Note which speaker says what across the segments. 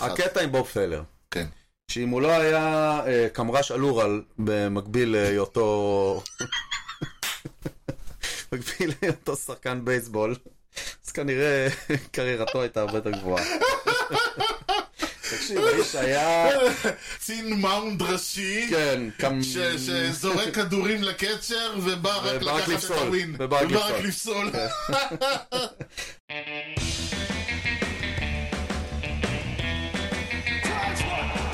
Speaker 1: הקטע עם בוב פלר,
Speaker 2: כן.
Speaker 1: שאם הוא לא היה אה, קמר"ש אלורל במקביל להיותו... במקביל להיותו שחקן בייסבול, אז כנראה קריירתו הייתה הרבה יותר גבוהה. תקשיב, האיש היה...
Speaker 2: קצין מאונד ראשי,
Speaker 1: כן, קם...
Speaker 2: ש- שזורק כדורים לקצ'ר, ובא רק
Speaker 1: ובא רק
Speaker 2: לקחת את
Speaker 1: לפסול,
Speaker 2: הווין.
Speaker 1: ובא רק
Speaker 2: ובא רק
Speaker 1: לפסול. כן.
Speaker 2: לפסול.
Speaker 3: Drives one,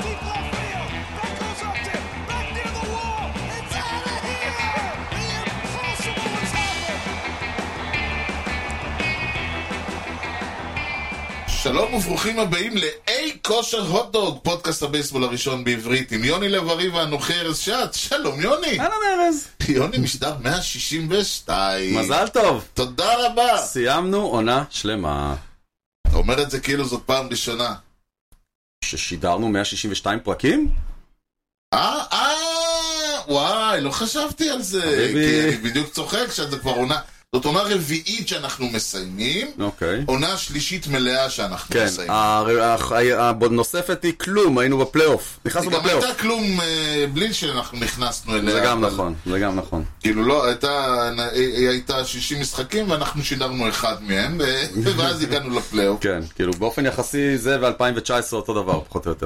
Speaker 3: deep left field. That goes up there, back near the wall. It's out of here. The impossible has happened.
Speaker 2: שלום וברוכים הבאים לאי כושר הוטדוג, פודקאסט הבייסבול הראשון בעברית, עם יוני לב-ארי ואנוכי ארז שץ. שלום יוני.
Speaker 1: אהלן ארז.
Speaker 2: יוני משדר 162.
Speaker 1: מזל טוב.
Speaker 2: תודה
Speaker 1: אה.
Speaker 2: רבה.
Speaker 1: סיימנו עונה שלמה
Speaker 2: אתה אומר את זה כאילו זאת פעם ראשונה.
Speaker 1: ששידרנו 162 פרקים?
Speaker 2: אה, אה, וואי, לא חשבתי על זה.
Speaker 1: חביבי.
Speaker 2: כי אני בדיוק צוחק שזה כבר עונה. זאת עונה רביעית שאנחנו מסיימים,
Speaker 1: אוקיי.
Speaker 2: עונה שלישית מלאה שאנחנו
Speaker 1: כן,
Speaker 2: מסיימים.
Speaker 1: הר- הח- הנוספת היא כלום, היינו בפלייאוף. נכנסנו
Speaker 2: גם
Speaker 1: בפלייאוף.
Speaker 2: הייתה כלום אה, בלי שאנחנו נכנסנו אליה.
Speaker 1: זה גם
Speaker 2: אבל-
Speaker 1: נכון, זה גם נכון.
Speaker 2: כאילו לא, הייתה, היא הייתה 60 משחקים ואנחנו שידרנו אחד מהם, אה, ואז הגענו לפלייאוף.
Speaker 1: כן, כאילו באופן יחסי זה ו-2019 אותו דבר, פחות או יותר.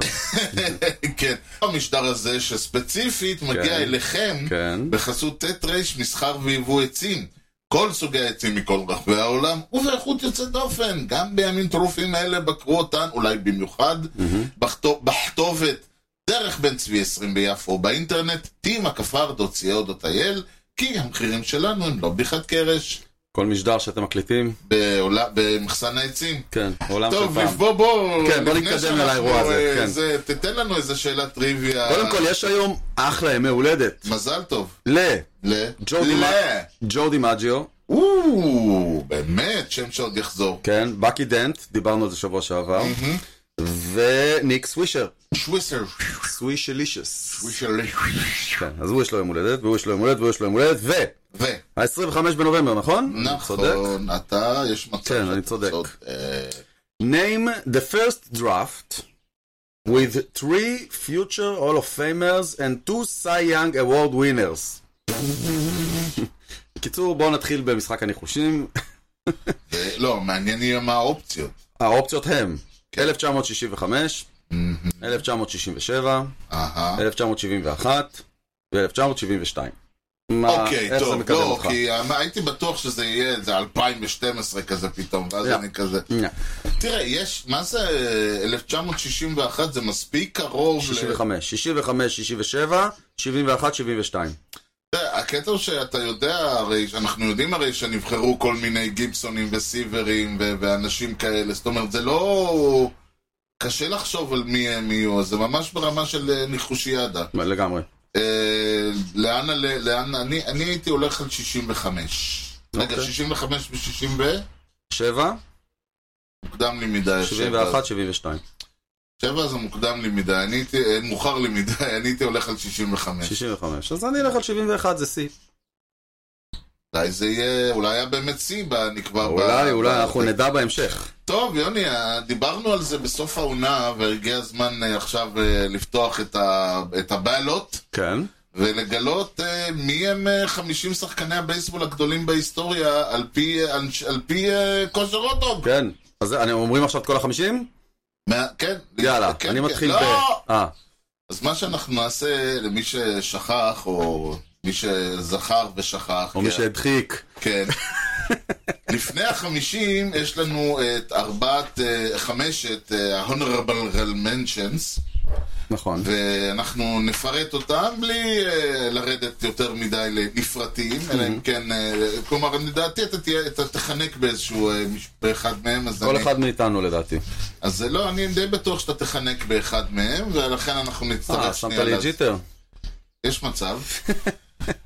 Speaker 2: כן. המשדר הזה שספציפית
Speaker 1: כן.
Speaker 2: מגיע אליכם
Speaker 1: כן.
Speaker 2: בחסות ט' ר' מסחר ויבוא עצים. כל סוגי העצים מכל רחבי העולם, ובאיכות יוצאת דופן. גם בימים טרופים אלה בקרו אותן, אולי במיוחד, בכתו- בכתובת דרך בן צבי 20 ביפו, באינטרנט, tima.co.il, כי המחירים שלנו הם לא בדיחת קרש,
Speaker 1: כל משדר שאתם מקליטים,
Speaker 2: בעולה- במחסן העצים.
Speaker 1: כן, עולם של
Speaker 2: טוב,
Speaker 1: פעם.
Speaker 2: בוא בוא,
Speaker 1: כן, בוא
Speaker 2: לפני
Speaker 1: נתקדם
Speaker 2: שאנחנו,
Speaker 1: לאירוע הזה,
Speaker 2: אה,
Speaker 1: כן.
Speaker 2: זה- תתן לנו איזה שאלת טריוויה.
Speaker 1: קודם כל, יש היום אחלה ימי הולדת
Speaker 2: מזל טוב. ל...
Speaker 1: ג'ו
Speaker 2: ל...
Speaker 1: דימה- לג'ו דימג'יו,
Speaker 2: או, באמת, שם שעוד יחזור.
Speaker 1: כן, בקי דנט, דיברנו על זה שבוע שעבר, וניק סווישר,
Speaker 2: שוויסר.
Speaker 1: סווישלישס.
Speaker 2: שוויסר.
Speaker 1: כן, אז הוא יש לו יום הולדת, והוא יש לו יום הולדת, והוא יש לו יום הולדת, ו...
Speaker 2: ו...
Speaker 1: ה-25 בנובמבר, נכון? אני צודק.
Speaker 2: נכון, אתה, יש מצב.
Speaker 1: כן,
Speaker 2: שאתה
Speaker 1: אני צודק.
Speaker 2: אה,
Speaker 1: Name the first draft with three future Hall of Famers and two Cy Young Award winners. בקיצור, בואו נתחיל במשחק הניחושים.
Speaker 2: זה- לא, מעניין יהיה מה האופציות.
Speaker 1: האופציות הם
Speaker 2: כן.
Speaker 1: 1965, 1967, אה,
Speaker 2: אהה.
Speaker 1: 1971 ו-1972.
Speaker 2: אוקיי, טוב, לא, כי אה, הייתי בטוח שזה יהיה איזה 2012 כזה פתאום, ואז
Speaker 1: לא.
Speaker 2: אני כזה... תראה, יש, מה זה אה, 1961? זה מספיק קרוב ל...
Speaker 1: 65, 65, 67, 71, 72.
Speaker 2: תראה, הקטע הוא שאתה יודע, הרי, אנחנו יודעים הרי שנבחרו כל מיני גיבסונים וסיברים ו- ואנשים כאלה, זאת אומרת, זה לא... קשה לחשוב על מי הם יהיו, אז זה ממש ברמה של אה, ניחושיאדה.
Speaker 1: לגמרי.
Speaker 2: אה, לאן, ה- לאן, אני, אני הייתי הולך על 65. רגע,
Speaker 1: אוקיי.
Speaker 2: 65 ו-60 ו...
Speaker 1: 7,
Speaker 2: מוקדם לי מדי.
Speaker 1: 71, 72.
Speaker 2: 7 זה מוקדם לי מדי, אני הייתי, אה, מאוחר לי מדי, אני הייתי הולך על 65.
Speaker 1: 65. אז אני אלך על 71, זה שיא.
Speaker 2: אולי זה יהיה, אולי היה באמת שיא בנקבע.
Speaker 1: אה, אולי,
Speaker 2: ב- ב-
Speaker 1: אולי, אנחנו נדע בהמשך.
Speaker 2: טוב, יוני, אה, דיברנו על זה בסוף העונה, והגיע הזמן אה, עכשיו אה, לפתוח את, ה... את הבעלות
Speaker 1: כן.
Speaker 2: ולגלות אה, מי הם אה, 50 שחקני הבייסבול הגדולים בהיסטוריה על פי, אה, אנש- על פי אה, כושר אוטוג.
Speaker 1: כן. אז אני- אומרים עכשיו את כל החמישים?
Speaker 2: מה- כן.
Speaker 1: יאללה,
Speaker 2: כן,
Speaker 1: אני
Speaker 2: כן.
Speaker 1: מתחיל ב...
Speaker 2: לא!
Speaker 1: אה,
Speaker 2: אז מה שאנחנו נעשה למי ששכח, או מי שזכר ושכח,
Speaker 1: או מי
Speaker 2: כן,
Speaker 1: שהדחיק.
Speaker 2: כן. לפני החמישים יש לנו את ארבעת, אה, חמשת ה-Honorable Mentions.
Speaker 1: נכון.
Speaker 2: ואנחנו נפרט אותם בלי אה, לרדת יותר מדי לפרטים, אלא
Speaker 1: Mm-hmm.
Speaker 2: אם כן, אה, כלומר, לדעתי אתה תהיה, אתה תחנק באיזשהו, אה, מש- באחד מהם, אז
Speaker 1: כל
Speaker 2: אני,
Speaker 1: אחד מאיתנו לדעתי.
Speaker 2: אז אה, לא, אני די בטוח שאתה תחנק באחד מהם, ולכן אנחנו
Speaker 1: אה,
Speaker 2: נצטרך
Speaker 1: שמת
Speaker 2: שנייה,
Speaker 1: לי
Speaker 2: לה-
Speaker 1: ג'יטר.
Speaker 2: יש מצב.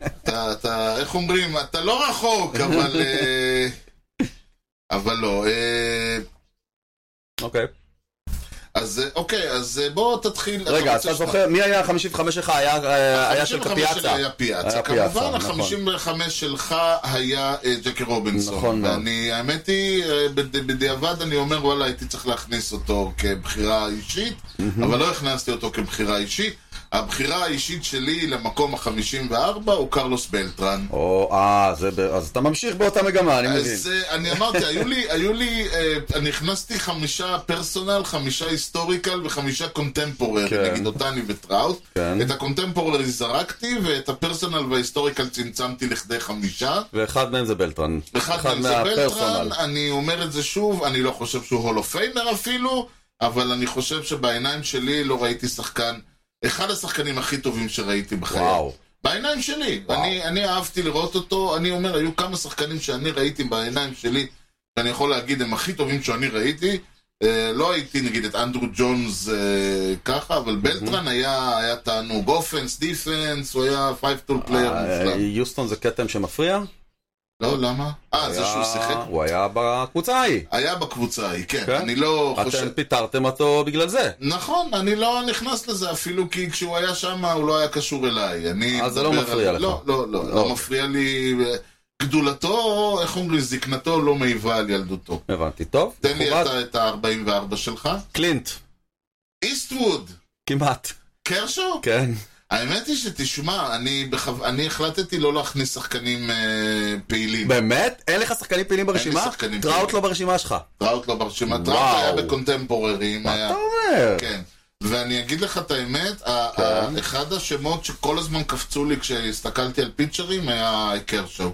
Speaker 2: אתה, אתה, איך אומרים, אתה לא רחוק, אבל, אה, אבל לא. אה,
Speaker 1: אוקיי.
Speaker 2: אז אה, אוקיי, אז אה, בוא תתחיל.
Speaker 1: רגע,
Speaker 2: רוצה
Speaker 1: אתה
Speaker 2: שאתה-
Speaker 1: זוכר, מי היה ה-55 שלך? היה- אה, היה של
Speaker 2: 55
Speaker 1: קפיאצה. נכון.
Speaker 2: היה פיאצה,
Speaker 1: היה
Speaker 2: אה, כמובן,
Speaker 1: פיאצה,
Speaker 2: ה-55 שלך היה אה, ג'קי רובינסון.
Speaker 1: נכון מאוד.
Speaker 2: ואני, האמת היא, אה, בד- בדיעבד אני אומר, וואלה, הייתי צריך להכניס אותו כבחירה אישית, אבל לא הכנסתי אותו כבחירה אישית. הבחירה האישית שלי למקום ה-54 הוא קרלוס בלטרן.
Speaker 1: או, אה, זה ב- אז אתה ממשיך באותה מגמה, אני מבין.
Speaker 2: אז אה, אני אמרתי, היו לי, היו לי, אה, אני הכנסתי חמישה פרסונל, חמישה היסטוריקל וחמישה קונטמפוררי,
Speaker 1: כן.
Speaker 2: נגיד אותני וטראוט.
Speaker 1: כן.
Speaker 2: את הקונטמפוררי זרקתי, ואת הפרסונל וההיסטוריקל צמצמתי לכדי חמישה.
Speaker 1: ואחד מהם זה בלטרן.
Speaker 2: אחד מהם זה בלטרן, אני אומר את זה שוב, אני לא חושב שהוא הולו פיימר אפילו, אבל אני חושב שבעיניים שלי לא ראיתי שחקן, אחד השחקנים הכי טובים שראיתי בחיי.
Speaker 1: וואו.
Speaker 2: בעיניים שלי.
Speaker 1: וואו.
Speaker 2: אני, אני אהבתי לראות אותו, אני אומר, היו כמה שחקנים שאני ראיתי בעיניים שלי, שאני יכול להגיד, הם הכי טובים שאני ראיתי. אה, לא הייתי, נגיד, את אנדרו ג'ונס אה, ככה,
Speaker 1: Mhm.
Speaker 2: אבל בלטרן היה, היה תענוג אופנס, דיפנס, הוא היה פייב טול פלייר
Speaker 1: אה,
Speaker 2: מופלא.
Speaker 1: יוסטון זה כתם שמפריע?
Speaker 2: לא, למה? אה, זה שהוא
Speaker 1: היה-
Speaker 2: שיחק.
Speaker 1: הוא היה בקבוצה ההיא.
Speaker 2: היה בקבוצה ההיא, כן.
Speaker 1: כן?
Speaker 2: אני לא חושב...
Speaker 1: אתם פיטרתם אותו בגלל זה.
Speaker 2: נכון, אני לא נכנס לזה אפילו כי כשהוא היה שם הוא לא היה קשור אליי. אני
Speaker 1: אז זה לא
Speaker 2: מדבר
Speaker 1: מפריע
Speaker 2: על...
Speaker 1: לך.
Speaker 2: לא, לא, לא, לא
Speaker 1: אוקיי.
Speaker 2: מפריע לי. אה, גדולתו, איך אומרים, זקנתו לא מעיבה על ילדותו.
Speaker 1: הבנתי, טוב.
Speaker 2: תן לי
Speaker 1: מכובד.
Speaker 2: אתה את ה-44 שלך.
Speaker 1: קלינט,
Speaker 2: איסטווד,
Speaker 1: כמעט.
Speaker 2: קרשו?
Speaker 1: כן.
Speaker 2: האמת היא שתשמע, אני בכו- אני החלטתי לא להכניס שחקנים אה, פעילים.
Speaker 1: באמת? אין לך שחקנים פעילים ברשימה?
Speaker 2: שחקנים
Speaker 1: טראוט
Speaker 2: פעילים.
Speaker 1: לא ברשימה שלך.
Speaker 2: טראוט לא ברשימה, טראוט
Speaker 1: וואו.
Speaker 2: היה בקונטמפוררים.
Speaker 1: מה
Speaker 2: היה-
Speaker 1: אתה אומר?
Speaker 2: כן. ואני אגיד לך את האמת, ה-
Speaker 1: כן.
Speaker 2: ה- אחד השמות שכל הזמן קפצו לי כשהסתכלתי על פיצ'רים היה קרשו.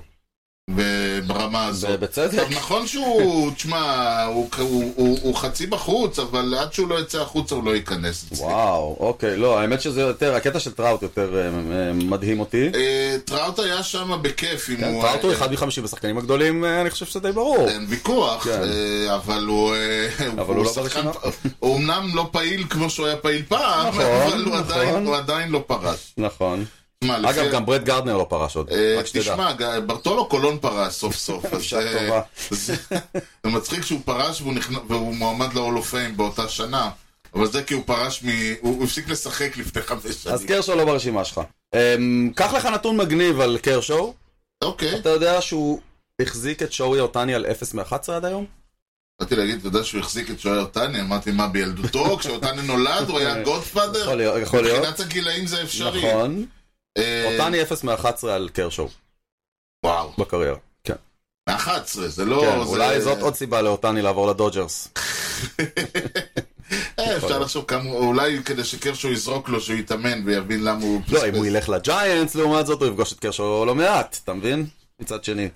Speaker 2: ב- ברמה
Speaker 1: זה
Speaker 2: הזאת.
Speaker 1: בצדק.
Speaker 2: עכשיו נכון שהוא, תשמע, הוא, הוא, הוא, הוא חצי בחוץ, אבל עד שהוא לא יצא החוצה הוא לא ייכנס. אצלי.
Speaker 1: וואו, אוקיי, לא, האמת שזה יותר, הקטע של טראוט יותר אה, אה, מדהים אותי.
Speaker 2: אה, טראוט היה שם בכיף, אם הוא...
Speaker 1: כן, טראוט הוא
Speaker 2: היה-
Speaker 1: אחד מחמישים השחקנים הגדולים, אה, אני חושב שזה די ברור.
Speaker 2: אין ויכוח,
Speaker 1: כן.
Speaker 2: אה, אבל הוא... אה,
Speaker 1: אבל הוא לא
Speaker 2: שחקן-
Speaker 1: ברשימה.
Speaker 2: הוא אמנם לא פעיל כמו שהוא היה פעיל פעם,
Speaker 1: נכון,
Speaker 2: אבל הוא עדיין-
Speaker 1: נכון.
Speaker 2: הוא עדיין לא פרש.
Speaker 1: נכון.
Speaker 2: מה, לפי-
Speaker 1: אגב, גם ברד גרדנר לא פרש עוד,
Speaker 2: אה,
Speaker 1: רק שתדע.
Speaker 2: תשמע, ג- ברטולו קולון פרש סוף סוף. אז,
Speaker 1: אישה
Speaker 2: אה,
Speaker 1: טובה.
Speaker 2: זה זה מצחיק שהוא פרש והוא נכנ- והוא מועמד ל-all of fame באותה שנה, אבל זה כי הוא פרש מ... הוא הוא הפסיק לשחק לפני חמש
Speaker 1: אז
Speaker 2: שנים.
Speaker 1: קרשו לא ברשימה שלך. אמ, קח לך נתון מגניב על קרשו,
Speaker 2: אוקיי,
Speaker 1: אתה יודע שהוא החזיק את שאורי אותני על 0 מ-11 עד היום?
Speaker 2: באתי להגיד, אתה יודע שהוא החזיק את שוער טני, אמרתי מה בילדותו, כשאוטני נולד הוא היה גודפאדר?
Speaker 1: יכול להיות, נכון, יכול להיות.
Speaker 2: מבחינת הגילאים זה אפשרי.
Speaker 1: נכון.
Speaker 2: אה,
Speaker 1: אותני 0 מ-11 על קרשו
Speaker 2: וואו,
Speaker 1: בקריירה. כן,
Speaker 2: מ-11, זה לא...
Speaker 1: כן,
Speaker 2: זה-
Speaker 1: אולי זאת עוד סיבה לאותני לעבור לדודג'רס.
Speaker 2: אה, אפשר לחשוב כמה, אולי כדי שקרשו יזרוק לו, שהוא יתאמן ויבין למה הוא...
Speaker 1: לא, אם
Speaker 2: פספס.
Speaker 1: הוא ילך לג'יינטס, לעומת זאת, הוא יפגוש את קרשו לא מעט, אתה מבין? מצד שני.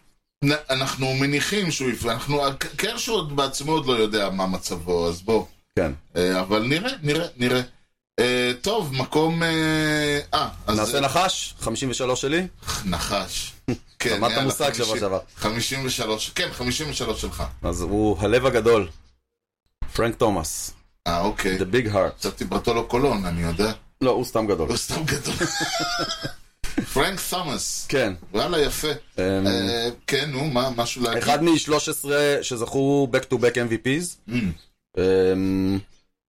Speaker 2: נ- אנחנו מניחים שהוא יפ... אנחנו... ק- קרשו עוד בעצמו עוד לא יודע מה מצבו, אז בוא.
Speaker 1: כן.
Speaker 2: אה, אבל נראה, נראה, נראה. אה, טוב, מקום... אה, אה, אז...
Speaker 1: נעשה נחש, 53 שלי.
Speaker 2: נחש. כן,
Speaker 1: למדת
Speaker 2: יאללה,
Speaker 1: מושג שבוע
Speaker 2: 50
Speaker 1: שעבר.
Speaker 2: 53, כן, 53 שלך.
Speaker 1: אז הוא הלב הגדול. פרנק תומאס,
Speaker 2: אה, אוקיי.
Speaker 1: The Big Heart.
Speaker 2: חשבתי ברטולו קולון, אני יודע.
Speaker 1: לא, הוא סתם גדול.
Speaker 2: הוא סתם גדול. פרנק תומאס.
Speaker 1: כן.
Speaker 2: וואלה, יפה.
Speaker 1: אמ,
Speaker 2: אה, כן, נו, מה, משהו להגיד?
Speaker 1: אחד מ-13 שזכו back to back MVPs.
Speaker 2: אמ,
Speaker 1: אמ,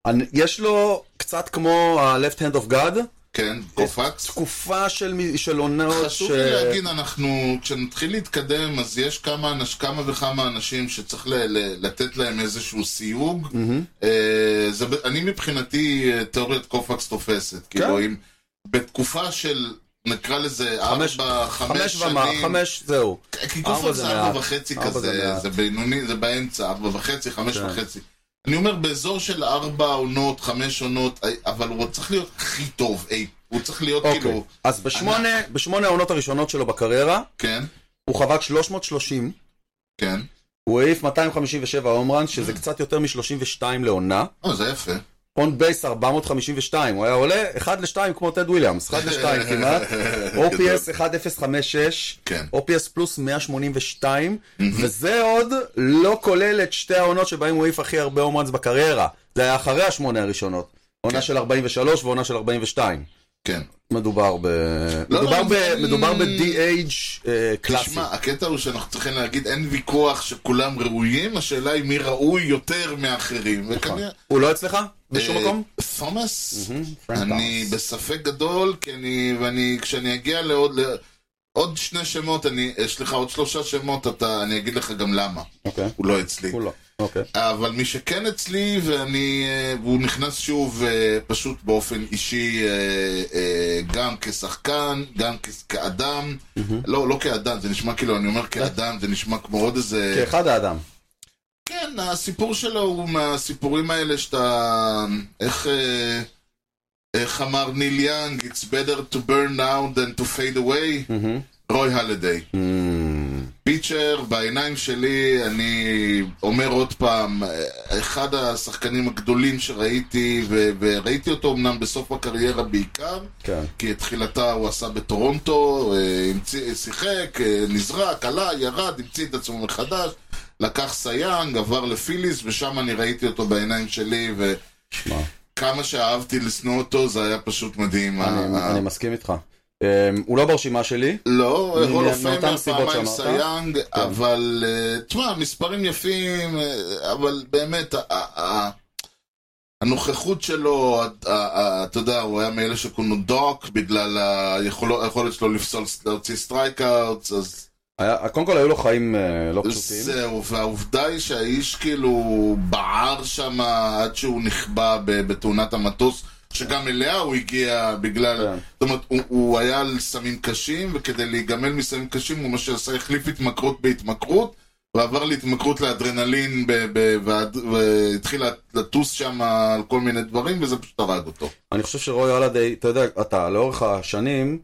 Speaker 1: אני- יש לו קצת כמו ה-Left Hand of God,
Speaker 2: כן, קופקס.
Speaker 1: תקופה של מ- של עונות ש...
Speaker 2: חשוב לי להגיד, אנחנו, כשנתחיל להתקדם, אז יש כמה, אנש, כמה וכמה אנשים שצריך ל, ל, לתת להם איזשהו סיוג.
Speaker 1: מהמם.
Speaker 2: אה, זה, ב- אני מבחינתי, אה, תיאוריית קופקס תופסת.
Speaker 1: כן?
Speaker 2: כאילו, אם בתקופה של, נקרא לזה,
Speaker 1: חמש-
Speaker 2: ארבע, חמש
Speaker 1: חמש ומה,
Speaker 2: שנים.
Speaker 1: חמש, זהו.
Speaker 2: כי
Speaker 1: ארבע
Speaker 2: קופקס
Speaker 1: זה
Speaker 2: זה
Speaker 1: מעט.
Speaker 2: ארבע וחצי
Speaker 1: ארבע זה
Speaker 2: כזה,
Speaker 1: מעט.
Speaker 2: זה בינוני, זה באמצע, ארבע וחצי, חמש
Speaker 1: כן.
Speaker 2: וחצי. אני אומר, באזור של ארבע עונות, חמש עונות, אה, אבל הוא צריך להיות הכי טוב, אי. הוא צריך להיות
Speaker 1: אוקיי.
Speaker 2: כאילו,
Speaker 1: אז בשמונה בשמונה העונות הראשונות שלו בקריירה,
Speaker 2: כן,
Speaker 1: הוא חבק 330.
Speaker 2: כן.
Speaker 1: הוא העיף 257 הום ראנס,
Speaker 2: Mm.
Speaker 1: שזה קצת יותר מ-32 לעונה.
Speaker 2: אה, זה יפה.
Speaker 1: און בייס 452, הוא היה עולה 1 ל-2 כמו טד וויליאמס, 1 ל-2 כמעט. OPS 1056,
Speaker 2: כן.
Speaker 1: OPS פלוס 182, וזה עוד לא כולל את שתי העונות שבהן הוא העיף הכי הרבה הום ראנס בקריירה. זה היה אחרי השמונה הראשונות. עונה של 43 ועונה של 42.
Speaker 2: כן.
Speaker 1: מדובר ב... מדובר
Speaker 2: לא,
Speaker 1: ב...
Speaker 2: mm.
Speaker 1: מדובר ב-DH אה, קלאסי.
Speaker 2: תשמע, הקטע הוא שאנחנו צריכים להגיד, אין ויכוח שכולם ראויים, השאלה היא מי ראוי יותר מאחרים. וכנראה...
Speaker 1: הוא לא אצלך? בשום
Speaker 2: אה,
Speaker 1: מקום?
Speaker 2: תומאס?
Speaker 1: פרנק
Speaker 2: אני
Speaker 1: תומאס.
Speaker 2: בספק גדול, כי אני... ואני... כשאני אגיע לעוד... ל- עוד שני שמות, אני... יש לך עוד שלושה שמות, אתה... אני אגיד לך גם למה.
Speaker 1: אוקיי.
Speaker 2: הוא לא אצלי.
Speaker 1: הוא לא. אוקיי.
Speaker 2: אבל מי שכן אצלי, ואני, אה, והוא נכנס שוב אה, פשוט באופן אישי, אה, אה, גם כשחקן, גם כ- כאדם, לא, לא כאדם, זה נשמע כאילו, אני אומר כאדם, זה נשמע כמו עוד איזה...
Speaker 1: כאחד האדם.
Speaker 2: כן, הסיפור שלו הוא מהסיפורים האלה שאתה... איך... אה, איך אמר ניל יאנג, It's better to burn now than to fade away,
Speaker 1: מהמם.
Speaker 2: רוי הלדיי.
Speaker 1: Mm.
Speaker 2: פיצ'ר, בעיניים שלי, אני אומר עוד פעם, אחד השחקנים הגדולים שראיתי, ו- וראיתי אותו אמנם בסוף הקריירה בעיקר,
Speaker 1: כן.
Speaker 2: כי את תחילתה הוא עשה בטורונטו, אה, המציא- שיחק, אה, נזרק, עלה, ירד, המציא את עצמו מחדש, לקח סייאנג, עבר לפיליס, ושם אני ראיתי אותו בעיניים שלי,
Speaker 1: שמע,
Speaker 2: וכמה שאהבתי לשנוא אותו, זה היה פשוט מדהים.
Speaker 1: אני-
Speaker 2: ה-
Speaker 1: אני מסכים איתך. אה, הוא לא ברשימה שלי.
Speaker 2: לא,
Speaker 1: מ-
Speaker 2: הול אוף
Speaker 1: מאותן
Speaker 2: פיימר
Speaker 1: סיבות אה? כן.
Speaker 2: פעמיים
Speaker 1: שאמרת.
Speaker 2: סייאנג, אבל אה, תשמע, מספרים יפים, אה, אבל באמת, ה- ה- ה- הנוכחות שלו, ה- ה- ה- אתה יודע, הוא היה מאלה שכונו דוק, בגלל היכולו- היכולת שלו לפסול, להוציא סטרייקאוטס, אז
Speaker 1: היה- קודם כל היו לו חיים אה, לא פשוטים.
Speaker 2: זהו, והעובדה היא שהאיש כאילו בער שם עד שהוא נכבה ב- בתאונת המטוס, שגם אליה הוא הגיע בגלל...
Speaker 1: כן.
Speaker 2: זאת אומרת, הוא, הוא היה על סמים קשים, וכדי להיגמל מסמים קשים הוא מה שעשה, החליף התמכרות בהתמכרות, ועבר להתמכרות לאדרנלין, ב- ב- ועד- והתחיל לטוס שם על כל מיני דברים, וזה פשוט הרג אותו.
Speaker 1: אני חושב שרוי הולנדי, אתה יודע, אתה לאורך השנים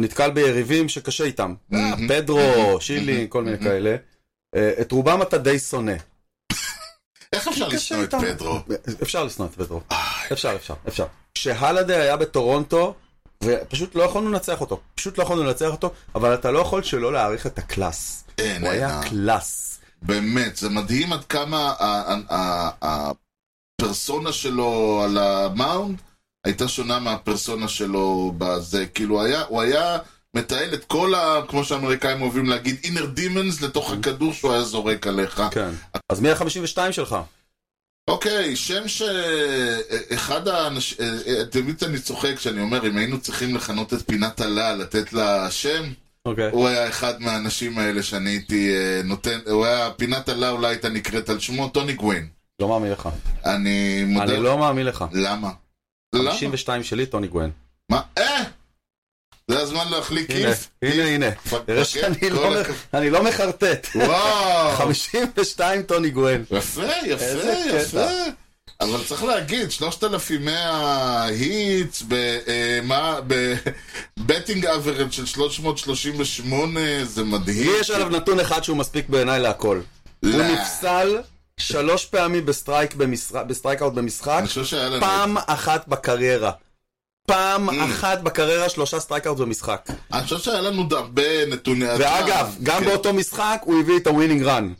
Speaker 1: נתקל ביריבים שקשה איתם.
Speaker 2: מהמם.
Speaker 1: פדרו, שילי, כל מיני
Speaker 2: מהמם.
Speaker 1: כאלה. אה, את רובם אתה די שונא.
Speaker 2: איך אפשר
Speaker 1: קשה
Speaker 2: לשנוא את
Speaker 1: איתם.
Speaker 2: פדרו? אה,
Speaker 1: אפשר לשנוא את פדרו.
Speaker 2: איי,
Speaker 1: אפשר, אפשר, אפשר. כשהלדה היה בטורונטו, ופשוט לא יכולנו לנצח אותו. פשוט לא יכולנו לנצח אותו, אבל אתה לא יכול שלא להעריך את הקלאס.
Speaker 2: אין,
Speaker 1: הוא היה
Speaker 2: אין,
Speaker 1: קלאס.
Speaker 2: באמת, זה מדהים עד כמה ה- ה- ה- הפרסונה שלו על המאונד הייתה שונה מהפרסונה שלו בזה. כאילו, היה, הוא היה מתעל את כל ה... כמו שהאמריקאים אוהבים להגיד, inner demons לתוך הכדור שהוא היה זורק עליך.
Speaker 1: כן. אז מי ה-52 שלך?
Speaker 2: אוקיי, שם שאחד אה, האנשים... תמיד אני צוחק כשאני אומר, אם היינו צריכים לכנות את פינת הלה, לתת לה שם,
Speaker 1: אוקיי.
Speaker 2: הוא היה אחד מהאנשים האלה שאני הייתי אה, נותן... הוא היה... פינת הלה אולי הייתה נקראת על שמו, טוני גווין.
Speaker 1: לא מאמין לך.
Speaker 2: אני מודה...
Speaker 1: אני לא מאמין לך.
Speaker 2: למה? למה?
Speaker 1: 52 שלי, טוני גווין.
Speaker 2: מה? אה! זה הזמן להחליק
Speaker 1: הנה,
Speaker 2: כיף.
Speaker 1: הנה, הנה.
Speaker 2: פ-
Speaker 1: תראה
Speaker 2: פ-
Speaker 1: שאני
Speaker 2: כל
Speaker 1: לא
Speaker 2: הכ-
Speaker 1: מח- אני לא מחרטט.
Speaker 2: וואו!
Speaker 1: 52 טוני גווין.
Speaker 2: יפה, יפה,
Speaker 1: איזה קטע.
Speaker 2: יפה. אבל צריך להגיד, 3,100 היטס אה, בבטינג אברד של 338, זה מדהים.
Speaker 1: לי יש עליו נתון אחד שהוא מספיק בעיניי להכל. הוא
Speaker 2: לא.
Speaker 1: נפסל שלוש פעמים בסטרייק במשחק- בסטרייקאוט במשחק,
Speaker 2: אני חושב שהיה לנו...
Speaker 1: פעם אחת בקריירה. פעם
Speaker 2: Mm.
Speaker 1: אחת בקריירה שלושה סטרייקאוט במשחק.
Speaker 2: אני חושב שהיה לנו ד- הרבה נתוני...
Speaker 1: ואגב, גם
Speaker 2: כן.
Speaker 1: באותו משחק הוא הביא את הווינינג רן.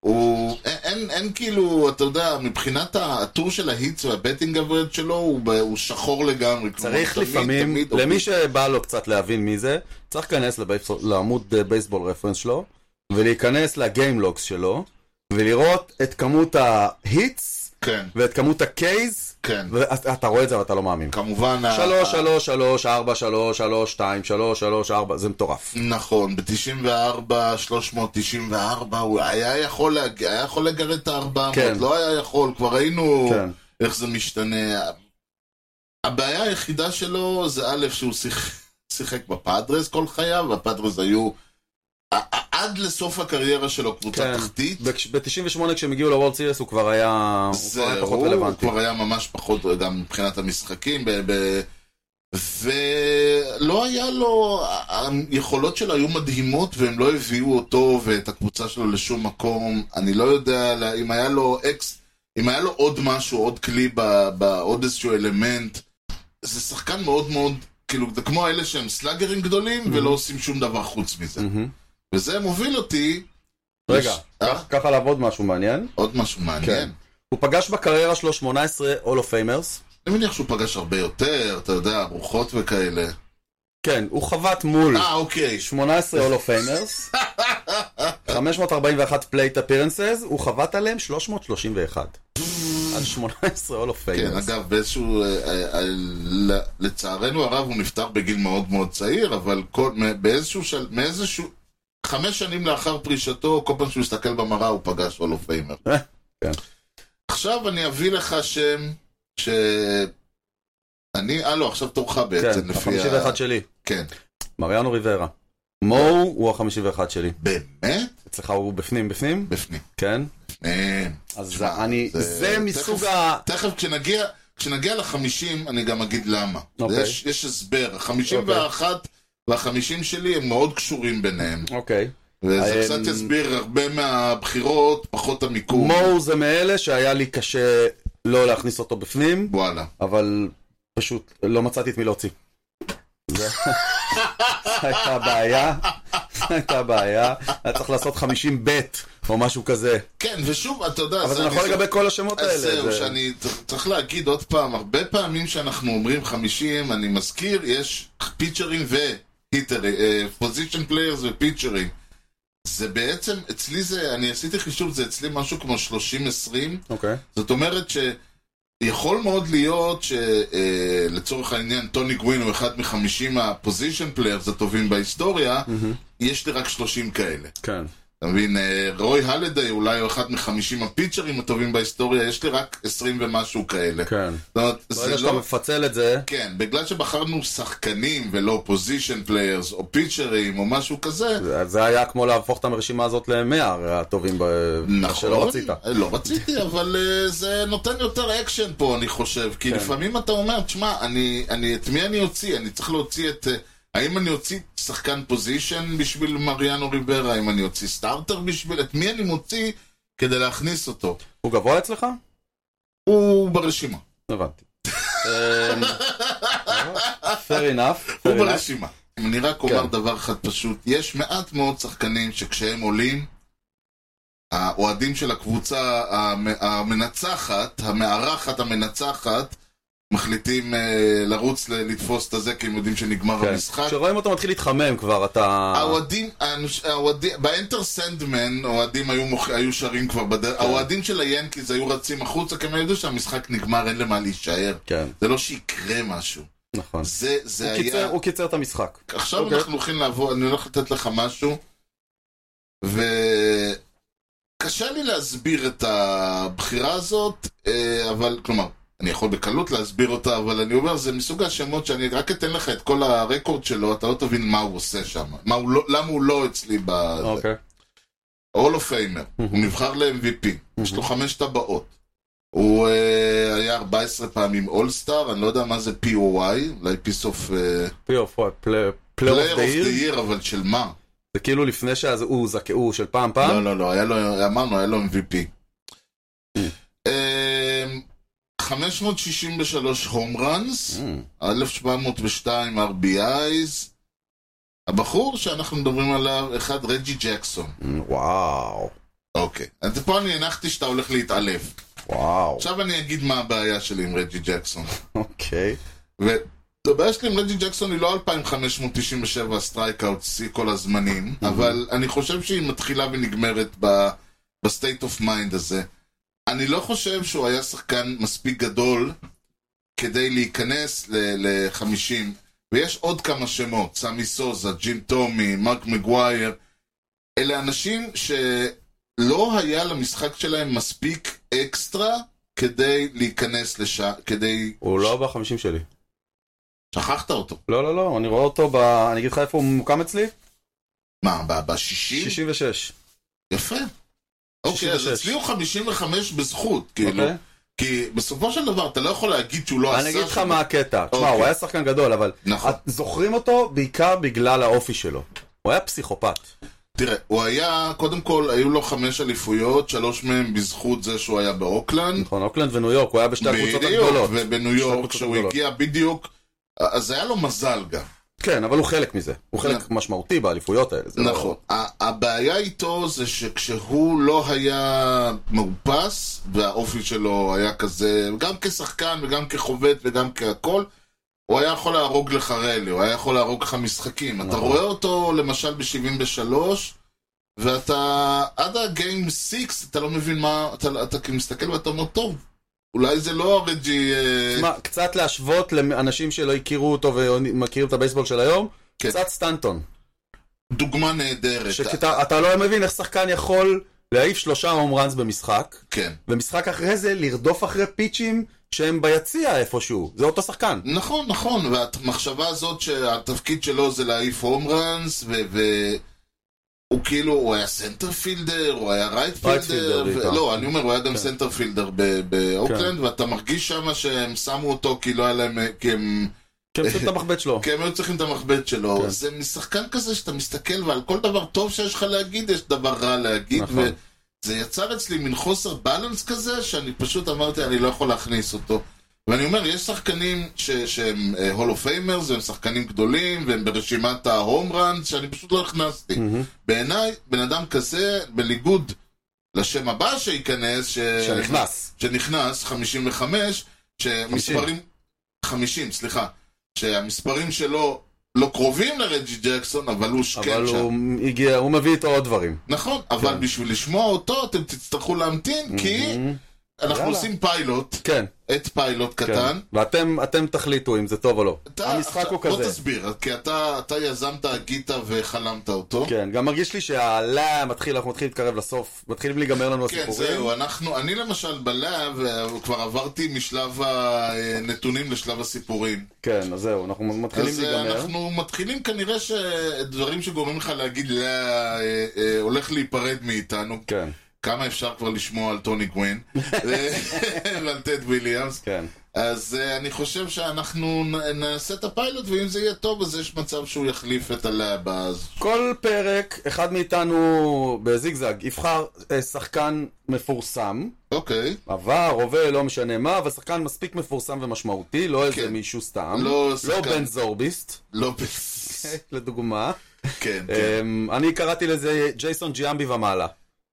Speaker 2: הוא... אין, אין, אין כאילו, אתה יודע, מבחינת הטור של ההיטס והבטינג אברד שלו, הוא, ב- הוא שחור לגמרי. כלומר,
Speaker 1: צריך
Speaker 2: תמיד,
Speaker 1: לפעמים,
Speaker 2: תמיד הוא-
Speaker 1: למי שבא לו קצת להבין מי זה, צריך להיכנס לבייס- לעמוד אה, בייסבול רפרנס שלו, ולהיכנס לגיימלוגס שלו, ולראות את כמות ההיטס,
Speaker 2: כן,
Speaker 1: ואת כמות הקייז,
Speaker 2: כן.
Speaker 1: ואתה רואה את זה ואתה לא מאמין.
Speaker 2: כמובן... ה-
Speaker 1: שלוש,
Speaker 2: ה-
Speaker 1: שלוש, שלוש, ארבע, שלוש, שלוש, שתיים, שלוש, שלוש, ארבע, זה מטורף.
Speaker 2: נכון, ב-94, 394, הוא היה יכול, להג... היה יכול לגרד את ה-400,
Speaker 1: כן.
Speaker 2: לא היה יכול, כבר ראינו
Speaker 1: כן.
Speaker 2: איך זה משתנה. הבעיה היחידה שלו זה א', שהוא שיח... שיחק בפאדרס כל חייו, והפאדרס היו... ע- ע- עד לסוף הקריירה שלו קבוצה
Speaker 1: כן.
Speaker 2: תחתית.
Speaker 1: ב-98 כשהם הגיעו לוולד סיריס הוא כבר היה הוא כבר היה
Speaker 2: זהו,
Speaker 1: פחות
Speaker 2: הוא
Speaker 1: רלוונטי.
Speaker 2: כבר היה ממש פחות, גם מבחינת המשחקים, ב- ב- ולא היה לו, היכולות שלו היו מדהימות והם לא הביאו אותו ואת הקבוצה שלו לשום מקום, אני לא יודע לה- אם היה לו אקס, אם היה לו עוד משהו, עוד כלי, ב- ב- עוד איזשהו אלמנט, זה שחקן מאוד מאוד, כאילו, זה כמו אלה שהם סלאגרים
Speaker 1: Mm-hmm.
Speaker 2: גדולים ולא עושים שום דבר חוץ מזה,
Speaker 1: מהמם.
Speaker 2: וזה מוביל אותי,
Speaker 1: Mm-hmm. רגע, כן.
Speaker 2: יש- אה?
Speaker 1: ככה עליו עוד משהו מעניין.
Speaker 2: עוד משהו מעניין,
Speaker 1: הוא פגש בקריירה שלו 18 הולו פיימרס,
Speaker 2: אני מניח שהוא פגש הרבה יותר, אתה יודע, ארוחות וכאלה.
Speaker 1: כן, הוא חבט מול
Speaker 2: אה, אוקיי.
Speaker 1: 18 הולו פיימרס, 541 פלייט אפירנסס, הוא חבט עליהם 331. על 18 הולו
Speaker 2: כן,
Speaker 1: פיימרס.
Speaker 2: אגב, באיזשהו... אה, אה, אה, ל- לצערנו הרב, הוא נפטר בגיל מאוד מאוד צעיר, אבל כל- מא- באיזשהו... של- מאיזשהו... חמש שנים לאחר פרישתו, כל פעם שהוא הסתכל במראה, הוא פגש הולו פיימר.
Speaker 1: אה, כן.
Speaker 2: עכשיו אני אביא לך שם ש... אני... אה, לא, עכשיו תורך בעצם,
Speaker 1: כן,
Speaker 2: לפי
Speaker 1: ה-51 שלי.
Speaker 2: כן.
Speaker 1: מריאנו ריברה. מו הוא ה-51 שלי.
Speaker 2: באמת?
Speaker 1: אצלך הוא בפנים בפנים?
Speaker 2: בפנים.
Speaker 1: כן.
Speaker 2: אה,
Speaker 1: אז
Speaker 2: תשמע,
Speaker 1: אני,
Speaker 2: זה-
Speaker 1: זה מסוג
Speaker 2: תכף-
Speaker 1: ה...
Speaker 2: תכף כשנגיע, כשנגיע לחמישים, אני גם אגיד למה.
Speaker 1: אוקיי.
Speaker 2: יש, יש הסבר. החמישים ואחת והחמישים שלי הם מאוד קשורים ביניהם.
Speaker 1: אוקיי.
Speaker 2: וזה
Speaker 1: אה,
Speaker 2: קצת יסביר הרבה מהבחירות, פחות המיקום.
Speaker 1: מו זה מאלה שהיה לי קשה לא להכניס אותו בפנים,
Speaker 2: וואלה.
Speaker 1: אבל פשוט לא מצאתי את מי להוציא. זה זה הייתה הבעיה, זה הייתה הבעיה, היה צריך לעשות 50 ב' או משהו כזה.
Speaker 2: כן, ושוב, אתה יודע...
Speaker 1: אבל זה
Speaker 2: אני-
Speaker 1: נכון לגבי כל השמות האלה.
Speaker 2: אז זהו,
Speaker 1: זה-
Speaker 2: שאני צר- צריך להגיד עוד פעם, הרבה פעמים שאנחנו אומרים 50, אני מזכיר, יש פיצ'רים והיטרים, פוזיישן פליירס ופיצ'רים. זה בעצם, אצלי זה, אני עשיתי חישוב, זה אצלי משהו כמו 30-20,
Speaker 1: אוקיי.
Speaker 2: זאת אומרת שיכול מאוד להיות שלצורך העניין טוני גווין הוא אחד מחמישים הפוזיישן פליירס הטובים בהיסטוריה,
Speaker 1: מהמם.
Speaker 2: יש לי רק 30 כאלה.
Speaker 1: כן.
Speaker 2: אתה מבין, אה, רוי הלדיי אולי הוא אחד מחמישים הפיצ'רים הטובים בהיסטוריה, יש לי רק 20 ומשהו כאלה.
Speaker 1: כן.
Speaker 2: זאת אומרת,
Speaker 1: ברגע
Speaker 2: זה
Speaker 1: שאתה
Speaker 2: לא...
Speaker 1: מפצל את זה,
Speaker 2: כן, בגלל שבחרנו שחקנים ולא פוזיישן פליירס או פיצ'רים או משהו כזה,
Speaker 1: זה- זה היה כמו להפוך את הרשימה הזאת ל-100 הטובים ב-
Speaker 2: נכון.
Speaker 1: שלא רצית.
Speaker 2: לא רציתי, אבל אה, זה נותן יותר אקשן פה, אני חושב. כי
Speaker 1: כן.
Speaker 2: לפעמים אתה אומר, תשמע, אני, אני, את מי אני אוציא? אני צריך להוציא את... אה, האם אני אוציא שחקן פוזיישן בשביל מריאנו ריברה? האם אני אוציא סטארטר בשביל... את מי אני מוציא כדי להכניס אותו?
Speaker 1: הוא גבוה אצלך?
Speaker 2: הוא ברשימה.
Speaker 1: הבנתי. אמ, fair enough.
Speaker 2: הוא
Speaker 1: fair enough.
Speaker 2: ברשימה. אני רק אומר
Speaker 1: כן.
Speaker 2: דבר אחד פשוט, יש מעט מאוד שחקנים שכשהם עולים, האוהדים של הקבוצה המ- המנצחת, המארחת המנצחת, מחליטים אה, לרוץ ל- לתפוס את הזה כי הם יודעים שנגמר
Speaker 1: כן. אה.
Speaker 2: המשחק.
Speaker 1: כשרואים אותו מתחיל להתחמם כבר, אתה...
Speaker 2: האוהדים, האנוש- האוהדים, באנטר סנדמן, האוהדים היו, מוכ... היו שרים כבר בדרך,
Speaker 1: כן.
Speaker 2: האוהדים של היאנקיז היו רצים החוצה כי הם ידעו שהמשחק נגמר, אין למה להישאר.
Speaker 1: כן,
Speaker 2: זה לא שיקרה משהו.
Speaker 1: נכון.
Speaker 2: זה, זה
Speaker 1: הוא
Speaker 2: היה...
Speaker 1: קיצר- הוא קיצר את המשחק.
Speaker 2: עכשיו
Speaker 1: אוקיי.
Speaker 2: אנחנו הולכים לעבור, אני הולך לתת לך משהו, ו... קשה לי להסביר את הבחירה הזאת, אה, אבל כלומר, אני יכול בקלות להסביר אותה, אבל אני אומר, זה מסוג השמות שאני רק אתן לך את כל הרקורד שלו, אתה לא תבין מה הוא עושה שם, מה הוא לא, למה הוא לא אצלי ב...
Speaker 1: אוקיי.
Speaker 2: הול אוף פיימר, הוא נבחר ל-MVP, יש לו חמש טבעות. הוא אה, היה 14 פעמים אולסטאר, אני לא יודע מה זה POI, אולי אה, פיס אוף...
Speaker 1: פלייר אוף
Speaker 2: פלייר
Speaker 1: דה
Speaker 2: אוף דה
Speaker 1: עיר.
Speaker 2: ייר, אבל של מה?
Speaker 1: זה כאילו לפני שאז הוא זכה, הוא של פעם פעם.
Speaker 2: לא, לא, לא, היה לו, אמרנו, היה לו MVP. אמ, 563 הום ראנס,
Speaker 1: אמ,
Speaker 2: 1702 RBIs. הבחור שאנחנו מדברים עליו, אחד, רג'י ג'קסון.
Speaker 1: אמ, וואו,
Speaker 2: אוקיי. אז פה אני הנחתי שאתה הולך להתעלף.
Speaker 1: וואו.
Speaker 2: עכשיו אני אגיד מה הבעיה שלי עם רג'י ג'קסון.
Speaker 1: אוקיי.
Speaker 2: והבעיה שלי עם רג'י ג'קסון היא לא 2597 סטרייקאוט שיא כל הזמנים, אבל אני חושב שהיא מתחילה ונגמרת ב- בסטייט אוף מיינד הזה. אני לא חושב שהוא היה שחקן מספיק גדול כדי להיכנס ל-50, ויש עוד כמה שמות, סמי סוזה, ג'ים טומי, מרק מגווייר, אלה אנשים שלא היה למשחק שלהם מספיק אקסטרה כדי להיכנס לשם, כדי...
Speaker 1: הוא לא בחמישים שלי.
Speaker 2: שכחת אותו.
Speaker 1: לא, לא, לא, אני רואה אותו ב... אני אגיד לך איפה הוא ממוקם אצלי?
Speaker 2: מה, ב- ב-60?
Speaker 1: 66.
Speaker 2: יפה. אוקיי, אז
Speaker 1: 66.
Speaker 2: אצלי הוא 55 בזכות, כאילו.
Speaker 1: אוקיי?
Speaker 2: כי בסופו של דבר אתה לא יכול להגיד שהוא לא עשה...
Speaker 1: אני אגיד לך
Speaker 2: שום-
Speaker 1: מה הקטע. תשמע,
Speaker 2: אוקיי.
Speaker 1: הוא היה שחקן גדול, אבל...
Speaker 2: נכון.
Speaker 1: את- זוכרים אותו בעיקר בגלל האופי שלו. הוא היה פסיכופת.
Speaker 2: תראה, הוא היה, קודם כל, היו לו חמש אליפויות, שלוש מהן בזכות זה שהוא היה באוקלנד.
Speaker 1: נכון, אוקלנד וניו יורק, הוא היה בשתי הקבוצות
Speaker 2: בדיוק,
Speaker 1: הגדולות.
Speaker 2: ובניו
Speaker 1: שתי
Speaker 2: יורק,
Speaker 1: הקבוצות
Speaker 2: כשהוא
Speaker 1: הגדולות.
Speaker 2: הגיע בדיוק, אז היה לו מזל גם.
Speaker 1: כן, אבל הוא חלק מזה. הוא חלק
Speaker 2: נכון.
Speaker 1: משמעותי באליפויות האלה. זה לא-
Speaker 2: נכון. ה- הבעיה איתו זה שכשהוא לא היה מאופס, והאופי שלו היה כזה, גם כשחקן וגם כחובט וגם כהכול, הוא היה יכול להרוג לך רלי, הוא היה יכול להרוג לך משחקים. אתה
Speaker 1: נכון.
Speaker 2: רואה אותו למשל ב-73, ואתה, עד הגיים 6, אתה לא מבין מה, אתה, אתה מסתכל ואתה אומר, טוב, אולי זה לא הרג'י... אה,
Speaker 1: תשמע, קצת להשוות לאנשים שלא הכירו אותו ומכירים את הבייסבול של היום,
Speaker 2: כן.
Speaker 1: קצת סטנטון.
Speaker 2: דוגמה נהדרת.
Speaker 1: שאתה אתה לא מבין איך שחקן יכול להעיף שלושה הום ראנס במשחק,
Speaker 2: כן.
Speaker 1: ומשחק אחרי זה לרדוף אחרי פיצ'ים שהם ביציע איפשהו. זה אותו שחקן.
Speaker 2: נכון, נכון, והמחשבה הזאת שהתפקיד שלו זה להעיף הום ראנס, ו... ו... הוא כאילו, הוא היה סנטרפילדר, הוא היה
Speaker 1: רייטפילדר
Speaker 2: רייטפילדר,
Speaker 1: בעיקר.
Speaker 2: ו... לא, אני אומר, הוא היה גם
Speaker 1: כן.
Speaker 2: סנטרפילדר ב- באוקלנד, ואתה מרגיש שם שהם שמו אותו כי לא היה להם, כי הם,
Speaker 1: כן, פשוט את המחבט שלו.
Speaker 2: כי אוקיי, הם היו צריכים את המחבט שלו.
Speaker 1: כן.
Speaker 2: זה משחקן כזה שאתה מסתכל, ועל כל דבר טוב שיש לך להגיד, יש דבר רע להגיד,
Speaker 1: נכון.
Speaker 2: וזה יצר אצלי מין חוסר בלנס כזה, שאני פשוט אמרתי, אני לא יכול להכניס אותו. ואני אומר, יש שחקנים ש- שהם אה, הולו פיימרס, והם שחקנים גדולים, והם ברשימת ההום ראנס, שאני פשוט לא הכנסתי.
Speaker 1: מהמם.
Speaker 2: בעיניי, בן אדם כזה, בניגוד לשם הבא שייכנס, ש...
Speaker 1: שנכנס.
Speaker 2: שנכנס, 55, שמספרים... 50, סליחה. שהמספרים שלו לא קרובים לרג'י ג'קסון, אבל הוא שקן
Speaker 1: אבל
Speaker 2: שם.
Speaker 1: הוא הגיע, הוא מביא איתו עוד דברים.
Speaker 2: נכון, אבל
Speaker 1: כן.
Speaker 2: בשביל לשמוע אותו אתם תצטרכו להמתין, כי
Speaker 1: מהמם.
Speaker 2: אנחנו
Speaker 1: יאללה.
Speaker 2: עושים פיילוט,
Speaker 1: Mhm. כן,
Speaker 2: את פיילוט
Speaker 1: כן.
Speaker 2: קטן.
Speaker 1: ואתם אתם תחליטו אם זה טוב או לא.
Speaker 2: אתה-
Speaker 1: המשחק
Speaker 2: עכשיו,
Speaker 1: הוא
Speaker 2: בוא
Speaker 1: כזה.
Speaker 2: תסביר, כי אתה אתה יזמת, הגית וחלמת אותו.
Speaker 1: כן, גם מרגיש לי שהלה מתחיל, אנחנו מתחילים להתקרב לסוף, מתחילים להיגמר לנו
Speaker 2: כן,
Speaker 1: הסיפורים.
Speaker 2: זהו, אנחנו, אני למשל בלאב, אה, כבר עברתי משלב הנתונים לשלב הסיפורים.
Speaker 1: כן, אז זהו, אנחנו מתחילים
Speaker 2: אז אה,
Speaker 1: להיגמר.
Speaker 2: אנחנו מתחילים כנראה שדברים שגורמים לך להגיד, "לא, אה, אה, הולך להיפרד מאיתנו.
Speaker 1: כן,
Speaker 2: כמה אפשר כבר לשמוע על טוני גווין אה, ועל טד וויליאמס.
Speaker 1: כן.
Speaker 2: אז אה, אני חושב שאנחנו נ- נעשה את הפיילוט, ואם זה יהיה טוב, אז יש מצב שהוא יחליף את הלאב אז.
Speaker 1: כל פרק, אחד מאיתנו בזיגזג יבחר אה, שחקן מפורסם,
Speaker 2: אוקיי.
Speaker 1: עבר, הווה, לא משנה מה, אבל שחקן מספיק מפורסם ומשמעותי, לא איזה
Speaker 2: כן.
Speaker 1: מישהו סתם.
Speaker 2: לא
Speaker 1: לא
Speaker 2: שחקן.
Speaker 1: בן זורביסט,
Speaker 2: לא, ב-
Speaker 1: לדוגמה.
Speaker 2: כן, כן,
Speaker 1: אמ, אני קראתי לזה ג'ייסון ג'יאמבי ומעלה.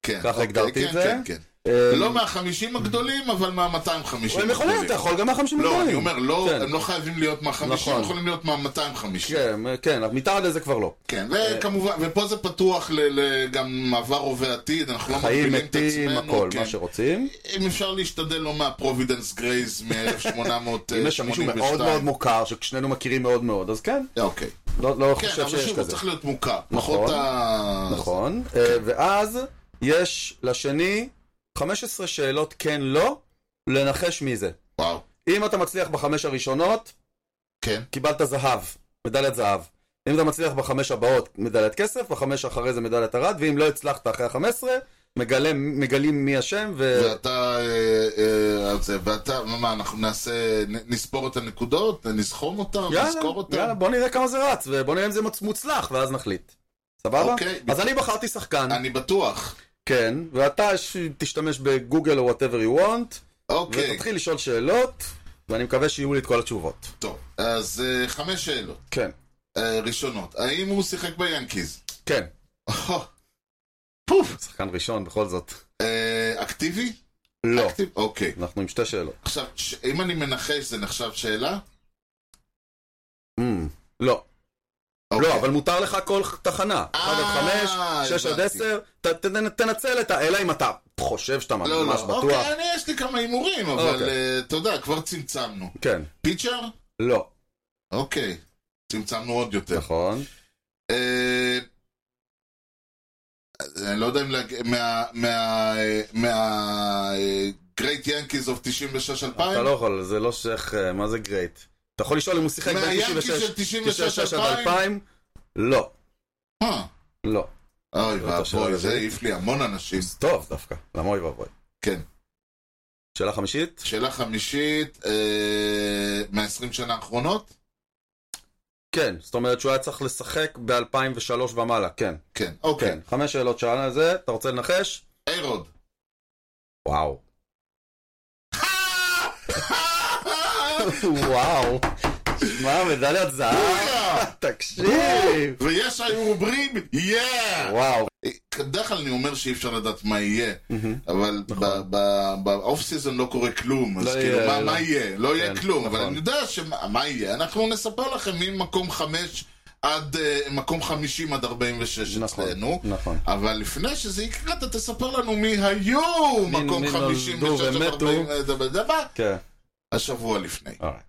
Speaker 2: כן.
Speaker 1: ככה
Speaker 2: אוקיי,
Speaker 1: הגדרתי
Speaker 2: כן,
Speaker 1: את זה.
Speaker 2: כן, כן.
Speaker 1: אמ,
Speaker 2: לא מהחמישים הגדולים, אבל מהמאתיים חמישים
Speaker 1: הם יכולים, אתה יכול גם מה-50
Speaker 2: לא, אני אומר, לא,
Speaker 1: כן.
Speaker 2: הם לא חייבים להיות מהחמישים,
Speaker 1: נכון.
Speaker 2: הם יכולים להיות מהמאתיים חמישים.
Speaker 1: כן, כן, אבל מתחת לזה כבר לא.
Speaker 2: כן, וכמובן, ופה זה פתוח ל- ל- גם עבר הווה עתיד, אנחנו לא
Speaker 1: חיים,
Speaker 2: מגבילים את
Speaker 1: מתים,
Speaker 2: עצמנו.
Speaker 1: הכל,
Speaker 2: כן.
Speaker 1: מה שרוצים.
Speaker 2: אם אפשר להשתדל לא מהפרובידנס גרייז מ-1882.
Speaker 1: אם יש שם מישהו מאוד מאוד מוכר, ששנינו מכירים מאוד מאוד, אז כן,
Speaker 2: אוקיי.
Speaker 1: לא לא
Speaker 2: כן,
Speaker 1: חושב
Speaker 2: אבל
Speaker 1: שיש
Speaker 2: שוב, הוא
Speaker 1: כזה.
Speaker 2: צריך כן. להיות מוכר.
Speaker 1: נכון.
Speaker 2: פחות ה...
Speaker 1: נכון, אה, ואז יש לשני 15 שאלות כן לא, לנחש מי זה.
Speaker 2: וואו.
Speaker 1: אם אתה מצליח בחמש הראשונות,
Speaker 2: כן.
Speaker 1: קיבלת זהב, מדליית זהב. אם אתה מצליח בחמש הבאות, מדליית כסף, בחמש אחרי זה מדליית ארד, ואם לא הצלחת אחרי החמש עשרה, מגלה- מגלים מי אשם, ו...
Speaker 2: ואתה, אה, אה, אז זה, ואתה, מה, אנחנו נעשה, נ- נספור את הנקודות, נסכום אותן,
Speaker 1: יאללה,
Speaker 2: נסקור אותן.
Speaker 1: יאללה, בוא נראה כמה זה רץ, ובוא נראה אם זה מצ- מוצלח, ואז נחליט. סבבה?
Speaker 2: אוקיי.
Speaker 1: אז אני בחרתי שחקן,
Speaker 2: אני בטוח.
Speaker 1: כן, ואתה ש- תשתמש בגוגל או whatever you want,
Speaker 2: אוקיי,
Speaker 1: ותתחיל לשאול שאלות, ואני מקווה שיהיו לי את כל התשובות.
Speaker 2: טוב. אז אה, חמש שאלות
Speaker 1: כן.
Speaker 2: אה, ראשונות. האם הוא שיחק ביאנקיז?
Speaker 1: כן.
Speaker 2: פוף.
Speaker 1: שחקן ראשון, בכל זאת.
Speaker 2: אה, אקטיבי?
Speaker 1: לא.
Speaker 2: אקטיב? אוקיי.
Speaker 1: אנחנו עם שתי שאלות.
Speaker 2: עכשיו, ש- אם אני מנחש, זה נחשב שאלה?
Speaker 1: Mm, לא. לא,
Speaker 2: אוקיי.
Speaker 1: אבל מותר לך כל תחנה. 1 עד 5,
Speaker 2: אה,
Speaker 1: 6 עד
Speaker 2: הבנתי.
Speaker 1: 10, ת- ת- תנצל את ה... אלא אם אתה חושב שאתה ממש
Speaker 2: לא, לא.
Speaker 1: בטוח.
Speaker 2: אוקיי, אני, יש לי כמה הימורים, אבל
Speaker 1: אוקיי.
Speaker 2: אה, אתה יודע, כבר צמצמנו.
Speaker 1: כן.
Speaker 2: פיצ'ר?
Speaker 1: לא.
Speaker 2: אוקיי. צמצמנו עוד יותר.
Speaker 1: נכון.
Speaker 2: אה, אני לא יודע אם להגיד, מה... אה, גרייט ינקיז אוף 96-2000?
Speaker 1: אתה לא יכול, זה לא שייך, אה, מה זה גרייט? אתה יכול לשאול אם הוא שיחק בין
Speaker 2: מהיאנקיז
Speaker 1: 96
Speaker 2: של
Speaker 1: 96 עד
Speaker 2: 96-2000?
Speaker 1: 2000? לא. לא.
Speaker 2: אה. אוי
Speaker 1: זאת השאלה
Speaker 2: ואבוי, זה
Speaker 1: הרביעית.
Speaker 2: העיף לי המון אנשים.
Speaker 1: אז טוב דווקא. למה אוי ואבוי.
Speaker 2: כן.
Speaker 1: שאלה חמישית?
Speaker 2: שאלה חמישית, אה, מה-20 שנה האחרונות?
Speaker 1: כן. זאת אומרת שהוא היה צריך לשחק ב-2003 ומעלה. כן.
Speaker 2: כן, אוקיי.
Speaker 1: כן. חמש שאלות שאלה על זה, אתה רוצה לנחש?
Speaker 2: איירוד.
Speaker 1: וואו. וואו. מה, מדליית זהב? תקשיב.
Speaker 2: ויש היו אומרים, יאה!
Speaker 1: וואו.
Speaker 2: בדרך כלל אני אומר שאי אפשר לדעת מה יהיה, אבל באוף סיזון לא קורה כלום, אז
Speaker 1: נכון. לא
Speaker 2: כאילו
Speaker 1: יהיה,
Speaker 2: מה-
Speaker 1: לא.
Speaker 2: מה יהיה? לא יהיה
Speaker 1: כן,
Speaker 2: כלום, אבל
Speaker 1: נכון.
Speaker 2: אני יודע שמה מה יהיה, אנחנו נספר לכם ממקום חמש עד אה, מקום חמישים עד ארבעים ושש
Speaker 1: נכון,
Speaker 2: אצלנו,
Speaker 1: נכון.
Speaker 2: אבל לפני שזה יקרה אתה תספר לנו מי היו
Speaker 1: מי-
Speaker 2: מקום
Speaker 1: מי
Speaker 2: חמישים
Speaker 1: נולדו
Speaker 2: ושש עד
Speaker 1: ומתו.
Speaker 2: ארבעים ודבר,
Speaker 1: כן.
Speaker 2: השבוע לפני.
Speaker 1: אוקיי.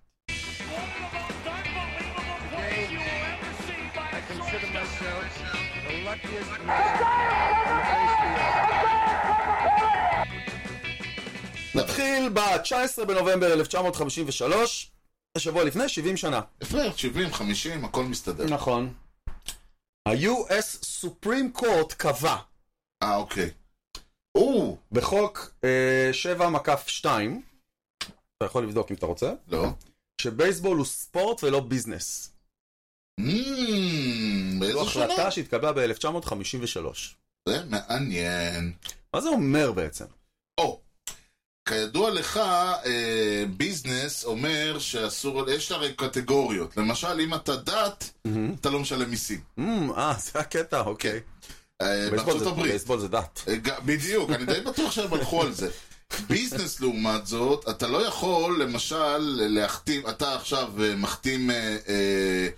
Speaker 4: I consider myself the luckiest man.
Speaker 1: נתחיל ב-19 בנובמבר 1953, השבוע לפני 70 שנה.
Speaker 2: יפה, שבעים, חמישים, הכל מסתדר.
Speaker 1: נכון. ה-US Supreme Court קבע
Speaker 2: אה, אוקיי. או,
Speaker 1: בחוק אה, 7 מקף 2, אתה יכול לבדוק אם אתה רוצה,
Speaker 2: לא.
Speaker 1: שבייסבול הוא ספורט ולא ביזנס.
Speaker 2: אמ,
Speaker 1: זו
Speaker 2: באיזה שנה?
Speaker 1: החלטה שהתקבלה ב-1953.
Speaker 2: זה מעניין.
Speaker 1: מה זה אומר בעצם?
Speaker 2: או, כידוע לך, אה, ביזנס אומר שאסור, יש הרי קטגוריות. למשל, אם אתה דת, אתה לא משלם מיסים.
Speaker 1: אמ, אה, זה הקטע, אוקיי.
Speaker 2: אה,
Speaker 1: בייסבול
Speaker 2: בארצות
Speaker 1: זה-
Speaker 2: הברית.
Speaker 1: בייסבול זה דת.
Speaker 2: אה, ג- בדיוק, אני די בטוח שהם הלכו על זה. ביזנס לעומת זאת, אתה לא יכול למשל להחתים, אתה עכשיו אה, מחתים אה, אה,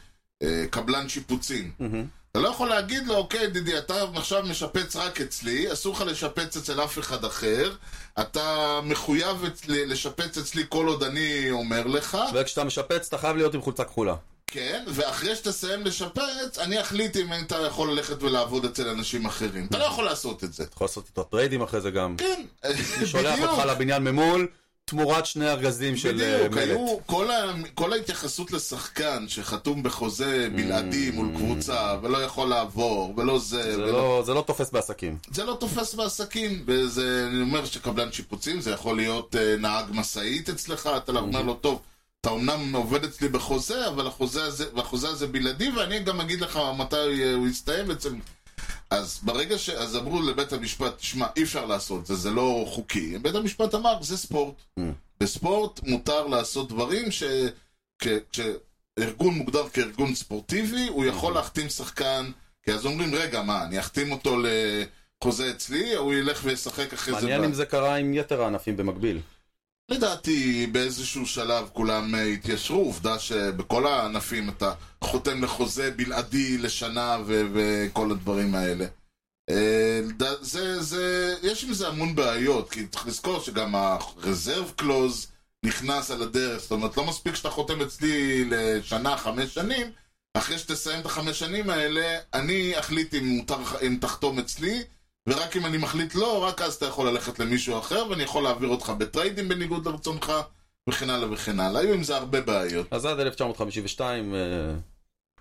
Speaker 2: אה, קבלן שיפוצים.
Speaker 1: מהמם.
Speaker 2: אתה לא יכול להגיד לו, אוקיי, ידידי, אתה עכשיו משפץ רק אצלי, אסור לך לשפץ אצל אף אחד אחר, אתה מחויב אצלי, לשפץ אצלי כל עוד אני אומר לך,
Speaker 1: וכשאתה משפץ אתה חייב להיות עם חולצה כחולה.
Speaker 2: כן, ואחרי שתסיים לשפץ, אני אחליט אם אתה יכול ללכת ולעבוד אצל אנשים אחרים. אתה לא יכול לעשות את זה.
Speaker 1: אתה יכול לעשות איתו טריידים אחרי זה גם.
Speaker 2: כן,
Speaker 1: שולח
Speaker 2: בדיוק.
Speaker 1: אותך לבניין ממול, תמורת שני ארגזים של אה,
Speaker 2: בדיוק,
Speaker 1: מלט.
Speaker 2: היו כל, ה, כל ההתייחסות לשחקן שחתום בחוזה בלעדי מול קבוצה ולא יכול לעבור ולא זה,
Speaker 1: Mm. זה
Speaker 2: ולא...
Speaker 1: לא- זה לא תופס בעסקים.
Speaker 2: זה לא תופס בעסקים, וזה, אני אומר שקבלן שיפוצים, זה יכול להיות אה, נהג משאית אצלך,
Speaker 1: Mm-hmm.
Speaker 2: אתה אומר לו, טוב, אתה אמנם עובד אצלי בחוזה, אבל החוזה הזה, והחוזה הזה בלעדי, ואני גם אגיד לך מתי אה, הוא יסתיים אצל... אז ברגע ש... אז אמרו לבית המשפט, שמע, אי אפשר לעשות זה, זה לא חוקי. בית המשפט אמר, זה ספורט.
Speaker 1: Mm.
Speaker 2: בספורט מותר לעשות דברים ש... כ... כשארגון מוגדר כארגון ספורטיבי, הוא
Speaker 1: Mm-hmm.
Speaker 2: יכול להחתים שחקן, כי אז אומרים, רגע, מה, אני אחתים אותו לחוזה אצלי, הוא ילך וישחק אחרי זה.
Speaker 1: מעניין
Speaker 2: ב-"
Speaker 1: אם זה קרה עם יתר הענפים במקביל.
Speaker 2: לדעתי, באיזשהו שלב כולם אה, התיישרו, עובדה שבכל הענפים אתה חותם לחוזה בלעדי לשנה ו- וכל הדברים האלה. אה, לד- זה, זה, יש עם זה המון בעיות, כי צריך לזכור שגם ה-reserve clause נכנס על הדרך, זאת אומרת, לא מספיק שאתה חותם אצלי לשנה, חמש שנים, אחרי שתסיים את החמש שנים האלה, אני אחליט אם, מותר, אם תחתום אצלי, ורק אם אני מחליט לא, רק אז אתה יכול ללכת למישהו אחר, ואני יכול להעביר אותך בטריידים בניגוד לרצונך, וכן הלאה וכן הלאה. היו עם זה הרבה בעיות.
Speaker 1: אז עד 1952 אה,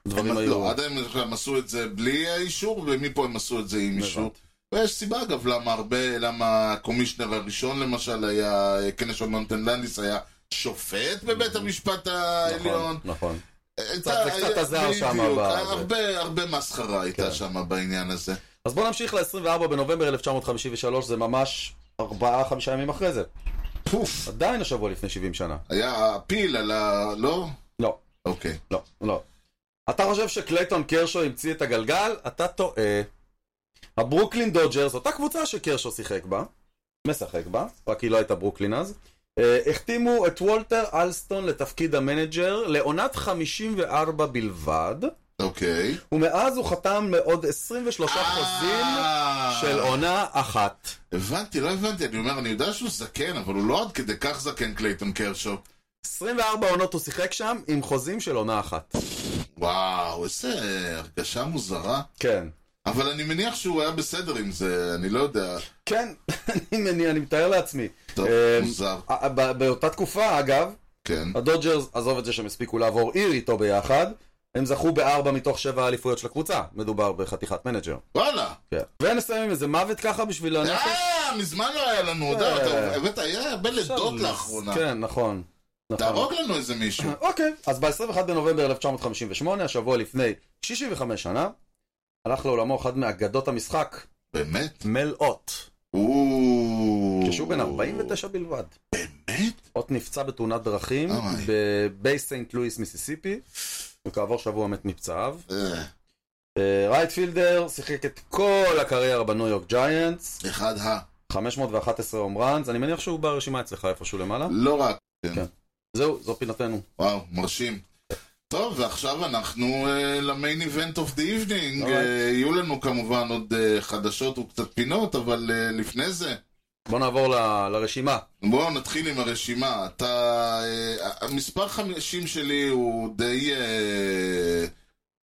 Speaker 1: דברים
Speaker 2: הם-
Speaker 1: היו...
Speaker 2: לא, עד היום הם עשו את זה בלי האישור, ומפה הם עשו את זה
Speaker 1: נכון.
Speaker 2: עם אישור. ויש סיבה אגב למה הרבה, למה הקומישנר הראשון למשל היה, קנשון מונטן לנדיס היה שופט בבית המשפט העליון.
Speaker 1: נכון, נכון.
Speaker 2: הייתה-
Speaker 1: זה קצת עזר
Speaker 2: בדיוק,
Speaker 1: שם ב-
Speaker 2: הרבה, הרבה מסחרה הייתה
Speaker 1: כן.
Speaker 2: שם בעניין הזה.
Speaker 1: אז בואו נמשיך ל-24 בנובמבר 1953, זה ממש 4-5 ימים אחרי זה.
Speaker 2: פוף,
Speaker 1: עדיין השבוע לפני 70 שנה.
Speaker 2: היה הפיל על ה... לא?
Speaker 1: לא,
Speaker 2: אוקיי.
Speaker 1: לא, לא. אתה חושב שקלייטון קרשו המציא את הגלגל? אתה טועה. הברוקלין דודג'רס, אותה קבוצה שקרשו שיחק בה, משחק בה, רק היא לא הייתה ברוקלין אז, אה, החתימו את וולטר אלסטון לתפקיד המנג'ר לעונת 54 בלבד,
Speaker 2: אוקיי.
Speaker 1: ומאז הוא חתם לעוד 23 חוזים
Speaker 2: אה,
Speaker 1: של עונה אחת.
Speaker 2: הבנתי, לא הבנתי, אני אומר, אני יודע שהוא זקן, אבל הוא לא עד כדי כך זקן קלייטון קרשו.
Speaker 1: 24 עונות הוא שיחק שם עם חוזים של עונה אחת.
Speaker 2: וואו, איזה הרגשה מוזרה.
Speaker 1: כן.
Speaker 2: אבל אני מניח שהוא היה בסדר עם זה, אני לא יודע.
Speaker 1: כן, אני מניע, אני מתאר לעצמי.
Speaker 2: טוב,
Speaker 1: אמ,
Speaker 2: מוזר.
Speaker 1: א- ב- באותה תקופה, אגב,
Speaker 2: כן.
Speaker 1: הדודג'רס, עזוב את זה שהם הספיקו לעבור עיר איתו ביחד, הם זכו בארבע מתוך שבע האליפויות של הקבוצה. מדובר בחתיכת מנג'ר.
Speaker 2: וואלה.
Speaker 1: כן. ונסיים עם איזה מוות ככה בשביל הנפש.
Speaker 2: אה, מזמן לא היה לנו, אתה יודע,
Speaker 1: אה.
Speaker 2: אתה- באמת, היה הרבה לידות לאחרונה.
Speaker 1: כן, נכון. נכון.
Speaker 2: תהרוג לנו איזה מישהו.
Speaker 1: אוקיי, אז ב-21 בנובמבר 1958, השבוע לפני 65 שנה, הלך לעולמו אחד מאגדות המשחק,
Speaker 2: באמת?
Speaker 1: מל אוט,
Speaker 2: או...
Speaker 1: כשהוא בן 49 בלבד.
Speaker 2: באמת? באמת?
Speaker 1: אות נפצע בתאונת דרכים
Speaker 2: אוי.
Speaker 1: בבי סנט לואיס מיסיסיפי, וכעבור שבוע מת מפצעיו.
Speaker 2: אה,
Speaker 1: אה, רייטפילדר שיחק את כל הקריירה בניו יורק ג'יינטס,
Speaker 2: אחד ה...
Speaker 1: 511 הום ראנס, אני מניח שהוא ברשימה אצלך איפשהו למעלה.
Speaker 2: לא רק,
Speaker 1: כן.
Speaker 2: כן.
Speaker 1: זהו, זו פינתנו.
Speaker 2: וואו, מרשים. טוב, ועכשיו אנחנו uh, למיין איבנט אוף דה איבנינג. אה,
Speaker 1: אוקיי.
Speaker 2: יהיו לנו כמובן עוד uh, חדשות וקצת פינות, אבל uh, לפני זה,
Speaker 1: בוא נעבור ל- לרשימה.
Speaker 2: בואו נתחיל עם הרשימה. אתה... Uh, המספר 50 שלי הוא די... Uh,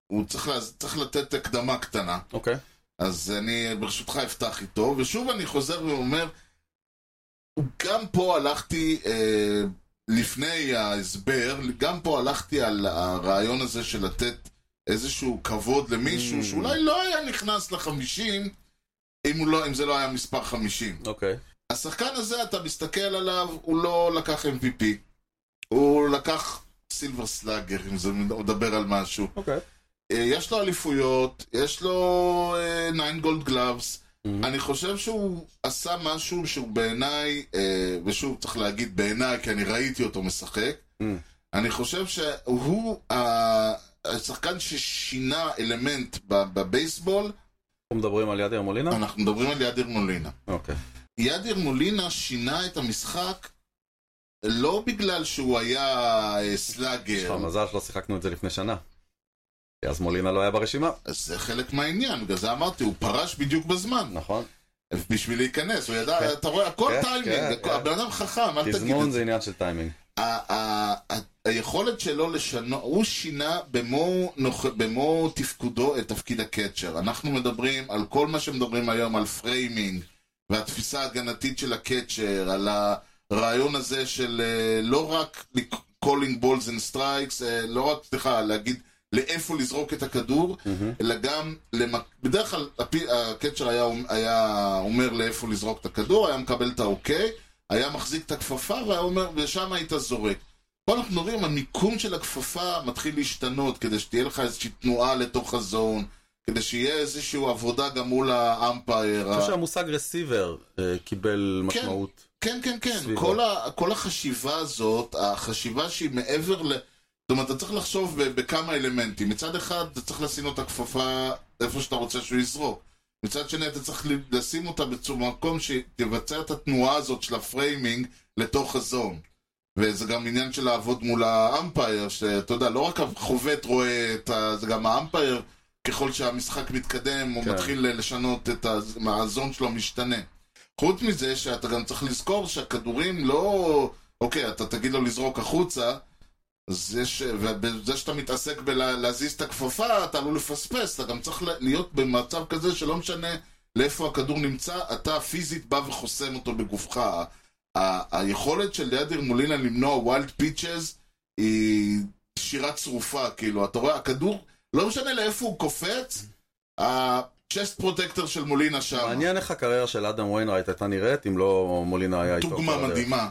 Speaker 2: הוא צריך, לה, צריך לתת הקדמה קטנה.
Speaker 1: אוקיי.
Speaker 2: אז אני ברשותך אפתח איתו, ושוב אני חוזר ואומר, גם פה הלכתי, אה, לפני ההסבר, גם פה הלכתי על הרעיון הזה של לתת איזשהו כבוד למישהו
Speaker 1: Mm.
Speaker 2: שאולי לא היה נכנס לחמישים, אם, הוא לא, אם זה לא היה מספר חמישים.
Speaker 1: אוקיי.
Speaker 2: השחקן הזה, אתה מסתכל עליו, הוא לא לקח MVP, הוא לקח סילבר סלאגר, אם זה מדבר על משהו.
Speaker 1: אוקיי.
Speaker 2: אה, יש לו אליפויות, יש לו אה, 9 גולד גלאבס.
Speaker 1: Mhm.
Speaker 2: אני חושב שהוא עשה משהו שהוא בעיניי, אה, ושוב צריך להגיד בעיניי, כי אני ראיתי אותו משחק.
Speaker 1: Mhm.
Speaker 2: אני חושב שהוא ה- השחקן ששינה אלמנט ב- בבייסבול,
Speaker 1: אנחנו מדברים על ידיה מולינה?
Speaker 2: אנחנו מדברים על ידיר מולינה.
Speaker 1: אוקיי.
Speaker 2: ידיר מולינה שינה את המשחק לא בגלל שהוא היה אה,
Speaker 1: יש לך
Speaker 2: סלאגר,
Speaker 1: מזל שלא שיחקנו את זה לפני שנה. כי אז מולינה לא היה ברשימה.
Speaker 2: אז זה חלק מהעניין, בגלל זה אמרתי, הוא פרש בדיוק בזמן.
Speaker 1: נכון.
Speaker 2: בשביל להיכנס, הוא ידע,
Speaker 1: כן.
Speaker 2: אתה רואה, הכל
Speaker 1: כן, כן,
Speaker 2: טיימינג, הכל-
Speaker 1: כן.
Speaker 2: הבן אדם חכם, אל תגיד
Speaker 1: תזמון
Speaker 2: את
Speaker 1: זה
Speaker 2: זה.
Speaker 1: עניין של טיימינג.
Speaker 2: ה- ה- ה- היכולת שלו לשנות, הוא שינה במו נוכ- במו תפקודו את תפקיד הקאצ'ר. אנחנו מדברים על כל מה שמדברים היום, על פריימינג, והתפיסה ההגנתית של הקאצ'ר, על הרעיון הזה של אה, לא רק calling balls and strikes, אה, לא רק, סליחה, להגיד לאיפה לזרוק את הכדור, אלא גם, למק... בדרך כלל הפי- הקצ'ר היה, היה אומר לאיפה לזרוק את הכדור, היה מקבל את האוקיי, היה מחזיק את הכפפה והיה אומר, ושם היית זורק. פה אנחנו רואים, המיקום של הכפפה מתחיל להשתנות, כדי שתהיה לך איזושהי תנועה לתוך הזון, כדי שיהיה איזושהי עבודה גם מול האמפייר.
Speaker 1: אני
Speaker 2: ה-
Speaker 1: חושב שהמושג רסיבר אה, קיבל
Speaker 2: כן.
Speaker 1: משמעות.
Speaker 2: כן, כן, כן.
Speaker 1: סביבה.
Speaker 2: כל, ה, כל החשיבה הזאת, החשיבה שהיא מעבר ל... זאת אומרת, אתה צריך לחשוב ב- בכמה אלמנטים. מצד אחד, אתה צריך לשים לו את הכפפה איפה שאתה רוצה שהוא יזרוק. מצד שני, אתה צריך ל- לשים אותה במקום שתבצע את התנועה הזאת של הפריימינג לתוך הזון. וזה גם עניין של לעבוד מול האמפייר, שאתה יודע, לא רק החובט רואה את ה... זה גם האמפייר, ככל שהמשחק מתקדם, הוא
Speaker 1: כן.
Speaker 2: מתחיל לשנות את ה... הזון שלו משתנה. חוץ מזה שאתה גם צריך לזכור שהכדורים לא... אוקיי, אתה תגיד לו לזרוק החוצה, אז יש... ובזה שאתה מתעסק בלהזיז את הכפפה, אתה עלול לפספס, אתה גם צריך להיות במצב כזה שלא משנה לאיפה הכדור נמצא, אתה פיזית בא וחוסם אותו בגופך. ה- ה- היכולת של ידיר מולינה למנוע ווילד פיצ'ז היא שירה צרופה, כאילו, אתה רואה, הכדור, לא משנה לאיפה הוא קופץ, הצ'סט פרוטקטור של מולינה שם.
Speaker 1: מעניין איך הקריירה של אדם ויינרייט הייתה נראית אם לא מולינה היה איתו.
Speaker 2: דוגמה
Speaker 1: כל הדרך.
Speaker 2: מדהימה.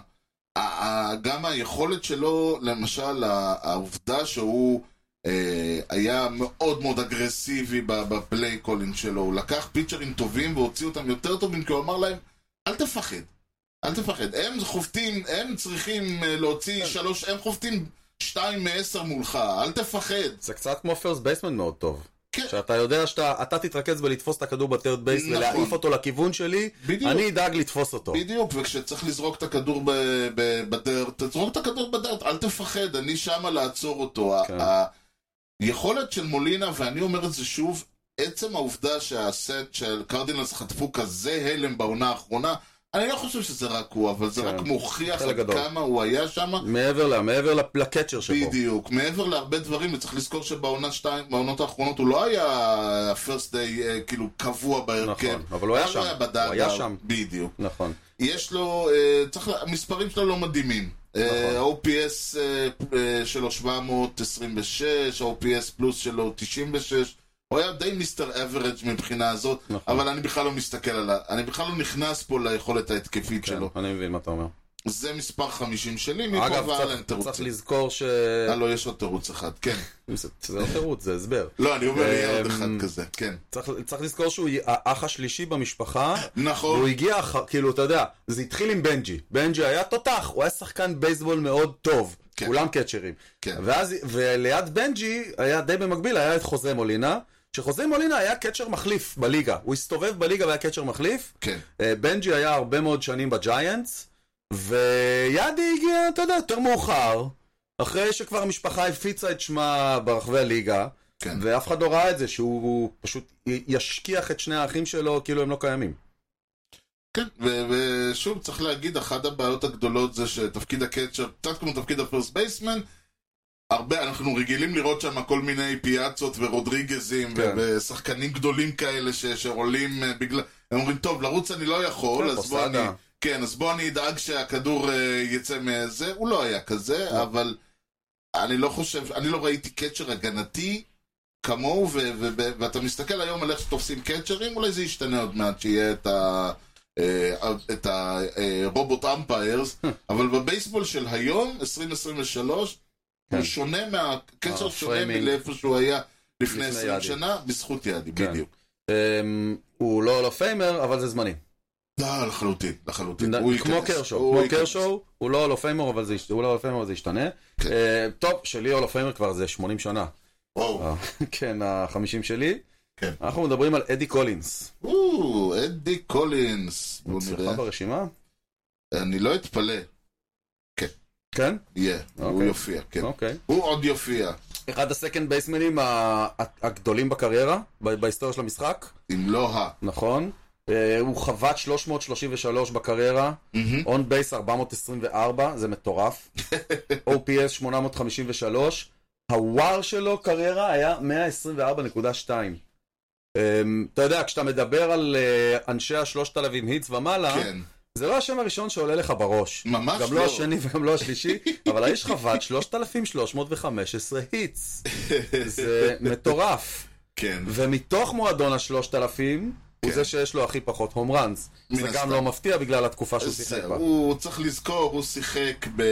Speaker 2: ה- ה- גם היכולת שלו, למשל, ה- העובדה שהוא אה, היה מאוד מאוד אגרסיבי בפליי קולינג שלו, הוא לקח פיצ'רים טובים והוציא אותם יותר טובים, כי הוא אמר להם, אל תפחד, אל תפחד. הם חובטים, הם צריכים אה, להוציא שלוש, הם חובטים שתיים מעשר מולך, אל תפחד.
Speaker 1: זה קצת כמו פרסט בייסמן מאוד טוב.
Speaker 2: כן.
Speaker 1: שאתה יודע שאתה אתה תתרכז בלתפוס את הכדור בטרד בייס
Speaker 2: נכון.
Speaker 1: ולהעיף אותו לכיוון שלי,
Speaker 2: בדיוק.
Speaker 1: אני אדאג לתפוס אותו.
Speaker 2: בדיוק, וכשצריך לזרוק את הכדור ב- ב- בדרט, תזרוק את הכדור בדרט, אל תפחד, אני שמה לעצור אותו.
Speaker 1: כן.
Speaker 2: ה- היכולת של מולינה, ואני אומר את זה שוב, עצם העובדה שהסט של קרדינלס חטפו כזה הלם בעונה האחרונה, אני לא חושב שזה רק הוא, אבל זה
Speaker 1: כן.
Speaker 2: רק מוכיח
Speaker 1: חלק
Speaker 2: עד
Speaker 1: גדול.
Speaker 2: כמה הוא היה שם.
Speaker 1: מעבר ל- מעבר ל- לקצ'ר שבו.
Speaker 2: בדיוק, מעבר להרבה דברים, וצריך לזכור שבעונה שתיים, בעונות האחרונות הוא לא היה הפרסט דיי כאילו קבוע בהרכב. לא
Speaker 1: נכון, אבל הוא היה שם.
Speaker 2: בדאגה,
Speaker 1: הוא היה שם.
Speaker 2: בדיוק.
Speaker 1: נכון.
Speaker 2: יש לו, אה, צריך, לה- המספרים שלו לא מדהימים.
Speaker 1: נכון.
Speaker 2: אה, ה-OPS אה, אה, שלו 726, ה-OPS פלוס שלו 96. הוא היה די מיסטר אברג' מבחינה הזאת,
Speaker 1: נכון.
Speaker 2: אבל אני בכלל לא מסתכל על ה... אני בכלל לא נכנס פה ליכולת ההתקפית
Speaker 1: כן,
Speaker 2: שלו.
Speaker 1: אני מבין מה אתה אומר.
Speaker 2: זה מספר 50 שלי, מפה
Speaker 1: אגב,
Speaker 2: והלאה
Speaker 1: צריך-
Speaker 2: אין תירוץ.
Speaker 1: צריך לזכור ש...
Speaker 2: אה, לא, יש עוד תירוץ אחד, כן.
Speaker 1: זה זה לא תירוץ, זה הסבר.
Speaker 2: לא, אני אומר, יהיה עוד
Speaker 1: אמ,
Speaker 2: אחד כזה, כן.
Speaker 1: צריך, צריך לזכור שהוא האח השלישי במשפחה.
Speaker 2: נכון.
Speaker 1: והוא הגיע, אח- כאילו, אתה יודע, זה התחיל עם בנג'י. בנג'י היה תותח, הוא היה שחקן בייסבול מאוד טוב.
Speaker 2: כן.
Speaker 1: כולם קצ'רים.
Speaker 2: כן.
Speaker 1: ואז, וליד בנג'י, היה די במקביל, היה את חוזה מולינה. שחוזה מולינה היה קצ'ר מחליף בליגה. הוא הסתובב בליגה והיה קצ'ר מחליף.
Speaker 2: כן.
Speaker 1: אה, בנג'י היה הרבה מאוד שנים בג'יינטס, ויאדי הגיע, אתה יודע, יותר מאוחר, אחרי שכבר המשפחה הפיצה את שמה ברחבי הליגה,
Speaker 2: כן.
Speaker 1: ואף אחד לא ראה את זה, שהוא הוא פשוט י- ישכיח את שני האחים שלו כאילו הם לא קיימים.
Speaker 2: כן, ו- ושוב צריך להגיד, אחת הבעיות הגדולות זה שתפקיד הקצ'ר, קצת כמו תפקיד הפרסט בייסמן, הרבה, אנחנו רגילים לראות שם כל מיני פיאצות ורודריגזים
Speaker 1: כן.
Speaker 2: ו- ושחקנים גדולים כאלה ש- שעולים אה, בגלל... הם אומרים, טוב, לרוץ אני לא יכול,
Speaker 1: כן,
Speaker 2: אז בוא אני...
Speaker 1: פוסאדה."
Speaker 2: כן, אז בוא אני אדאג שהכדור אה, יצא מזה. הוא לא היה כזה, אבל אני לא חושב, אני לא ראיתי קצ'ר הגנתי כמוהו, ו- ו- ו- ואתה מסתכל היום על איך שתופסים קצ'רים, אולי זה ישתנה עוד מעט, שיהיה את ה... אה, את הרובוט אמפיירס, אבל בבייסבול של היום, 2023, הוא
Speaker 1: כן.
Speaker 2: שונה מה... קצ'ר שונה
Speaker 1: הפריימינג.
Speaker 2: מלאיפה שהוא היה לפני
Speaker 1: לפני
Speaker 2: 20
Speaker 1: יעדי.
Speaker 2: שנה, בזכות יעדי,
Speaker 1: כן.
Speaker 2: בדיוק.
Speaker 1: אמ, הוא לא לא פיימר, אבל זה זמני.
Speaker 2: לא, לחלוטין, לחלוטין. הוא
Speaker 1: כמו
Speaker 2: ייכנס,
Speaker 1: קרשו,
Speaker 2: הוא
Speaker 1: כמו
Speaker 2: ייכנס.
Speaker 1: קרשו, הוא לא הולו פיימר, אבל זה יש- הוא לא הולו פיימר, אבל זה ישתנה.
Speaker 2: כן.
Speaker 1: אה, טוב, שלי הולו פיימר כבר זה 80 שנה.
Speaker 2: וואו.
Speaker 1: אה, כן, החמישים שלי.
Speaker 2: כן.
Speaker 1: אנחנו מדברים על אדי קולינס.
Speaker 2: או, אדי קולינס. בוא
Speaker 1: אצלך
Speaker 2: נראה.
Speaker 1: ברשימה?
Speaker 2: אני לא אתפלא.
Speaker 1: כן?
Speaker 2: יהיה, הוא
Speaker 1: אוקיי.
Speaker 2: יופיע, כן.
Speaker 1: אוקיי.
Speaker 2: הוא עוד יופיע.
Speaker 1: אחד הסקנד בייסמנים ה- הגדולים בקריירה, ב- בהיסטוריה של המשחק,
Speaker 2: אם לא ה...
Speaker 1: נכון. אה, הוא חבט 333 בקריירה,
Speaker 2: מהמם.
Speaker 1: און בייס 424, זה מטורף. OPS 853, הוואר שלו קריירה היה 124.2. אמ, אתה יודע, כשאתה מדבר על אה, אנשי השלושת אלפים היטס ומעלה,
Speaker 2: כן.
Speaker 1: זה לא השם הראשון שעולה לך בראש.
Speaker 2: ממש
Speaker 1: גם
Speaker 2: לא.
Speaker 1: לא השני וגם לא השלישי, אבל האיש חבט 3,315 היטס. זה מטורף.
Speaker 2: כן.
Speaker 1: ומתוך מועדון ה-3,000, הוא
Speaker 2: כן.
Speaker 1: זה שיש לו הכי פחות הום ראנס.
Speaker 2: מן
Speaker 1: זה
Speaker 2: הסתם.
Speaker 1: גם לא מפתיע בגלל התקופה שהוא שיחק
Speaker 2: זהו,
Speaker 1: בה.
Speaker 2: הוא צריך לזכור, הוא שיחק ב...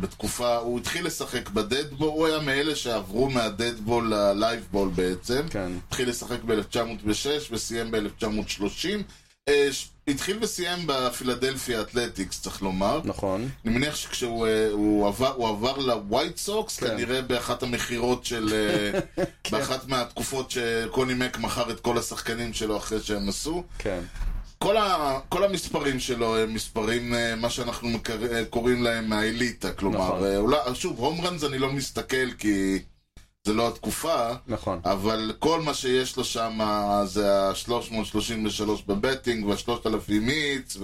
Speaker 2: בתקופה, הוא התחיל לשחק בדדבול, הוא היה מאלה שעברו מהדדבול ללייבבול בעצם.
Speaker 1: כן.
Speaker 2: התחיל לשחק ב-1906 וסיים ב-1930. אה, התחיל וסיים בפילדלפיה אתלטיקס, צריך לומר.
Speaker 1: נכון.
Speaker 2: אני מניח שכשהוא אה, הוא עבר, הוא עבר לווייט סוקס,
Speaker 1: כן.
Speaker 2: כנראה באחת המכירות של... אה, באחת מהתקופות שקוני מק מכר את כל השחקנים שלו אחרי שהם עשו.
Speaker 1: כן.
Speaker 2: כל, ה, כל המספרים שלו הם מספרים, אה, מה שאנחנו מקר, אה, קוראים להם האליטה, כלומר,
Speaker 1: נכון.
Speaker 2: אה, אולי, שוב, הום ראנס אני לא מסתכל כי זה לא התקופה,
Speaker 1: נכון.
Speaker 2: אבל כל מה שיש לו שם זה ה-333 בבטינג וה-3,000 מיץ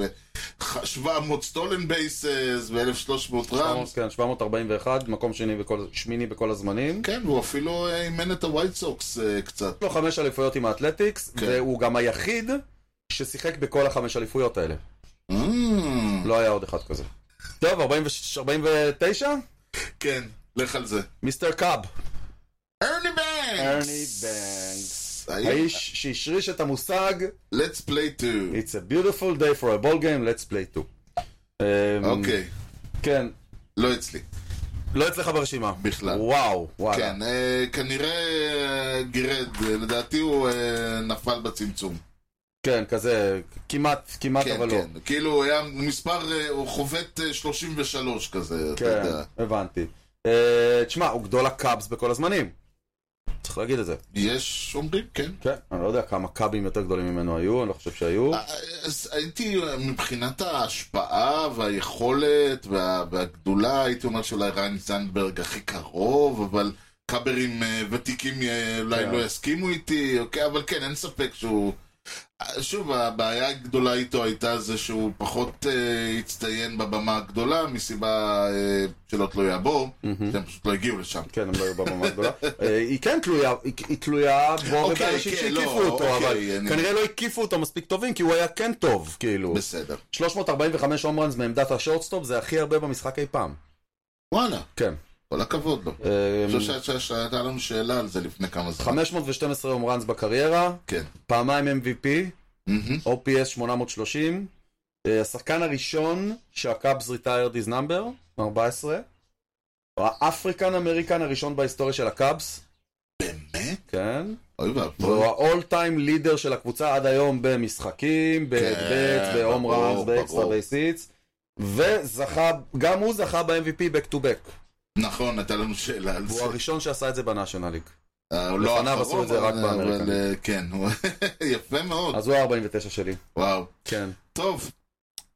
Speaker 2: ו-700 סטולן בייסס ו-1,300 ראמס.
Speaker 1: כן, 741, מקום שני בכל, שמיני בכל הזמנים.
Speaker 2: כן, והוא אפילו אה, אימן את הווייט סוקס אה, קצת.
Speaker 1: יש לו חמש אליפויות עם האתלטיקס,
Speaker 2: כן.
Speaker 1: והוא גם היחיד ששיחק בכל החמש אליפויות האלה.
Speaker 2: אה,
Speaker 1: לא היה עוד אחד כזה. טוב, 46, 49?
Speaker 2: כן, לך על זה.
Speaker 1: מיסטר קאב.
Speaker 2: ארני בנקס!
Speaker 1: ארני בנקס.
Speaker 2: האיש
Speaker 1: האיש שהשריש את המושג
Speaker 2: Let's play to.
Speaker 1: It's a beautiful day for a ball game, let's play two. אמ,
Speaker 2: אוקיי,
Speaker 1: כן,
Speaker 2: לא אצלי.
Speaker 1: לא אצלך ברשימה.
Speaker 2: בכלל.
Speaker 1: וואו, וואלה.
Speaker 2: כן, אה, כנראה אה, גירד, אה, לדעתי הוא אה, נפל בצמצום.
Speaker 1: כן, כזה, כמעט, כמעט,
Speaker 2: כן,
Speaker 1: אבל לא.
Speaker 2: כן. כאילו הוא היה מספר, אה, הוא חובט אה, 33 כזה, אתה
Speaker 1: כן,
Speaker 2: יודע.
Speaker 1: הבנתי. אה, תשמע, הוא גדול הקאבס בכל הזמנים. צריך להגיד את זה.
Speaker 2: יש אומרים, כן. אה,
Speaker 1: כן, אני לא יודע כמה קאבים יותר גדולים ממנו היו, אני לא חושב שהיו.
Speaker 2: אז הייתי, אה, מבחינת ההשפעה והיכולת וה, והגדולה, הייתי אומר שאולי ריין זנדברג הכי קרוב, אבל קאברים אה, ותיקים אה, אולי
Speaker 1: כן.
Speaker 2: לא יסכימו איתי, אוקיי, אבל כן, אין ספק שהוא... אה, שוב, הבעיה הגדולה איתו הייתה זה שהוא פחות אה, הצטיין בבמה הגדולה, מסיבה אה, שלא תלויה בו,
Speaker 1: Hmm.
Speaker 2: שהם פשוט לא הגיעו לשם.
Speaker 1: כן, הם לא היו בבמה גדולה. היא כן תלויה, היא- היא תלויה בו
Speaker 2: אוקיי,
Speaker 1: ובאנשים
Speaker 2: כן, לא,
Speaker 1: שהקיפו אותו,
Speaker 2: אוקיי,
Speaker 1: אבל
Speaker 2: אני-
Speaker 1: כנראה לא הקיפו אותו מספיק טובים, כי הוא היה כן טוב, כאילו.
Speaker 2: בסדר.
Speaker 1: 345 הום ראנס מעמדת השורטסטופ זה הכי הרבה במשחק אי פעם.
Speaker 2: וואלה,
Speaker 1: כן.
Speaker 2: כל הכבוד לו.
Speaker 1: אה,
Speaker 2: אני חושב שה- שהייתה לנו שאלה על זה לפני כמה זמן.
Speaker 1: 512 הום ראנס בקריירה,
Speaker 2: כן.
Speaker 1: פעמיים MVP,
Speaker 2: מהמם.
Speaker 1: OPS 830, אה, השחקן הראשון שהקאבס ריטיירד איז נאמבר, 14. הוא האפריקן אמריקן הראשון בהיסטוריה של הקאבס,
Speaker 2: באמת?
Speaker 1: כן.
Speaker 2: אוי ואבוי.
Speaker 1: והוא ה-all time leader של הקבוצה עד היום במשחקים,
Speaker 2: כן,
Speaker 1: בהדבט, בהום
Speaker 2: ברור,
Speaker 1: ראנס, באקסטרה
Speaker 2: ברור.
Speaker 1: בייסיץ. וזכה, גם הוא זכה ב-MVP back to back.
Speaker 2: נכון, הייתה לנו שאלה על
Speaker 1: הוא
Speaker 2: זה.
Speaker 1: הראשון שעשה את זה בנאשונל ליג.
Speaker 2: אה, הוא לא
Speaker 1: לפניו
Speaker 2: האחרון,
Speaker 1: עשו את זה רק
Speaker 2: אבל-
Speaker 1: באמריקה.
Speaker 2: אבל, אה, כן, הוא- יפה מאוד.
Speaker 1: אז הוא ה-49 שלי.
Speaker 2: וואו.
Speaker 1: כן.
Speaker 2: טוב,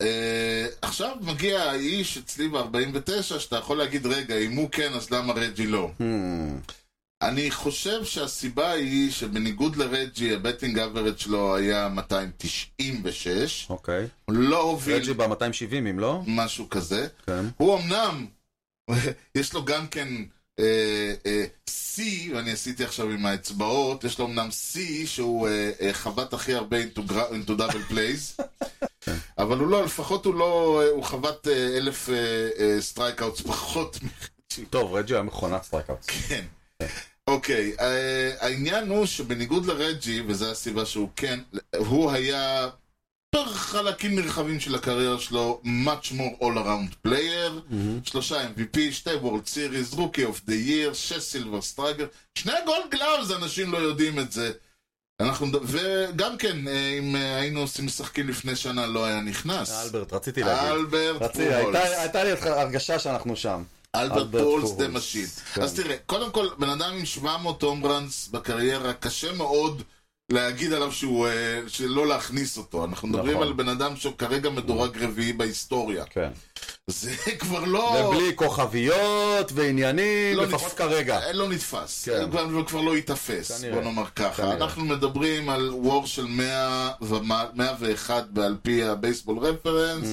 Speaker 2: אה, עכשיו מגיע האיש אצלי ב-49, שאתה יכול להגיד, רגע, אם הוא כן, אז למה רג'י לא?
Speaker 1: Hmm,
Speaker 2: אני חושב שהסיבה היא שבניגוד לרג'י, הבטינג אברד שלו היה 296,
Speaker 1: אוקיי.
Speaker 2: הוא לא הוביל
Speaker 1: רג'י ב-270 אם לא?
Speaker 2: משהו כזה.
Speaker 1: כן.
Speaker 2: הוא אמנם, יש לו גם כן אה, אה, שיא, ואני עשיתי עכשיו עם האצבעות, יש לו אמנם שיא שהוא אה, אה, חבט הכי הרבה into, gra- into double plays, אבל הוא לא, לפחות הוא לא, אה, הוא חבט אה, אלף סטרייקאוטס פחות
Speaker 1: טוב, רג'י היה מכונת סטרייקאוט.
Speaker 2: כן. אוקיי, אה, העניין הוא שבניגוד לרג'י, וזו הסיבה שהוא כן, הוא היה בחלקים נרחבים של הקריירה שלו, much more all around player,
Speaker 1: Mm-hmm.
Speaker 2: שלושה MVP, שתי וורד סיריס, רוקי אוף דה ייר, שש סילבר סטרייגר, שני גולד גלאבס, אנשים לא יודעים את זה. אנחנו, מד- וגם כן, אה, אם אה, היינו עושים משחקים לפני שנה, לא היה נכנס.
Speaker 1: אלברט, רציתי להגיד.
Speaker 2: אלברט
Speaker 1: רציתי, הייתה- הייתה לי הרגשה שאנחנו שם.
Speaker 2: אלברט
Speaker 1: אלברט
Speaker 2: פולס דה
Speaker 1: פולס,
Speaker 2: משין.
Speaker 1: כן.
Speaker 2: אז תראה, קודם כל, בן אדם עם 700 הום ראנס בקריירה, קשה מאוד להגיד עליו שהוא, אה, שלא להכניס אותו. אנחנו מדברים
Speaker 1: נכון.
Speaker 2: על בן אדם שהוא כרגע מדורג רביעי בהיסטוריה.
Speaker 1: כן.
Speaker 2: זה כבר לא...
Speaker 1: ובלי כוכביות ועניינים,
Speaker 2: לא
Speaker 1: לפחות
Speaker 2: נתפס-
Speaker 1: כרגע.
Speaker 2: אה, לא נתפס.
Speaker 1: כן.
Speaker 2: הוא כבר- הוא כבר לא ייתפס,
Speaker 1: כנראה.
Speaker 2: בוא נאמר ככה.
Speaker 1: כנראה.
Speaker 2: אנחנו מדברים על וור של 100 ומ- 101 על פי הבייסבול
Speaker 1: Mm.
Speaker 2: רפרנס.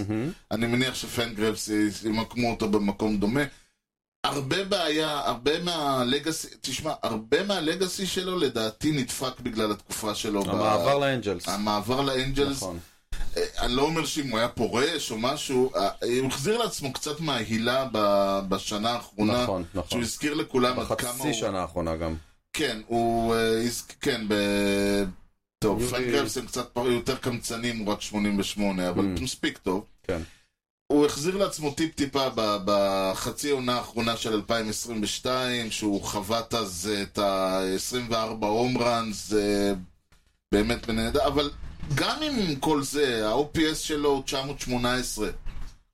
Speaker 2: אני מניח שפנגרפס ימקמו אותו במקום דומה. הרבה בעיה, הרבה מהלגאסי, תשמע, הרבה מהלגאסי שלו לדעתי נדפק בגלל התקופה שלו. ב-
Speaker 1: המעבר לאנג'לס.
Speaker 2: המעבר לאנג'לס.
Speaker 1: נכון.
Speaker 2: אה, אני לא אומר שאם הוא היה פורש או משהו, אה, הוא החזיר לעצמו קצת מההילה ב- בשנה האחרונה.
Speaker 1: נכון, נכון.
Speaker 2: שהוא הזכיר לכולם עד כמה הוא...
Speaker 1: בחצי שנה האחרונה גם.
Speaker 2: כן, הוא... אה, הזכ- כן, ב... טוב,
Speaker 1: יולי-
Speaker 2: פרנק גרבסם קצת פר- יותר קמצנים, הוא רק 88, אבל
Speaker 1: Mm.
Speaker 2: מספיק טוב.
Speaker 1: כן.
Speaker 2: הוא החזיר לעצמו טיפ-טיפה ב- בחצי עונה האחרונה של 2022, שהוא חבט אז אה, את ה-24 הום ראנס, אה, באמת בנהדר, אבל גם עם כל זה, ה-OPS שלו הוא 918.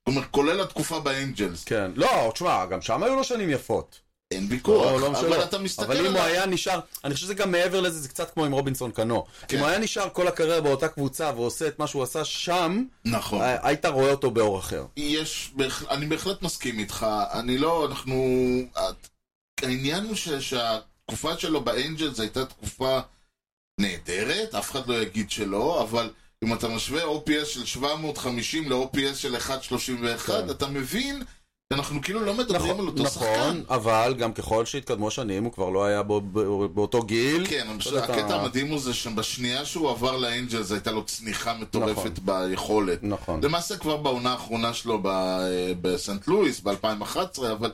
Speaker 2: כלומר, כולל התקופה באנג'לס.
Speaker 1: כן. לא, תשמע, גם שם היו לו שנים יפות.
Speaker 2: אין
Speaker 1: לא,
Speaker 2: ויכוח,
Speaker 1: לא משנה.
Speaker 2: כן אבל אתה מסתכל
Speaker 1: אבל אם הוא
Speaker 2: עליו.
Speaker 1: היה נשאר, אני חושב שזה גם מעבר לזה, זה קצת כמו עם רובינסון קנו.
Speaker 2: כן.
Speaker 1: אם הוא היה נשאר כל הקריירה באותה קבוצה ועושה את מה שהוא עשה שם,
Speaker 2: נכון.
Speaker 1: הי- היית רואה אותו באור אחר.
Speaker 2: יש, בהח- אני בהחלט מסכים איתך, אני לא, אנחנו, את- העניין הוא ש, שהתקופה שלו באנג'לס הייתה תקופה נהדרת, אף אחד לא יגיד שלא, אבל אם אתה משווה OPS של 750 ל-OPS של 131,
Speaker 1: כן.
Speaker 2: אתה מבין שאנחנו כאילו לא מדברים
Speaker 1: נכון,
Speaker 2: על אותו שחקן.
Speaker 1: נכון, אבל גם ככל שהתקדמו השנים, הוא כבר לא היה בו- בו- באותו גיל.
Speaker 2: כן, אבל
Speaker 1: אתה יודע, אתה-
Speaker 2: הקטע המדהים הוא זה שבשנייה שהוא עבר לאנג'לס הייתה לו צניחה מטורפת ביכולת.
Speaker 1: נכון.
Speaker 2: למעשה כבר בעונה האחרונה שלו ב- אה, בסנט לואיס, ב-2011, אבל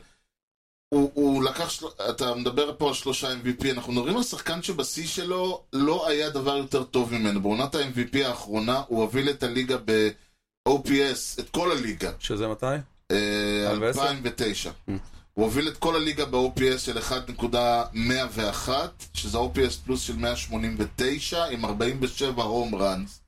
Speaker 2: הוא, הוא לקח, של... אתה מדבר פה על שלושה MVP, אנחנו מדברים על שחקן שבשיא שלו לא היה דבר יותר טוב ממנו. בעונת ה-MVP האחרונה הוא הוביל את הליגה ב-OPS, את כל הליגה,
Speaker 1: שזה מתי?
Speaker 2: אה,
Speaker 1: 2010?
Speaker 2: 2009. הוא הוביל את כל הליגה ב-OPS של 1.101, שזה OPS פלוס של 189, עם 47 הום ראנס.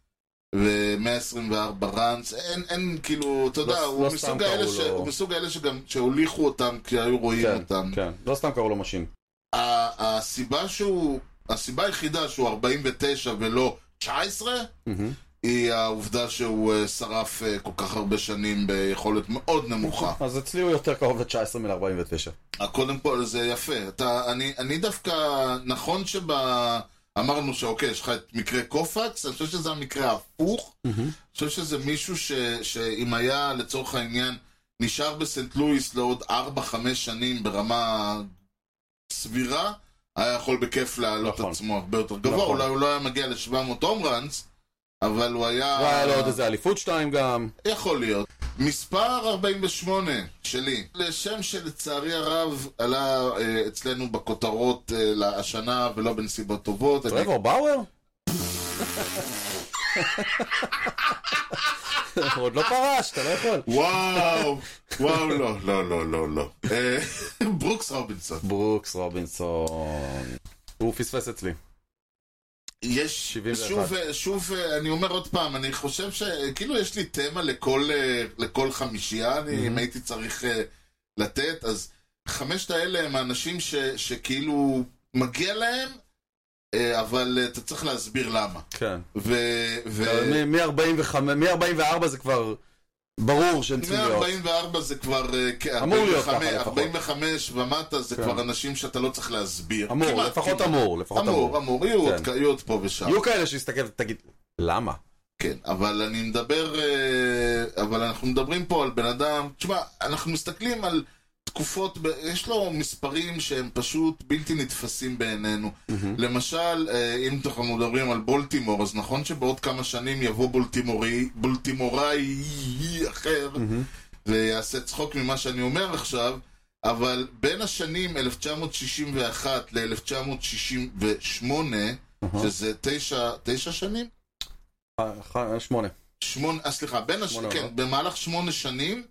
Speaker 2: ו-124 ראנס, אין, אין, כאילו, אתה יודע,
Speaker 1: לא
Speaker 2: הוא,
Speaker 1: סתם
Speaker 2: מסוג
Speaker 1: קראו
Speaker 2: האלה ש...
Speaker 1: לו.
Speaker 2: הוא מסוג האלה שגם, שהוליכו אותם כשהיו רואים
Speaker 1: כן,
Speaker 2: אותם.
Speaker 1: כן. לא סתם קראו לו משין.
Speaker 2: ה- הסיבה שהוא, הסיבה היחידה שהוא 49 ולא 19,
Speaker 1: מהמם.
Speaker 2: היא העובדה שהוא אה, שרף אה, כל כך הרבה שנים ביכולת מאוד נמוכה.
Speaker 1: אז אצלי הוא יותר קרוב ל-19 מ-49.
Speaker 2: אה, קודם כל זה יפה. אתה, אני, אני דווקא, נכון שב... אמרנו שאוקיי, יש לך את מקרה קופקס, אני חושב שזה המקרה ההפוך. אני חושב שזה מישהו ש, שאם היה לצורך העניין נשאר בסנט לואיס לעוד 4-5 שנים ברמה סבירה, היה יכול בכיף להעלות
Speaker 1: נכון.
Speaker 2: נכון. עצמו הרבה יותר גבוה.
Speaker 1: נכון.
Speaker 2: אולי הוא לא היה מגיע ל-700 הום ראנס, אבל הוא היה...
Speaker 1: לא היה לו עוד איזה אליפות שתיים גם.
Speaker 2: יכול להיות. מספר 48 שלי, לשם שלצערי הרב עלה אה, אצלנו בכותרות אה, לה- השנה ולא בנסיבות טובות. אני-
Speaker 1: טרוור באואר? הוא עוד לא פרש, אתה לא יכול.
Speaker 2: וואו, וואו, לא, לא, לא, לא, לא. אה, ברוקס רובינסון.
Speaker 1: ברוקס רובינסון. הוא פספס אצלי.
Speaker 2: יש,
Speaker 1: 71.
Speaker 2: שוב, אה, שוב, אה, אני אומר עוד פעם, אני חושב שכאילו יש לי תמה לכל, אה, לכל חמישייה, אני, אם הייתי צריך אה, לתת, אז חמשת האלה הם האנשים ש, שכאילו מגיע להם, אה, אבל אה, אתה צריך להסביר למה.
Speaker 1: כן.
Speaker 2: ו... ו...
Speaker 1: לא, מ-45, מ-44 זה כבר ברור שהם צריכים להיות.
Speaker 2: 144 זה כבר, אה, כ-
Speaker 1: אמור להיות ככה
Speaker 2: 45,
Speaker 1: לפחות.
Speaker 2: 45 ומטה זה
Speaker 1: כן.
Speaker 2: כבר אנשים שאתה לא צריך להסביר.
Speaker 1: אמור,
Speaker 2: כמעט,
Speaker 1: לפחות
Speaker 2: כמעט.
Speaker 1: אמור, לפחות אמור.
Speaker 2: אמור, אמור, יהיו עוד
Speaker 1: כן.
Speaker 2: כ- יהיו עוד פה ושם.
Speaker 1: יהיו כאלה שיסתכל ותגיד, למה?
Speaker 2: כן, אבל אני מדבר, אה, אבל אנחנו מדברים פה על בן אדם, תשמע, אנחנו מסתכלים על תקופות, ב- יש לו מספרים שהם פשוט בלתי נתפסים בעינינו. למשל, אה, אם אנחנו מדברים על בולטימור, אז נכון שבעוד כמה שנים יבוא בולטימורי, בולטימוראי אחר, ויעשה צחוק ממה שאני אומר עכשיו, אבל בין השנים 1961 ל-1968, שזה תשע, תשע שנים?
Speaker 1: אה, ח- שמונה.
Speaker 2: שמונה, אה, סליחה, בין הש...
Speaker 1: שמונה
Speaker 2: כן,
Speaker 1: עונות.
Speaker 2: במהלך שמונה שנים,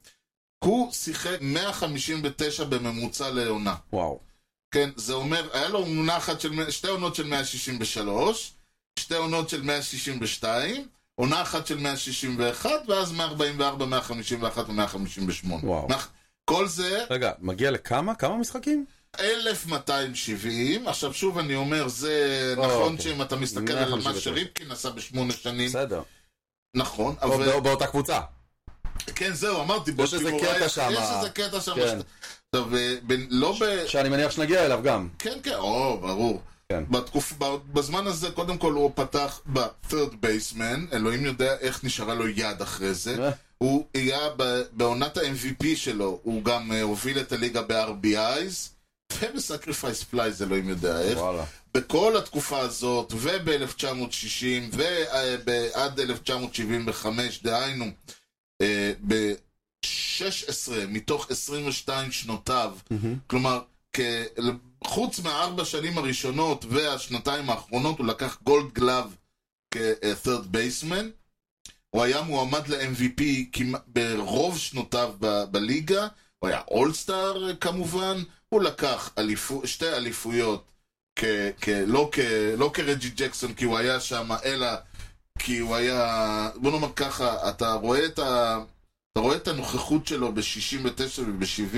Speaker 2: הוא שיחק 159 בממוצע לעונה.
Speaker 1: וואו.
Speaker 2: כן, זה אומר, היה לו עונה אחת של, מאה- שתי עונות של 163, שתי עונות של 162, עונה אחת של 161, ואז 144, 151 ו-158.
Speaker 1: וואו.
Speaker 2: כל זה
Speaker 1: רגע, מגיע לכמה? כמה משחקים?
Speaker 2: 1270, עכשיו שוב אני אומר, זה
Speaker 1: אוקיי.
Speaker 2: נכון שאם אתה מסתכל על מה
Speaker 1: 159.
Speaker 2: שריפקין עשה בשמונה שנים,
Speaker 1: בסדר.
Speaker 2: נכון, אבל...
Speaker 1: בא- באותה קבוצה.
Speaker 2: כן, זהו, אמרתי,
Speaker 1: יש איזה
Speaker 2: בולטימוראי-
Speaker 1: קטע שמה.
Speaker 2: יש איזה קטע שם.
Speaker 1: כן.
Speaker 2: עכשיו, אה, בין- לא ב...
Speaker 1: שאני מניח שנגיע אליו גם.
Speaker 2: כן, כן, או, ברור.
Speaker 1: כן.
Speaker 2: בתקופ... ב- בזמן הזה, קודם כל, הוא פתח ב-third baseman, אלוהים יודע איך נשארה לו יד אחרי זה.
Speaker 1: אה.
Speaker 2: הוא היה ב- בעונת ה-MVP שלו, הוא גם אה, הוביל את הליגה ב-RBIs, ובסקריפייס פלייז, אלוהים יודע איך.
Speaker 1: וואלה.
Speaker 2: בכל התקופה הזאת, וב-1960, אה, ועד 1975, דהיינו, ב-16 מתוך 22 שנותיו, כלומר, כ- חוץ מהארבע שנים הראשונות והשנתיים האחרונות, הוא לקח גולד גלאב כ-third baseman. הוא היה מועמד ל-MVP כמעט- ברוב שנותיו ב- בליגה, הוא היה אולסטאר כמובן, הוא לקח אליפו, שתי אליפויות, כ, כ, לא, כ, לא כרג'י ג'קסון כי הוא היה שם, אלא כי הוא היה, בוא נאמר ככה, אתה רואה את, ה, אתה רואה את הנוכחות שלו ב-69 וב-70,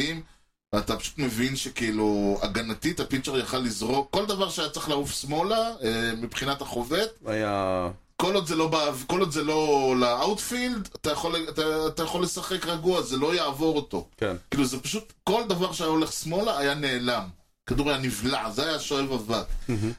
Speaker 2: ואתה פשוט מבין שכאילו, הגנתית הפיצ'ר יכל לזרוק, כל דבר שהיה צריך לעוף שמאלה, אה, מבחינת החובט,
Speaker 1: היה...
Speaker 2: כל עוד זה לא, באו- כל עוד זה לא לאאוטפילד, אתה יכול, אתה, אתה יכול לשחק רגוע, זה לא יעבור אותו.
Speaker 1: כן.
Speaker 2: כאילו זה פשוט, כל דבר שהיה הולך שמאלה היה נעלם. הכדור היה נבלע, זה היה שואב אבק.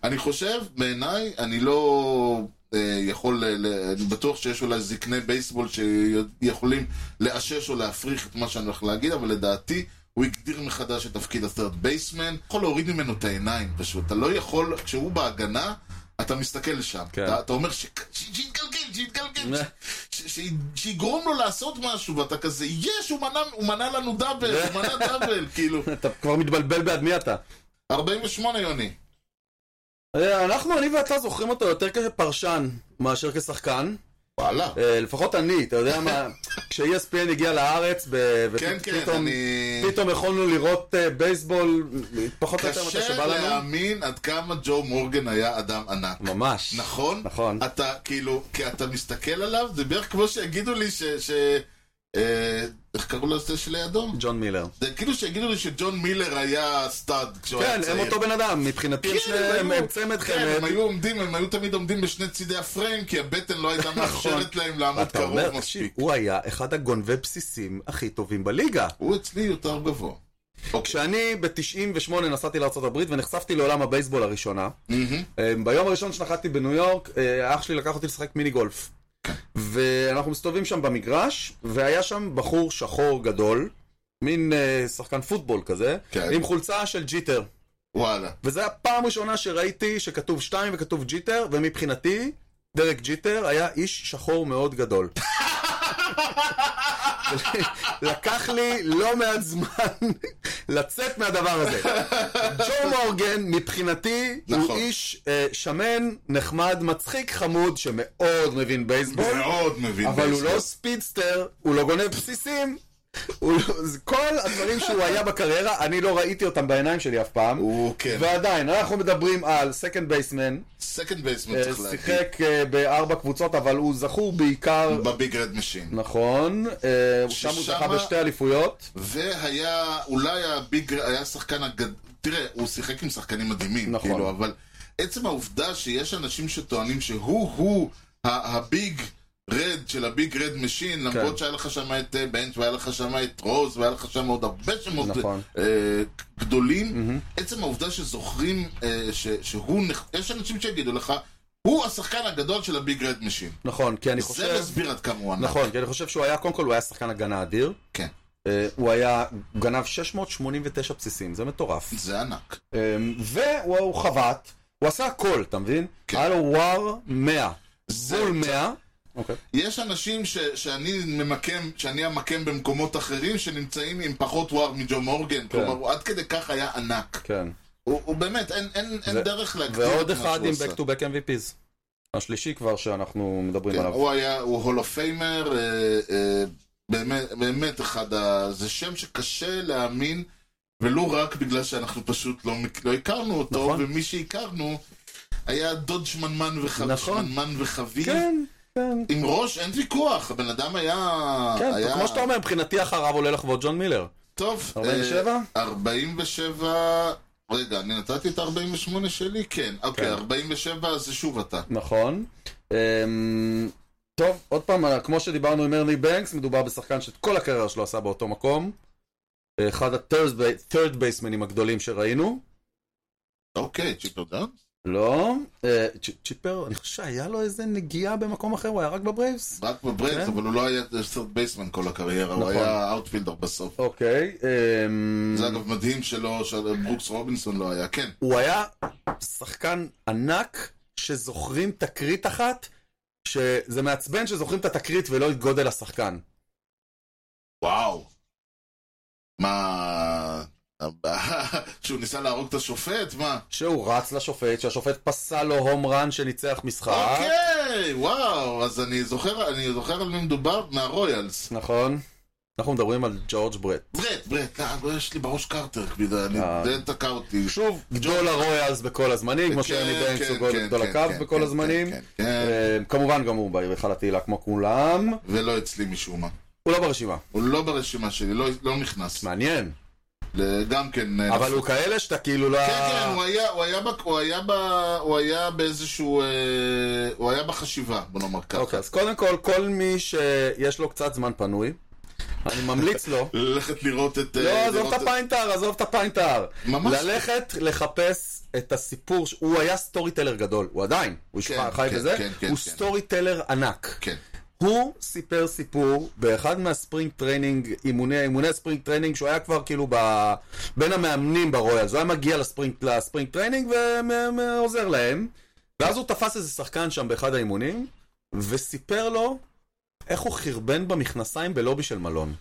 Speaker 2: אני חושב, בעיניי, אני לא אה, יכול, ל- ל- אני בטוח שיש אולי זקני בייסבול שיכולים לאשש או להפריך את מה שאני הולך להגיד, אבל לדעתי, הוא הגדיר מחדש את תפקיד ה-third baseman. יכול להוריד ממנו את העיניים פשוט. אתה לא יכול, כשהוא בהגנה, אתה מסתכל לשם.
Speaker 1: כן.
Speaker 2: אתה, אתה אומר ש- ש- שיתגלגל, שיתגלגל, ש- ש- שיגרום לו לעשות משהו, ואתה כזה, יש, הוא מנע, הוא מנע לנו דאבל, הוא מנע דאבל, כאילו.
Speaker 1: אתה כבר מתבלבל בעד מי אתה.
Speaker 2: 48 יוני.
Speaker 1: אה, אנחנו, אני ואתה זוכרים אותו יותר כפרשן מאשר כשחקן.
Speaker 2: וואלה.
Speaker 1: אה, לפחות אני, אתה יודע מה, כש-ESPN הגיע לארץ, ב-
Speaker 2: כן,
Speaker 1: ופתאום-
Speaker 2: כן, אני...
Speaker 1: פתאום יכולנו לראות אה, בייסבול פחות או יותר מתי
Speaker 2: קשה
Speaker 1: שבא לנו.
Speaker 2: להאמין עד כמה ג'ו מורגן היה אדם ענק.
Speaker 1: ממש.
Speaker 2: נכון?
Speaker 1: נכון.
Speaker 2: אתה כאילו, כי אתה מסתכל עליו, זה בערך כמו שיגידו לי ש... ש... אה, איך קראו לו זה שלידו?
Speaker 1: ג'ון מילר.
Speaker 2: זה כאילו שיגידו לי שג'ון מילר היה סטאד כשהוא
Speaker 1: כן,
Speaker 2: היה צעיר.
Speaker 1: הם אותו בן אדם, מבחינתי
Speaker 2: כן,
Speaker 1: הם שני-
Speaker 2: הם
Speaker 1: הם
Speaker 2: היו-
Speaker 1: הם צמד
Speaker 2: כן, הם
Speaker 1: חמד.
Speaker 2: היו עומדים, הם היו תמיד עומדים בשני צידי הפריים, כי הבטן לא הייתה מאפשרת להם לעמוד
Speaker 1: נכון. אתה
Speaker 2: קרוב
Speaker 1: אומר, תקשיב,
Speaker 2: מספיק.
Speaker 1: הוא היה אחד הגונבי בסיסים הכי טובים בליגה.
Speaker 2: הוא אצלי יותר גבוה. אוקיי.
Speaker 1: כשאני ב-98 נסעתי לארה"ב ונחשפתי לעולם הבייסבול הראשונה,
Speaker 2: מהמם.
Speaker 1: אה, ביום הראשון שנחתתי בניו יורק, אה, אח שלי לקח אותי לשחק מיני גולף. ואנחנו מסתובבים שם במגרש, והיה שם בחור שחור גדול, מין אה, שחקן פוטבול כזה,
Speaker 2: כן.
Speaker 1: עם חולצה של ג'יטר.
Speaker 2: וואלה.
Speaker 1: וזו הייתה פעם ראשונה שראיתי שכתוב שתיים וכתוב ג'יטר, ומבחינתי, דרק ג'יטר היה איש שחור מאוד גדול. לקח לי לא מעט זמן לצאת מהדבר הזה. ג'ו מורגן, מבחינתי, הוא
Speaker 2: נכון.
Speaker 1: איש אה, שמן, נחמד, מצחיק, חמוד, שמאוד מבין בייסבול,
Speaker 2: מאוד מבין.
Speaker 1: אבל הוא
Speaker 2: בייסבול.
Speaker 1: לא ספידסטר, הוא לא גונב בסיסים. הוא לא- זה כל הדברים שהוא היה בקריירה, אני לא ראיתי אותם בעיניים שלי אף פעם.
Speaker 2: הוא כן.
Speaker 1: ועדיין, אנחנו מדברים על סקנד בייסמן,
Speaker 2: סקנד בייסמן צריך להגיד.
Speaker 1: שיחק אה, בארבע קבוצות, אבל הוא זכור בעיקר...
Speaker 2: בביג רד משין.
Speaker 1: נכון, אה, שם הוא
Speaker 2: ששמה-
Speaker 1: זכה בשתי אליפויות.
Speaker 2: והיה, אולי הביג, היה השחקן הגדול, תראה, הוא שיחק עם שחקנים מדהימים,
Speaker 1: נכון.
Speaker 2: כאילו, אבל עצם העובדה שיש אנשים שטוענים שהוא-הוא ה- הביג רד של הביג רד משין,
Speaker 1: כן.
Speaker 2: למרות שהיה לך שם את אה, בנץ' והיה לך שם את רוז והיה לך שם עוד הרבה שמות
Speaker 1: נכון.
Speaker 2: אה, גדולים, עצם העובדה שזוכרים אה, ש- שהוא, נח- יש אנשים שיגידו לך, הוא השחקן הגדול של הביג רד משין.
Speaker 1: נכון, כי אני
Speaker 2: זה
Speaker 1: חושב...
Speaker 2: מסביר עד כמה הוא ענק.
Speaker 1: נכון, כי אני חושב שהוא היה, קודם כל הוא היה שחקן הגנה אדיר.
Speaker 2: כן,
Speaker 1: אה, הוא היה, הוא גנב 689 בסיסים, זה מטורף.
Speaker 2: זה ענק.
Speaker 1: אה, והוא הוא חבט, הוא עשה הכל, אתה מבין?
Speaker 2: כן.
Speaker 1: היה לו וואר 100.
Speaker 2: זה-
Speaker 1: בול 100. אוקיי.
Speaker 2: יש אנשים ש, שאני ממקם, שאני המקם במקומות אחרים שנמצאים עם פחות וואר מג'ו מורגן, כן. כלומר הוא עד כדי כך היה ענק.
Speaker 1: כן.
Speaker 2: הוא, הוא באמת, אין, אין, אין
Speaker 1: ו-
Speaker 2: דרך להגדיר
Speaker 1: ועוד
Speaker 2: את מה
Speaker 1: אחד
Speaker 2: שהוא
Speaker 1: עם
Speaker 2: עשה.
Speaker 1: back to back MVPs. השלישי כבר שאנחנו מדברים
Speaker 2: כן,
Speaker 1: עליו.
Speaker 2: הוא היה, הוא הולו פיימר, אה, אה, באמת, באמת אחד ה... זה שם שקשה להאמין, ולו רק בגלל שאנחנו פשוט לא, מכ- לא הכרנו אותו,
Speaker 1: נכון.
Speaker 2: ומי שהכרנו היה דוד שמנמן, וח...
Speaker 1: נכון.
Speaker 2: שמנמן וחביב.
Speaker 1: כן, כן.
Speaker 2: עם ראש אין ויכוח, הבן אדם היה...
Speaker 1: כן,
Speaker 2: אה, היה...
Speaker 1: כמו שאתה אומר, מבחינתי אחריו עולה לחוות ג'ון מילר.
Speaker 2: טוב,
Speaker 1: 47?
Speaker 2: אה, 47... רגע, אני נתתי את ה-48 שלי? כן. אוקיי,
Speaker 1: כן.
Speaker 2: 47 זה שוב אתה.
Speaker 1: נכון. אמ, טוב, עוד פעם, אה, כמו שדיברנו עם ארלי בנקס, מדובר בשחקן שאת כל הקריירה שלו עשה באותו מקום. אחד ה-third basemנים הגדולים שראינו.
Speaker 2: אוקיי, צ'יפר דאונס?
Speaker 1: לא. אה, צ'- צ'יפר, אני חושב שהיה לו איזה נגיעה במקום אחר, הוא היה רק בברייבס.
Speaker 2: רק בברייבס,
Speaker 1: כן.
Speaker 2: אבל הוא לא היה סרט בייסמן כל הקריירה, הוא
Speaker 1: נכון.
Speaker 2: היה אאוטפילדר בסוף.
Speaker 1: אוקיי. אמ,
Speaker 2: זה אגב מדהים שלא, שברוקס רובינסון לא היה, כן.
Speaker 1: הוא היה שחקן ענק שזוכרים תקרית אחת, שזה מעצבן שזוכרים את התקרית ולא את גודל השחקן.
Speaker 2: וואו. מה... שהוא ניסה להרוג את השופט? מה?
Speaker 1: שהוא רץ לשופט, שהשופט פסל לו הום רן שניצח משחק.
Speaker 2: אוקיי, וואו, אז אני זוכר, אני זוכר על מי מדובר, מהרויאלס.
Speaker 1: נכון. אנחנו מדברים על ג'ורג' ברט.
Speaker 2: ברט, ברט, אה, יש לי בראש קרטר, כבידה, אני
Speaker 1: אה.
Speaker 2: זה תקע אותי.
Speaker 1: שוב, גדול הרויאלס בכל הזמנים, כמו
Speaker 2: כן,
Speaker 1: שאלי
Speaker 2: כן,
Speaker 1: בנקס הוא
Speaker 2: כן, כן,
Speaker 1: גול- גדול
Speaker 2: כן,
Speaker 1: הקו
Speaker 2: כן,
Speaker 1: בכל
Speaker 2: כן,
Speaker 1: הזמנים.
Speaker 2: כן, כן, כן.
Speaker 1: אה, כמובן גם הוא בהיכל התהילה כמו כולם.
Speaker 2: ולא אצלי משום מה.
Speaker 1: הוא לא ברשימה,
Speaker 2: הוא לא ברשימה שלי, לא- לא נכנס.
Speaker 1: מעניין.
Speaker 2: כן, ל- גם כן... אה,
Speaker 1: אבל הוא כאלה שאתה כאילו לא...
Speaker 2: כן, כן, הוא היה- הוא היה בק- הוא היה ב- הוא היה באיזשהו... אה, הוא היה בחשיבה, בוא נאמר ככה.
Speaker 1: אוקיי, אז קודם כל, כל מי שיש לו קצת זמן פנוי, אני ממליץ לו.
Speaker 2: ללכת לראות את...
Speaker 1: לא,
Speaker 2: אה,
Speaker 1: עזוב
Speaker 2: לראות
Speaker 1: את הפיינטר, עזוב את הפיינטר.
Speaker 2: ממש.
Speaker 1: ללכת לחפש את הסיפור, ש- הוא היה סטורי טלר גדול, הוא עדיין, הוא
Speaker 2: כן,
Speaker 1: כן, חי
Speaker 2: כן,
Speaker 1: בזה,
Speaker 2: כן, כן,
Speaker 1: הוא
Speaker 2: כן.
Speaker 1: סטורי טלר ענק.
Speaker 2: כן.
Speaker 1: הוא סיפר סיפור באחד מהספרינג טריינינג, אימוני, אימוני הספרינג טריינינג, שהוא היה כבר כאילו ב... בין המאמנים ברויאל, הוא היה מגיע לספרינג, לספרינג טריינינג ועוזר להם, ואז הוא תפס איזה שחקן שם באחד האימונים, וסיפר לו איך הוא חרבן במכנסיים בלובי של מלון.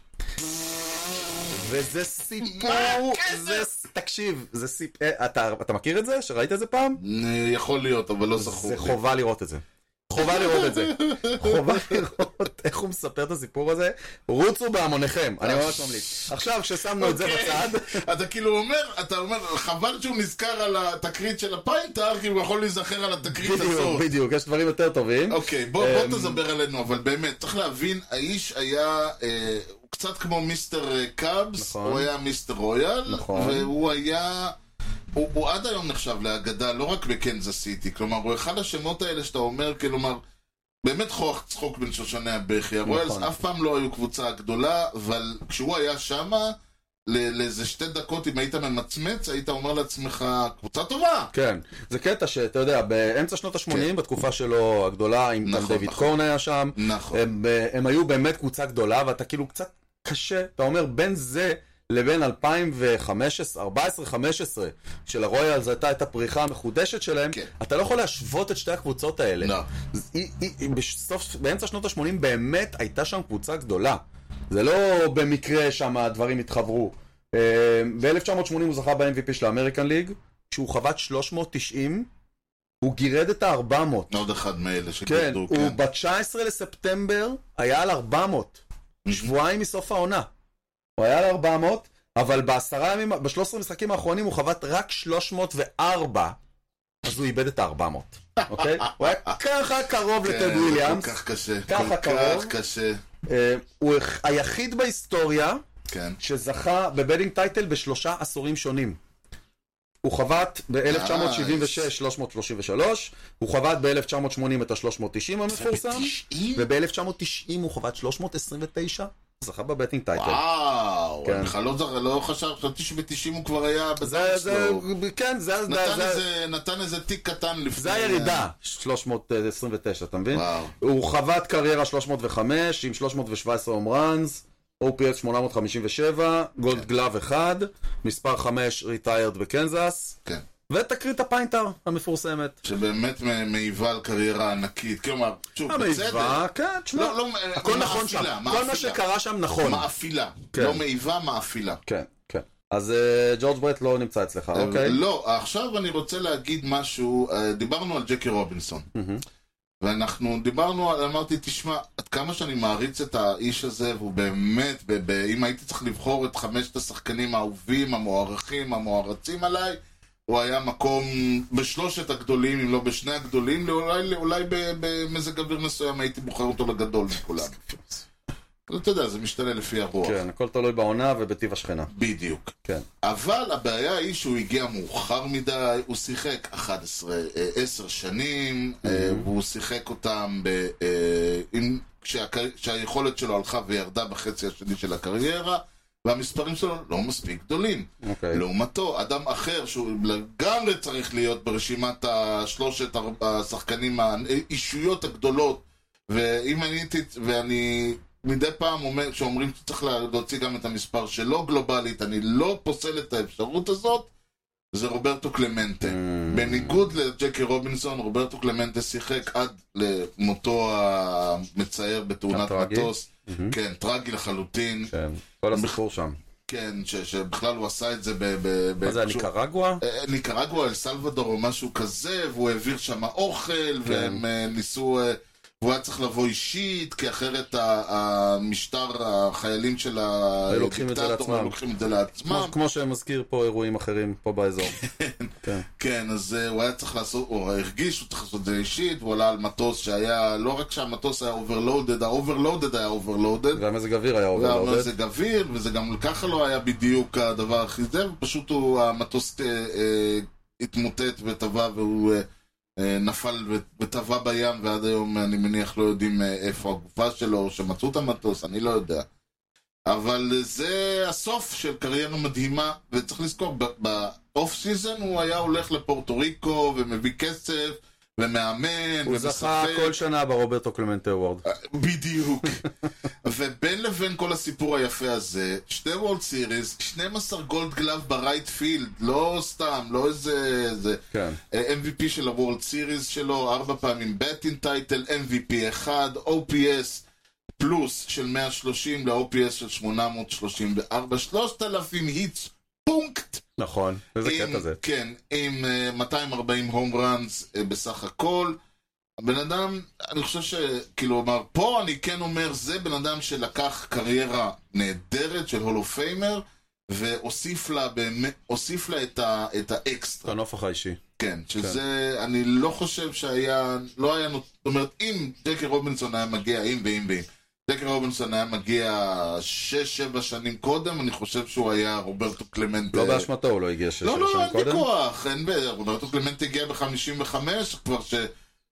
Speaker 1: וזה סיפור, זה, ס- תקשיב, זה סיפ... אה, אתה, אתה מכיר את זה? שראית את זה פעם?
Speaker 2: אה, יכול להיות, אבל לא זכור.
Speaker 1: זה
Speaker 2: לי.
Speaker 1: חובה לראות את זה. חובה לראות את זה. חובה לראות איך הוא מספר את הסיפור הזה. רוצו בהמוניכם, אני ממש ממליץ. עכשיו, כששמנו את זה
Speaker 2: אוקיי.
Speaker 1: בצד,
Speaker 2: אתה כאילו אומר, אתה אומר, חבל שהוא נזכר על התקרית של הפיינטר, כי הוא יכול להיזכר על התקרית הזאת.
Speaker 1: בדיוק, בדיוק, יש דברים יותר טובים.
Speaker 2: אוקיי, בוא, בוא
Speaker 1: אמ,
Speaker 2: תדבר עלינו, אבל באמת, צריך להבין, האיש היה, אה, הוא קצת כמו מיסטר אה, קאבס,
Speaker 1: נכון.
Speaker 2: הוא היה מיסטר רויאל,
Speaker 1: נכון.
Speaker 2: והוא היה, הוא, הוא עד היום נחשב לאגדה, לא רק בקנזס סיטי, כלומר, הוא אחד השמות האלה שאתה אומר, כלומר, באמת חוח צחוק בין שושני הבכי, הרויאלס
Speaker 1: נכון.
Speaker 2: אף פעם לא היו קבוצה גדולה, אבל כשהוא היה שמה, ל- לאיזה שתי דקות, אם היית ממצמץ, היית אומר לעצמך, קבוצה טובה!
Speaker 1: כן, זה קטע שאתה יודע, באמצע שנות ה-80,
Speaker 2: כן.
Speaker 1: בתקופה שלו הגדולה, עם גם
Speaker 2: נכון,
Speaker 1: דיוויד
Speaker 2: נכון.
Speaker 1: קורן היה שם,
Speaker 2: נכון.
Speaker 1: אה, הם, אה, הם היו באמת קבוצה גדולה, ואתה כאילו קצת קשה, אתה אומר, בין זה לבין 2015, 14-15, שלרויאלס הייתה את הפריחה המחודשת שלהם,
Speaker 2: כן.
Speaker 1: אתה לא יכול להשוות את שתי הקבוצות האלה.
Speaker 2: לא.
Speaker 1: זה- היא- היא- היא בסוף, באמצע שנות ה-80 באמת הייתה שם קבוצה גדולה. זה לא במקרה שם הדברים התחברו. אה, ב-1980 הוא זכה ב-MVP של האמריקן ליג, כשהוא חבט 390, הוא גירד את ה-400.
Speaker 2: עוד אחד מאלה
Speaker 1: כן,
Speaker 2: שגידו,
Speaker 1: הוא ב-19 לספטמבר היה על 400. שבועיים מסוף העונה. הוא היה על 400, אבל בעשרה ימים, ב-13 המשחקים האחרונים הוא חבט רק 304, אז הוא איבד את ה-400, אוקיי? הוא היה ככה קרוב
Speaker 2: כן,
Speaker 1: לטד
Speaker 2: זה
Speaker 1: וויליאמס.
Speaker 2: כל כך קשה,
Speaker 1: ככה
Speaker 2: כל
Speaker 1: קרוב.
Speaker 2: כך קשה,
Speaker 1: אה, הוא היח- היחיד בהיסטוריה
Speaker 2: כן.
Speaker 1: שזכה בבדינג טייטל בשלושה עשורים שונים. הוא חבט ב-1976 333, הוא חבט ב-1980 את ה-390 המפורסם,
Speaker 2: ב-90?
Speaker 1: כן. וב-1990 הוא חבט 329, זכה בבטינג טייטל.
Speaker 2: וואו,
Speaker 1: כן.
Speaker 2: אני בכלל לא זר- לא חשב, חשבתי שב-90 הוא כבר היה
Speaker 1: זה,
Speaker 2: בזמן
Speaker 1: זה,
Speaker 2: שלו.
Speaker 1: כן, זה, זה,
Speaker 2: לא. נתן
Speaker 1: זה,
Speaker 2: איזה- נתן איזה תיק קטן לפני...
Speaker 1: זה הירידה, 329, אתה מבין?
Speaker 2: וואו.
Speaker 1: הוא חבט קריירה 305 עם 317 הום ראנס, OPS 857,
Speaker 2: כן.
Speaker 1: גולד גלאב 1, מספר 5 ריטיירד בקנזס,
Speaker 2: כן.
Speaker 1: ותקרית הפיינטר המפורסמת.
Speaker 2: שבאמת מ- מעיבה על קריירה ענקית, כלומר, שוב, בצדק.
Speaker 1: המעיבה, כן, תשמע,
Speaker 2: לא, לא,
Speaker 1: הכל
Speaker 2: מאפילה,
Speaker 1: נכון שם, כל
Speaker 2: מאפילה.
Speaker 1: מה שקרה שם נכון.
Speaker 2: מאפילה.
Speaker 1: כן.
Speaker 2: לא מעיבה, מאפילה.
Speaker 1: כן, כן. אז אה, ג'ורג' ברט לא נמצא אצלך, אוקיי?
Speaker 2: לא, עכשיו אני רוצה להגיד משהו, אה, דיברנו על ג'קי רובינסון.
Speaker 1: מהמם.
Speaker 2: ואנחנו דיברנו, על- אמרתי, תשמע, עד כמה שאני מעריץ את האיש הזה, והוא באמת, ב- ב- אם הייתי צריך לבחור את חמשת השחקנים האהובים, המוערכים, המוערצים עליי, הוא היה מקום בשלושת הגדולים, אם לא בשני הגדולים, אולי, אולי ב- במזג אוויר מסוים הייתי בוחר אותו לגדול מכולם. אבל אתה יודע, זה משתנה לפי הרוח.
Speaker 1: כן, הכל תלוי בעונה ובטיב השכנה.
Speaker 2: בדיוק.
Speaker 1: כן.
Speaker 2: אבל הבעיה היא שהוא הגיע מאוחר מדי, הוא שיחק 11, אה, 10 שנים, אה, והוא שיחק אותם ב... אה, עם, כשהקר- כשהיכולת שלו הלכה וירדה בחצי השני של הקריירה, והמספרים שלו לא מספיק גדולים.
Speaker 1: אוקיי.
Speaker 2: לא, לעומתו, אדם אחר שהוא לגמרי צריך להיות ברשימת השלושת הר- השחקנים, האישויות הגדולות, ואם אני הייתי, ואני מדי פעם אומר, שאומרים שצריך להוציא גם את המספר שלו גלובלית, אני לא פוסל את האפשרות הזאת, זה רוברטו קלמנטה.
Speaker 1: אה,
Speaker 2: בניגוד לג'קי רובינסון, רוברטו קלמנטה שיחק עד למותו המצער בתאונת
Speaker 1: הטרגי.
Speaker 2: מטוס. כן, טרגי לחלוטין.
Speaker 1: כן, כל הסיפור שם.
Speaker 2: כן, ש- שבכלל הוא עשה את זה ב... ב- ב-
Speaker 1: מה זה,
Speaker 2: שהוא-
Speaker 1: ניקרגואה?
Speaker 2: אה, ניקרגואה, אל סלבדור או משהו כזה, והוא העביר שם
Speaker 1: כן.
Speaker 2: אוכל, והם אה, ניסו... אה, והוא היה צריך לבוא אישית, כי אחרת ה- המשטר, החיילים של
Speaker 1: היו לוקחים את זה
Speaker 2: הדיקטטור היו
Speaker 1: לעצמם.
Speaker 2: לוקחים את זה לעצמם.
Speaker 1: כמו- כמו שמזכיר פה אירועים אחרים פה באזור. כן.
Speaker 2: כן, אז אה, הוא היה צריך לעשות, הוא הרגיש, שהוא צריך לעשות את זה אישית, הוא עלה על מטוס שהיה, לא רק שהמטוס היה אוברלודד, האוברלודד היה אוברלודד,
Speaker 1: והמזג אוויר היה עובר אוקיי? לעובד.
Speaker 2: והמזג אוויר, וזה גם ככה לא היה בדיוק הדבר הכי זה, ופשוט הוא, המטוס אה, אה, התמוטט וטבע והוא אה, אה, נפל ו- וטבע בים, ועד היום אני מניח לא יודעים אה, איפה הגופה שלו, או שמצאו את המטוס, אני לא יודע. אבל זה הסוף של קריירה מדהימה, וצריך לזכור, ב- באוף סיזון הוא היה הולך לפורטו ריקו, ומביא כסף, ומאמן,
Speaker 1: הוא זכה
Speaker 2: ומשחק.
Speaker 1: כל שנה ברוברטו קלמנטה וורד.
Speaker 2: אה, בדיוק. ובין לבין כל הסיפור היפה הזה, שתי וולד סיריס, 12 גולד גלאב ברייט פילד, לא סתם, לא איזה... זה.
Speaker 1: כן.
Speaker 2: אה, MVP של הוולד סיריס שלו, ארבע פעמים בטין טייטל, MVP אחד, OPS פלוס של 130 ל-OPS של 834, 3,000 היטס, פונקט.
Speaker 1: נכון, איזה
Speaker 2: עם-
Speaker 1: קטע זה.
Speaker 2: כן, עם אה, 240 הום ראנס אה, בסך הכל. הבן אדם, אני חושב שכאילו, אמר, פה אני כן אומר, זה בן אדם שלקח קריירה נהדרת של הולו פיימר, והוסיף לה, באמת, הוסיף לה את, ה, את האקסטרה.
Speaker 1: הנופך האישי.
Speaker 2: כן, שזה, כן. אני לא חושב שהיה, לא היה, נות- זאת אומרת, אם ג'קי רובינסון היה מגיע, אם ואם ואם, ג'קי רובינסון היה מגיע 6-7 שנים קודם, אני חושב שהוא היה רוברטו קלמנט.
Speaker 1: לא
Speaker 2: אה,
Speaker 1: באשמתו הוא לא הגיע שש
Speaker 2: לא,
Speaker 1: שנים
Speaker 2: לא, אין
Speaker 1: קודם.
Speaker 2: ויכוח, אין בעיה, רוברטו קלמנט הגיע ב-55, כבר ש...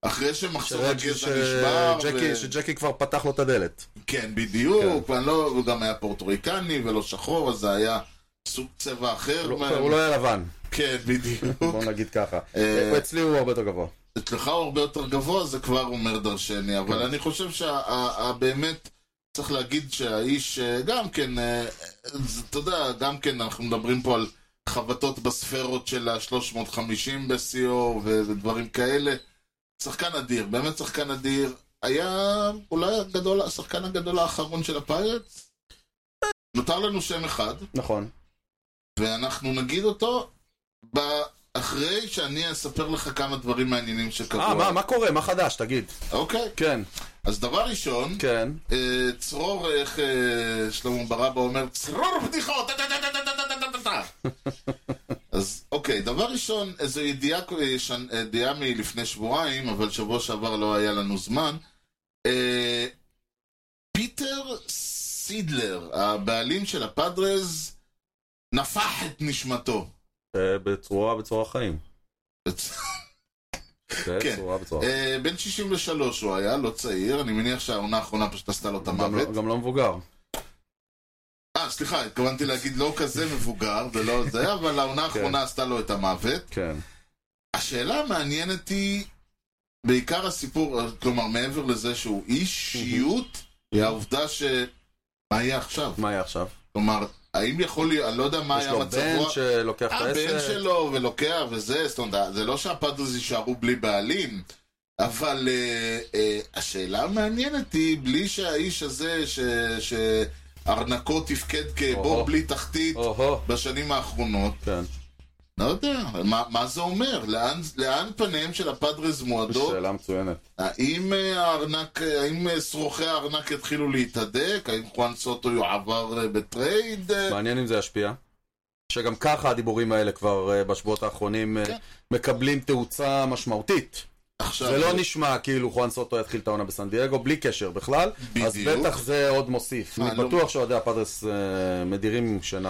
Speaker 2: אחרי שמחסור
Speaker 1: שרג'י-
Speaker 2: הגזע נשבר,
Speaker 1: שג'קי-
Speaker 2: ו-
Speaker 1: שג'קי כבר פתח לו את הדלת.
Speaker 2: כן, בדיוק, ואני לא- הוא גם היה פורטוריקני ולא שחור, אז זה היה סוג צבע אחר.
Speaker 1: הוא
Speaker 2: מה-
Speaker 1: לא- הוא לא היה לבן,
Speaker 2: כן, בדיוק.
Speaker 1: בוא נגיד ככה.
Speaker 2: אה,
Speaker 1: אצלי הוא הרבה יותר גבוה. כן.
Speaker 2: אצלך הוא הרבה יותר גבוה, זה כבר אומר דרשני, אבל אני חושב שבאמת צריך להגיד שהאיש אה, גם כן, אה, זה- אתה יודע, גם כן אנחנו מדברים פה על חבטות בספרות של ה-350 בשיאו ו- ודברים כאלה. שחקן אדיר, באמת שחקן אדיר. היה אולי הגדול, השחקן הגדול האחרון של הפיירטס? נותר לנו שם אחד.
Speaker 1: נכון.
Speaker 2: ואנחנו נגיד אותו ב- אחרי שאני אספר לך כמה דברים מעניינים שקרו.
Speaker 1: אה, מה, מה קורה? מה חדש? תגיד.
Speaker 2: אוקיי.
Speaker 1: כן,
Speaker 2: אז דבר ראשון,
Speaker 1: כן.
Speaker 2: אה, צרור, איך אה, שלמה ברבא אומר, צרור בדיחות! טה, טה, טה, טה, טה, טה, טה, טה, טה." אז אוקיי, דבר ראשון, איזו ידיעה, אה, שנ- אה, ידיעה מלפני שבועיים, אבל שבוע שעבר לא היה לנו זמן. אה, פיטר סידלר, הבעלים של הפאדרז, נפח את נשמתו.
Speaker 1: אה, בצורה, בצורה חיים.
Speaker 2: כן.
Speaker 1: בצורה, בצורה.
Speaker 2: אה, בן 63 הוא היה, לא צעיר, אני מניח שהעונה האחרונה פשוט עשתה לו את
Speaker 1: גם
Speaker 2: המוות.
Speaker 1: לא- גם לא מבוגר.
Speaker 2: אה, סליחה, התכוונתי להגיד לא כזה מבוגר, זה לא זה, אבל העונה האחרונה עשתה לו את המוות.
Speaker 1: כן.
Speaker 2: השאלה המעניינת היא, בעיקר הסיפור, כלומר, מעבר לזה שהוא אישיות, היא העובדה ש... מה יהיה עכשיו?
Speaker 1: מה היה עכשיו?
Speaker 2: כלומר, האם יכול להיות, אני לא יודע מה
Speaker 1: יש
Speaker 2: היה
Speaker 1: לו בן
Speaker 2: מצבו...
Speaker 1: שלוקח את
Speaker 2: הבן
Speaker 1: העסק?
Speaker 2: אה, שלו ולוקח וזה, זאת אומרת, זה לא שהפאדרס יישארו בלי בעלים, אבל אה, אה, השאלה המעניינת היא, בלי שהאיש הזה, ש, שארנקו תפקד כבור
Speaker 1: או-הו.
Speaker 2: בלי תחתית
Speaker 1: או-הו.
Speaker 2: בשנים האחרונות,
Speaker 1: כן.
Speaker 2: לא יודע, מה, מה זה אומר? לאן, לאן פניהם של הפאדרס מועדות?
Speaker 1: שאלה מצוינת.
Speaker 2: האם אה, הארנק, אה, האם אה, שרוכי הארנק יתחילו להתהדק? האם חואן סוטו יועבר אה, בטרייד? אה,
Speaker 1: מעניין אם זה ישפיע. שגם ככה הדיבורים האלה כבר אה, בשבועות האחרונים אה,
Speaker 2: כן.
Speaker 1: מקבלים תאוצה משמעותית.
Speaker 2: עכשיו,
Speaker 1: זה לא נשמע כאילו חואן סוטו יתחיל את העונה בסן דייגו, בלי קשר בכלל. אז
Speaker 2: בדיוק.
Speaker 1: בטח זה עוד מוסיף.
Speaker 2: אה,
Speaker 1: אני
Speaker 2: לא-
Speaker 1: בטוח שאוהדי הפאדרס אה, מדירים שינה.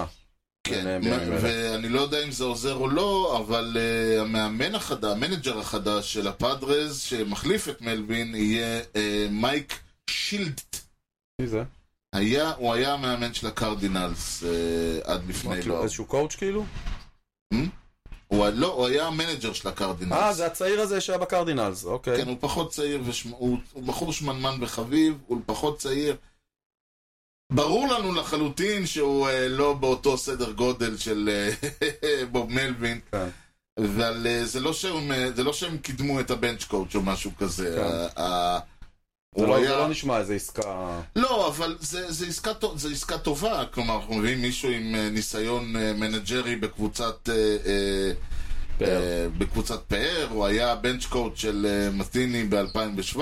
Speaker 1: אה,
Speaker 2: כן,
Speaker 1: ביניהם, בימים
Speaker 2: מה-
Speaker 1: אלה.
Speaker 2: ואני לא יודע אם זה עוזר או לא, אבל אה, המאמן החדש, המנג'ר החדש של הפאדרז, שמחליף את מלבין, יהיה אה, מייק שילדט.
Speaker 1: מי זה?
Speaker 2: היה, הוא היה המאמן של הקרדינלס אה, עד לפני
Speaker 1: כאילו,
Speaker 2: לא.
Speaker 1: איזשהו קואוצ' כאילו?
Speaker 2: הוא לא, הוא היה המנג'ר של
Speaker 1: אה,
Speaker 2: הקרדינלס.
Speaker 1: זה הצעיר הזה שהיה בקרדינלס, אוקיי.
Speaker 2: כן, הוא פחות צעיר, ושמ- הוא הוא בחור שמנמן וחביב, הוא פחות צעיר. ברור לנו לחלוטין שהוא אה, לא באותו סדר גודל של אה, בוב מלווין.
Speaker 1: כן.
Speaker 2: אבל אה, זה לא שהם, אה, זה לא שהם קידמו את הבנץ' קואוצ' או משהו כזה.
Speaker 1: כן.
Speaker 2: ה- ה-
Speaker 1: זה
Speaker 2: הוא
Speaker 1: לא-
Speaker 2: היה...
Speaker 1: זה לא נשמע איזה עסקה...
Speaker 2: לא, אבל זה, זה, עסקה, טו- זה עסקה טובה, כלומר, אנחנו מביאים מישהו עם אה, ניסיון אה, מנג'רי בקבוצת אה, אה,
Speaker 1: פאר.
Speaker 2: אה, בקבוצת פאר, הוא היה בנץ' קואוצ' של אה, מטיני ב-2017,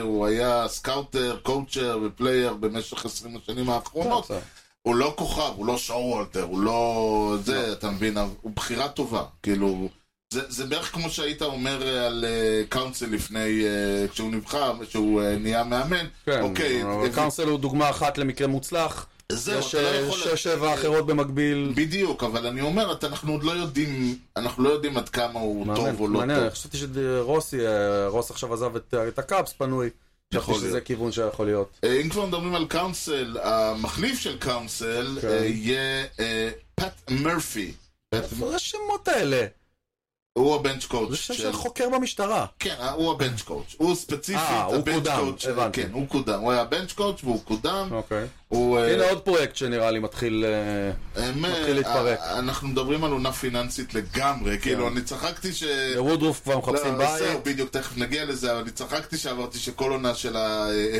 Speaker 2: הוא היה סקאוטר, קואוצ'ר ופלייר במשך 20 השנים האחרונות.
Speaker 1: כן, בסדר.
Speaker 2: הוא לא כוכב, הוא לא שואו-וולטר, הוא לא... זה, אתה מבין, אבל הוא בחירה טובה. כאילו, זה, זה בערך כמו שהיית אומר אה, על אה, קאונסל לפני, אה, כשהוא נבחר, כשהוא אה, נהיה מאמן.
Speaker 1: כן,
Speaker 2: אוקיי,
Speaker 1: אבל
Speaker 2: הביא-
Speaker 1: קאונסל הוא דוגמה אחת למקרה מוצלח.
Speaker 2: זהו,
Speaker 1: יש
Speaker 2: אתה לא
Speaker 1: אה,
Speaker 2: יכול...
Speaker 1: שש, שבע אחרות במקביל.
Speaker 2: בדיוק, אבל אני אומר, אתה- אנחנו עוד לא יודעים, אנחנו לא יודעים עד כמה הוא
Speaker 1: מעניין,
Speaker 2: טוב או לא
Speaker 1: מעניין,
Speaker 2: טוב.
Speaker 1: אני חשבתי שרוסי, אה, רוס עכשיו עזב את- את הקאפס פנוי. חשבתי
Speaker 2: יכול
Speaker 1: שזה
Speaker 2: להיות.
Speaker 1: כיוון שיכול להיות.
Speaker 2: אה, אם כבר מדברים על קאונסל, המחליף של קאונסל
Speaker 1: כן.
Speaker 2: אה, יהיה אה, פאט מרפי. פאט-
Speaker 1: מה השמות האלה?
Speaker 2: הוא הבנץ' קואוצ'
Speaker 1: זה שם
Speaker 2: של-
Speaker 1: של חוקר במשטרה.
Speaker 2: כן, הוא הבנץ' קואוץ'. הוא ספציפית
Speaker 1: אה, הוא
Speaker 2: הבנץ'
Speaker 1: קודם,
Speaker 2: קואוץ'.
Speaker 1: הבנתי.
Speaker 2: כן, הוא קודם. הוא היה בנץ' קואוץ' והוא קודם.
Speaker 1: אוקיי.
Speaker 2: הוא... אה,
Speaker 1: הנה עוד פרויקט שנראה לי מתחיל... אה,
Speaker 2: הם,
Speaker 1: מתחיל
Speaker 2: אה,
Speaker 1: להתפרק. כן.
Speaker 2: אה, אנחנו מדברים על עונה פיננסית לגמרי. כאילו, אני צחקתי ש...
Speaker 1: וודרוף כבר מחפשים
Speaker 2: אה, לא,
Speaker 1: בית.
Speaker 2: זהו, בדיוק, תכף נגיע לזה, אבל אני צחקתי שאמרתי שכל עונה של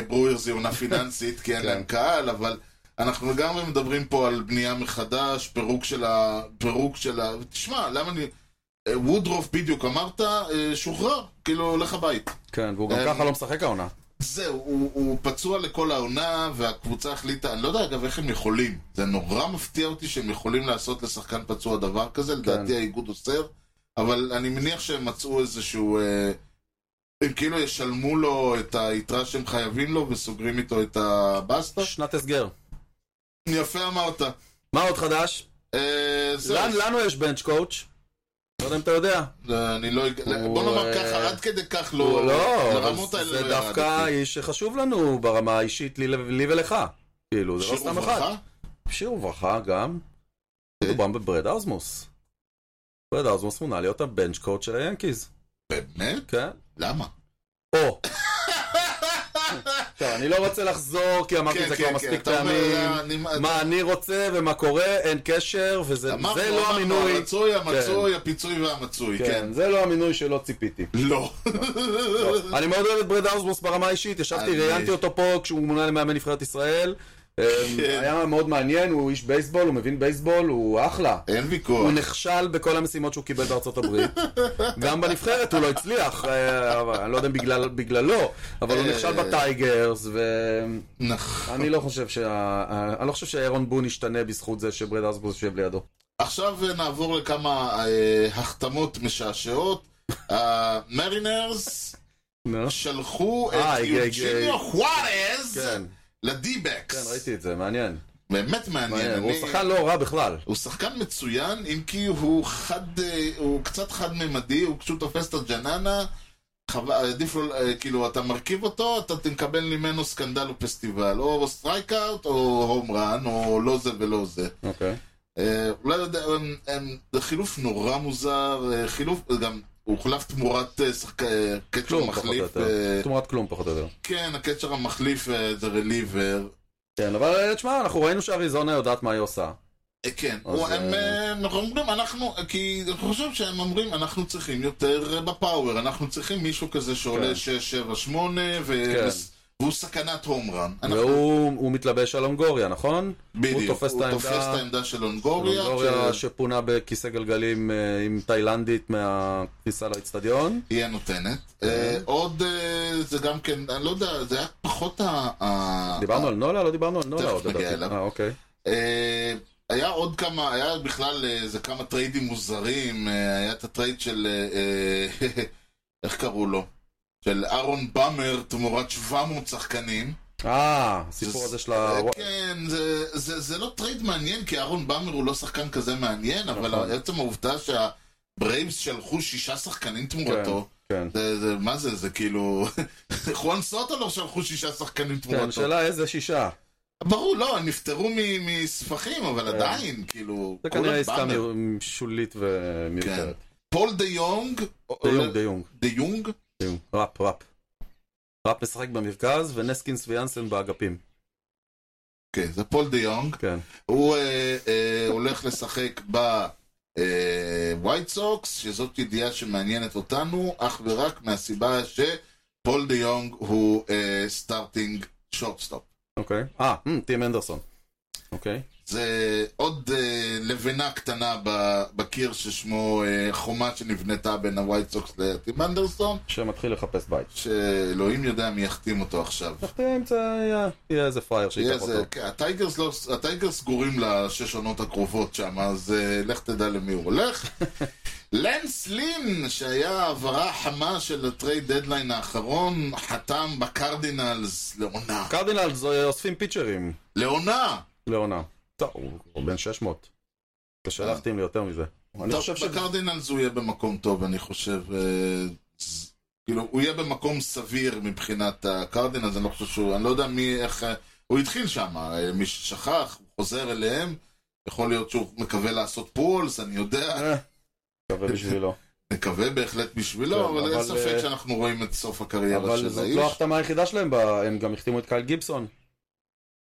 Speaker 2: הברוירס היא עונה פיננסית, כי אין
Speaker 1: כן.
Speaker 2: להם קהל, אבל אנחנו לגמרי מדברים פה על בנייה מחדש, פירוק של ה... פירוק של ה... תשמע, למה אני... אה, וודרוף בדיוק אמרת, אה, שוחרר, כאילו, לך הבית.
Speaker 1: כן, והוא גם
Speaker 2: אה,
Speaker 1: ככה לא משחק העונה.
Speaker 2: זהו, הוא, הוא פצוע לכל העונה, והקבוצה החליטה, אני לא יודע אגב איך הם יכולים. זה נורא מפתיע אותי שהם יכולים לעשות לשחקן פצוע דבר
Speaker 1: כן.
Speaker 2: כזה, לדעתי האיגוד אוסר, אבל אני מניח שהם מצאו איזשהו... אה, הם כאילו ישלמו לו את היתרה שהם חייבים לו וסוגרים איתו את הבסטה.
Speaker 1: שנת הסגר.
Speaker 2: יפה אמרת.
Speaker 1: מה עוד חדש?
Speaker 2: אה, זהו,
Speaker 1: לנו לנו יש בנץ' קואוץ'. לא יודע אם אתה יודע.
Speaker 2: אה, אני לא... אג- בוא נאמר
Speaker 1: אה,
Speaker 2: ככה, עד כדי כך
Speaker 1: הוא-
Speaker 2: לא...
Speaker 1: לא,
Speaker 2: לרמות
Speaker 1: אבל
Speaker 2: האלה
Speaker 1: זה
Speaker 2: לא
Speaker 1: דווקא
Speaker 2: ירדתי.
Speaker 1: איש שחשוב לנו ברמה האישית לי ל- לי ולך. כאילו, זה לא
Speaker 2: שיר
Speaker 1: סתם
Speaker 2: וברכה? כן.
Speaker 1: אחד. שיר וברכה גם. מדובר בברד אוזמוס. ברד אוזמוס מונה להיות הבנץ' קוד של כן? היאנקיז.
Speaker 2: באמת?
Speaker 1: כן.
Speaker 2: למה?
Speaker 1: או. טוב, אני לא רוצה לחזור, כי אמרתי
Speaker 2: כן,
Speaker 1: את זה
Speaker 2: כן,
Speaker 1: כבר
Speaker 2: כן,
Speaker 1: מספיק
Speaker 2: אתה אומר,
Speaker 1: פעמים.
Speaker 2: אה, אני-
Speaker 1: מה אני רוצה ומה קורה, אין קשר, וזה
Speaker 2: אמרנו,
Speaker 1: זה לא
Speaker 2: אמרנו,
Speaker 1: המינוי.
Speaker 2: המצוי,
Speaker 1: כן,
Speaker 2: המצוי, הפיצוי והמצוי, כן.
Speaker 1: כן, זה לא המינוי שלא ציפיתי.
Speaker 2: לא.
Speaker 1: אני מאוד אוהב את ברד ארזבורס ברמה האישית,
Speaker 2: אני-
Speaker 1: ישבתי, ראיינתי אותו פה כשהוא מונה למאמן נבחרת ישראל. אמ, היה מאוד מעניין, הוא איש בייסבול, הוא מבין בייסבול, הוא אחלה.
Speaker 2: אין ויכוח.
Speaker 1: הוא נכשל בכל המשימות שהוא קיבל בארצות הברית. גם בנבחרת הוא לא הצליח, אה, אבל אני לא יודע אם בגלל- בגללו, אבל הוא נכשל בטייגרס, ואני
Speaker 2: נכ-
Speaker 1: לא חושב שה... אה, אני לא חושב שאירון בון ישתנה בזכות זה שברד ארזבורס יושב לידו.
Speaker 2: עכשיו אה, נעבור לכמה אה, החתמות משעשעות. המרינרס
Speaker 1: נו.
Speaker 2: שלחו
Speaker 1: אה,
Speaker 2: את
Speaker 1: הגיע, הגיע.
Speaker 2: יוג'יניו חוארז
Speaker 1: כן,
Speaker 2: לדי-בקס.
Speaker 1: כן, ראיתי את זה, מעניין.
Speaker 2: באמת מעניין.
Speaker 1: מעניין, הוא
Speaker 2: אני-
Speaker 1: שחקן לא רע בכלל.
Speaker 2: הוא שחקן מצוין, אם כי הוא חד, אה, הוא קצת חד-ממדי, הוא כשהוא תופס את הג'ננה, חב- עדיף לו, אה, כאילו, אתה מרכיב אותו, אתה תקבל ממנו סקנדל או פסטיבל, או סטרייקאוט, או הום רן, או לא זה ולא זה.
Speaker 1: אוקיי.
Speaker 2: אה, אולי יודע, הם- הם- זה חילוף נורא מוזר, אה, חילוף, אה, גם, הוא הוחלף תמורת אה, שחק- אה, קצ'ר
Speaker 1: כלום פחות או
Speaker 2: מחליף,
Speaker 1: יותר.
Speaker 2: אה,
Speaker 1: תמורת כלום פחות או יותר.
Speaker 2: כן, הקצ'ר המחליף אה, זה רליבר,
Speaker 1: כן, אבל אה, תשמע, אנחנו ראינו שאריזונה יודעת מה היא עושה.
Speaker 2: אה, כן,
Speaker 1: אז,
Speaker 2: הוא- הם,
Speaker 1: אה,
Speaker 2: אה, אנחנו אומרים, אנחנו, כי אני חושב שהם אומרים, אנחנו צריכים יותר אה, בפאוור, אנחנו צריכים מישהו כזה שעולה
Speaker 1: כן.
Speaker 2: 6, 7, 8,
Speaker 1: כן.
Speaker 2: והוא סכנת הום רן. אנחנו-
Speaker 1: והוא הוא מתלבש על הונגוריה, נכון?
Speaker 2: בדיוק,
Speaker 1: הוא תופס את העמדה.
Speaker 2: העמדה של הונגוריה.
Speaker 1: הונגוריה
Speaker 2: ש-
Speaker 1: שפונה בכיסא גלגלים אה, עם תאילנדית מהכניסה לאצטדיון.
Speaker 2: היא הנותנת.
Speaker 1: כן.
Speaker 2: אה, עוד, אה, זה גם כן, אני לא יודע, זה היה פחות ה... ה-
Speaker 1: דיברנו על נולה? לא דיברנו על נולה
Speaker 2: אה, תכף
Speaker 1: עוד.
Speaker 2: נגיע
Speaker 1: לדעתי.
Speaker 2: אליו.
Speaker 1: אה, אוקיי.
Speaker 2: אה, היה עוד כמה, היה בכלל אה, איזה כמה טריידים מוזרים, אה, היה את הטרייד של, אה, אה, איך קראו לו? של אהרון באמר תמורת 700 שחקנים.
Speaker 1: אה, הסיפור
Speaker 2: זה-
Speaker 1: הזה של ה...
Speaker 2: אה, כן, זה- זה זה לא טרייד מעניין, כי אהרון באמר הוא לא שחקן כזה מעניין,
Speaker 1: נכון.
Speaker 2: אבל עצם העובדה שהברייבס שלחו שישה שחקנים תמורתו,
Speaker 1: כן.
Speaker 2: זה, זה, מה זה, זה כאילו... חואן סוטו לא שלחו שישה שחקנים
Speaker 1: כן,
Speaker 2: תמורתו.
Speaker 1: שאלה איזה שישה.
Speaker 2: ברור, לא, הם נפטרו מ- מספחים, אבל עדיין, כאילו...
Speaker 1: כן. זה
Speaker 2: כולם
Speaker 1: כנראה עסקה
Speaker 2: באמר.
Speaker 1: מ- שולית
Speaker 2: כן.
Speaker 1: ומיותרת.
Speaker 2: פול דה יונג,
Speaker 1: דה יונג, דה יונג,
Speaker 2: דה יונג,
Speaker 1: דה יונג. ראפ, ראפ. ראפ משחק במרכז, ונסקינס ויאנסן באגפים.
Speaker 2: כן, זה פול דה יונג,
Speaker 1: כן.
Speaker 2: הוא אה, אה, הולך לשחק בווייט סוקס, שזאת ידיעה שמעניינת אותנו, אך ורק מהסיבה שפול דה יונג הוא אה, סטארטינג שורטסטופ.
Speaker 1: אוקיי. אה, אמ, טים אנדרסון. אוקיי.
Speaker 2: זה עוד אה, לבנה קטנה ב- בקיר ששמו אה, חומה שנבנתה בין הווייט סוקס לטים אנדרסון,
Speaker 1: שמתחיל לחפש בית.
Speaker 2: שאלוהים יודע מי יחתים אותו עכשיו.
Speaker 1: תחתים, זה יהיה- יהיה איזה פרייר שייקח
Speaker 2: יהיה זה-
Speaker 1: אותו.
Speaker 2: כן, הטייגרס לא- הטייגרס סגורים לשש עונות הקרובות שם, אז אה, לך תדע למי הוא הולך. לנס לין, שהיה העברה חמה של הטרייד דדליין האחרון, חתם בקרדינלס לעונה.
Speaker 1: קרדינל זו- אה, אוספים פיצ'רים
Speaker 2: לעונה!
Speaker 1: לעונה. טוב, הוא הוא בן 600.
Speaker 2: אה.
Speaker 1: קשה להחתים לי יותר מזה. אני
Speaker 2: טוב,
Speaker 1: חושב ש...
Speaker 2: בקרדינלס הוא יהיה במקום טוב, אני חושב. אה, ז- כאילו, הוא יהיה במקום סביר מבחינת הקרדינלס, אני לא חושב שהוא, אני לא יודע מי, איך... אה, הוא התחיל שם, אה, מי ששכח, הוא חוזר אליהם. יכול להיות שהוא מקווה לעשות פולס, אני יודע.
Speaker 1: אה, מקווה בשבילו.
Speaker 2: נקווה בהחלט
Speaker 1: כן,
Speaker 2: בשבילו, אבל אין
Speaker 1: אבל,
Speaker 2: ספק
Speaker 1: אה,
Speaker 2: שאנחנו רואים את סוף הקריירה
Speaker 1: אבל
Speaker 2: של
Speaker 1: זאת לא
Speaker 2: האיש.
Speaker 1: ההחתמה היחידה שלהם, ב- הם גם החתימו את קייל גיבסון,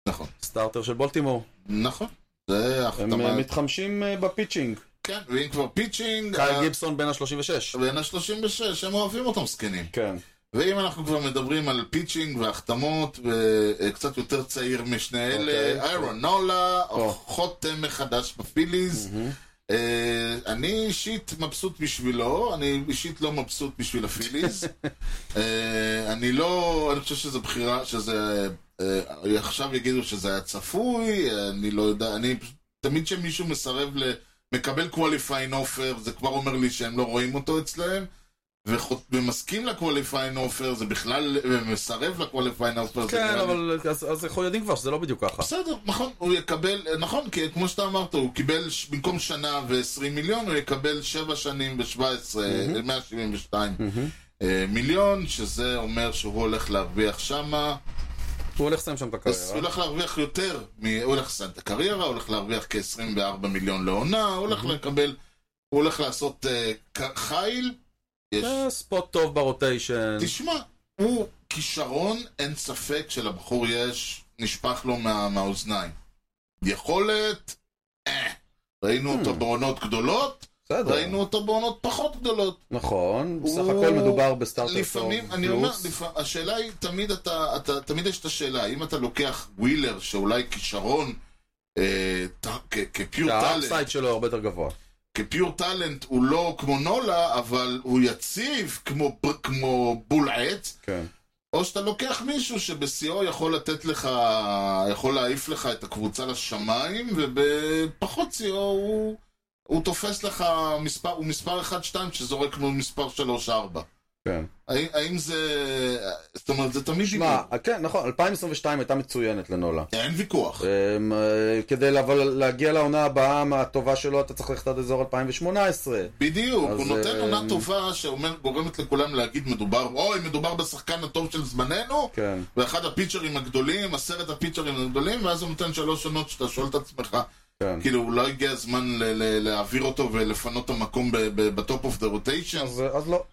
Speaker 2: נכון,
Speaker 1: סטארטר של בולטימור.
Speaker 2: נכון. זה
Speaker 1: הם
Speaker 2: החתמה.
Speaker 1: אה, מתחמשים אה, בפיצ'ינג.
Speaker 2: כן, ואם כבר פיצ'ינג,
Speaker 1: קייל
Speaker 2: אה,
Speaker 1: גיבסון בן ה-36.
Speaker 2: בין ה-36, הם אוהבים אותם זקנים.
Speaker 1: כן.
Speaker 2: ואם אנחנו כבר מדברים על פיצ'ינג והחתמות, וקצת יותר צעיר משני אלה,
Speaker 1: אוקיי.
Speaker 2: איירון נולה,
Speaker 1: או.
Speaker 2: חותם מחדש בפיליז. אה, אני אישית מבסוט בשבילו, אני אישית לא מבסוט בשביל הפיליז. אה, אני לא, אני חושב שזו בחירה, שזה, אה, עכשיו יגידו שזה היה צפוי, אה, אני לא יודע, אני פשוט- תמיד כשמישהו מסרב ל... מקבל qualifying offer, זה כבר אומר לי שהם לא רואים אותו אצלהם. וחוט- ומסכים לקווליפיין אופר, זה בכלל, ומסרב לקווליפיין אופר. זה
Speaker 1: כן,
Speaker 2: נראה לי-
Speaker 1: אבל אז- אז אנחנו יודעים כבר שזה לא בדיוק ככה.
Speaker 2: בסדר, נכון, הוא יקבל, נכון, כי כמו שאתה אמרת, הוא קיבל ש- במקום שנה ו-20 מיליון, הוא יקבל 7 שנים ב-17, 172 אה, מיליון, שזה אומר שהוא הולך להרוויח שמה,
Speaker 1: הוא הולך לסיים שם את
Speaker 2: אז הוא
Speaker 1: הקריירה.
Speaker 2: הולך להרוויח יותר, מ- הוא הולך לסיים את הקריירה, הוא הולך להרוויח כ-24 מיליון לעונה, הוא הולך לקבל, הוא הולך לעשות אה, ק- חיל, יש
Speaker 1: זה ספוט טוב ברוטיישן.
Speaker 2: תשמע, הוא כישרון, אין ספק שלבחור יש, נשפך לו מה, מהאוזניים. יכולת, אה. ראינו אותו בעונות גדולות,
Speaker 1: בסדר.
Speaker 2: ראינו אותו בעונות פחות גדולות.
Speaker 1: נכון, בסך
Speaker 2: הוא-
Speaker 1: הכל מדובר בסטארטר
Speaker 2: לפעמים, אני אומר, לפע- השאלה היא, תמיד אתה, אתה, תמיד יש את השאלה, אם אתה לוקח ווילר, שאולי כישרון, אה, ת- כ- כפיור טאלנט,
Speaker 1: שהאפסייד שלו הרבה יותר גבוה.
Speaker 2: כפיור טאלנט הוא לא כמו נולה, אבל הוא יציב כמו, פ- כמו בול עץ,
Speaker 1: כן.
Speaker 2: או שאתה לוקח מישהו שבשיאו יכול לתת לך, יכול להעיף לך את הקבוצה לשמיים, ובפחות שיאו הוא, הוא תופס לך מספר, הוא מספר 1-2 שזורק מול מספר 3-4.
Speaker 1: כן.
Speaker 2: האם, האם זה... זאת אומרת, זה תמיד...
Speaker 1: שמע, כן, נכון, 2022 הייתה מצוינת לנולה.
Speaker 2: אין ויכוח.
Speaker 1: אמ, אה, כדי לה- אבל להגיע לעונה הבאה מהטובה שלו, אתה צריך ללכת עד אזור 2018.
Speaker 2: בדיוק,
Speaker 1: אז,
Speaker 2: הוא נותן
Speaker 1: אה,
Speaker 2: עונה טובה שגורמת לכולם להגיד מדובר, אוי, מדובר בשחקן הטוב של זמננו,
Speaker 1: כן.
Speaker 2: ואחד הפיצ'רים הגדולים, עשרת הפיצ'רים הגדולים, ואז הוא נותן שלוש עונות שאתה שואל את עצמך,
Speaker 1: כן.
Speaker 2: כאילו, אולי הגיע הזמן ל- ל- להעביר אותו ולפנות את המקום בטופ אוף דה רוטיישן?
Speaker 1: אז אז לא,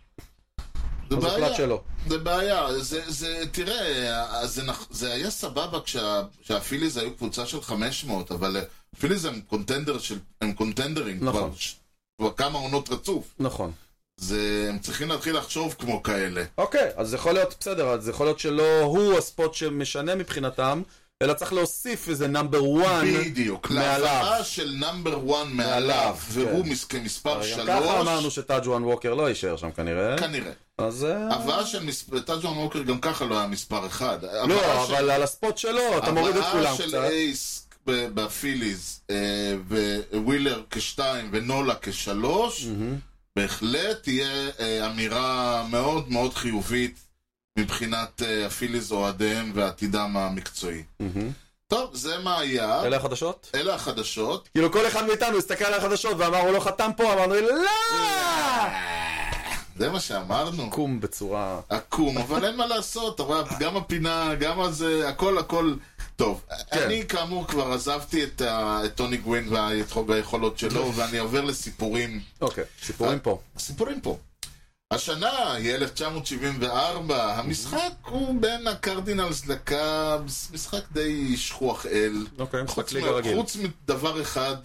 Speaker 2: זה
Speaker 1: אז
Speaker 2: בעיה.
Speaker 1: הוחלט שלא.
Speaker 2: זה בעיה. זה, זה, תראה, זה, נכ- זה היה סבבה כשה, כשהפיליז היו קבוצה של 500, אבל אה, הפיליז הם קונטנדר של, הם קונטנדרים
Speaker 1: נכון.
Speaker 2: כבר, ש- כבר כמה עונות רצוף.
Speaker 1: נכון.
Speaker 2: זה, הם צריכים להתחיל לחשוב כמו כאלה.
Speaker 1: אוקיי, אז יכול להיות, בסדר, אז יכול להיות שלא הוא הספוט שמשנה מבחינתם, אלא צריך להוסיף איזה נאמבר 1.
Speaker 2: בדיוק,
Speaker 1: מעליו.
Speaker 2: להבאה של נאמבר 1 מעליו,
Speaker 1: מעליו,
Speaker 2: והוא
Speaker 1: כן.
Speaker 2: מס- כמספר
Speaker 1: גם ככה אמרנו
Speaker 2: 3,
Speaker 1: שטאג' וואן ווקר לא יישאר שם כנראה.
Speaker 2: כנראה.
Speaker 1: אז... אה,
Speaker 2: הבאה של מספר, טאג'ון ווקר גם ככה לא היה מספר 1.
Speaker 1: לא, אבל אה, על הספוט שלו, אתה מוריד את כולם
Speaker 2: הבאה של
Speaker 1: קצת.
Speaker 2: אייס ב- בפיליז, אה, ווילר כשתיים ונולה כשלוש, בהחלט תהיה אה, אמירה מאוד מאוד חיובית מבחינת אה, הפיליז אוהדיהם ועתידם המקצועי.
Speaker 1: מהמם.
Speaker 2: טוב, זה מה היה.
Speaker 1: אלה החדשות?
Speaker 2: אלה החדשות.
Speaker 1: כאילו כל אחד מאיתנו הסתכל על החדשות ואמר הוא לא חתם פה, אמרנו לא!
Speaker 2: זה מה שאמרנו.
Speaker 1: קום בצורה...
Speaker 2: עקום, אבל אין מה לעשות, אתה רואה, גם הפינה, גם הזה, הכל הכל טוב.
Speaker 1: כן.
Speaker 2: אני כאמור כבר עזבתי את ה- את טוני גווין והיכול- והיכולות שלו, ואני עובר לסיפורים.
Speaker 1: אוקיי, סיפורים פה.
Speaker 2: סיפורים פה. השנה היא 1974, המשחק
Speaker 1: אוקיי.
Speaker 2: הוא בין הקרדינלס לקאבס, משחק די שכוח אל.
Speaker 1: אוקיי, משחק
Speaker 2: חוץ,
Speaker 1: ליגה
Speaker 2: מ-
Speaker 1: רגיל.
Speaker 2: חוץ מדבר אחד,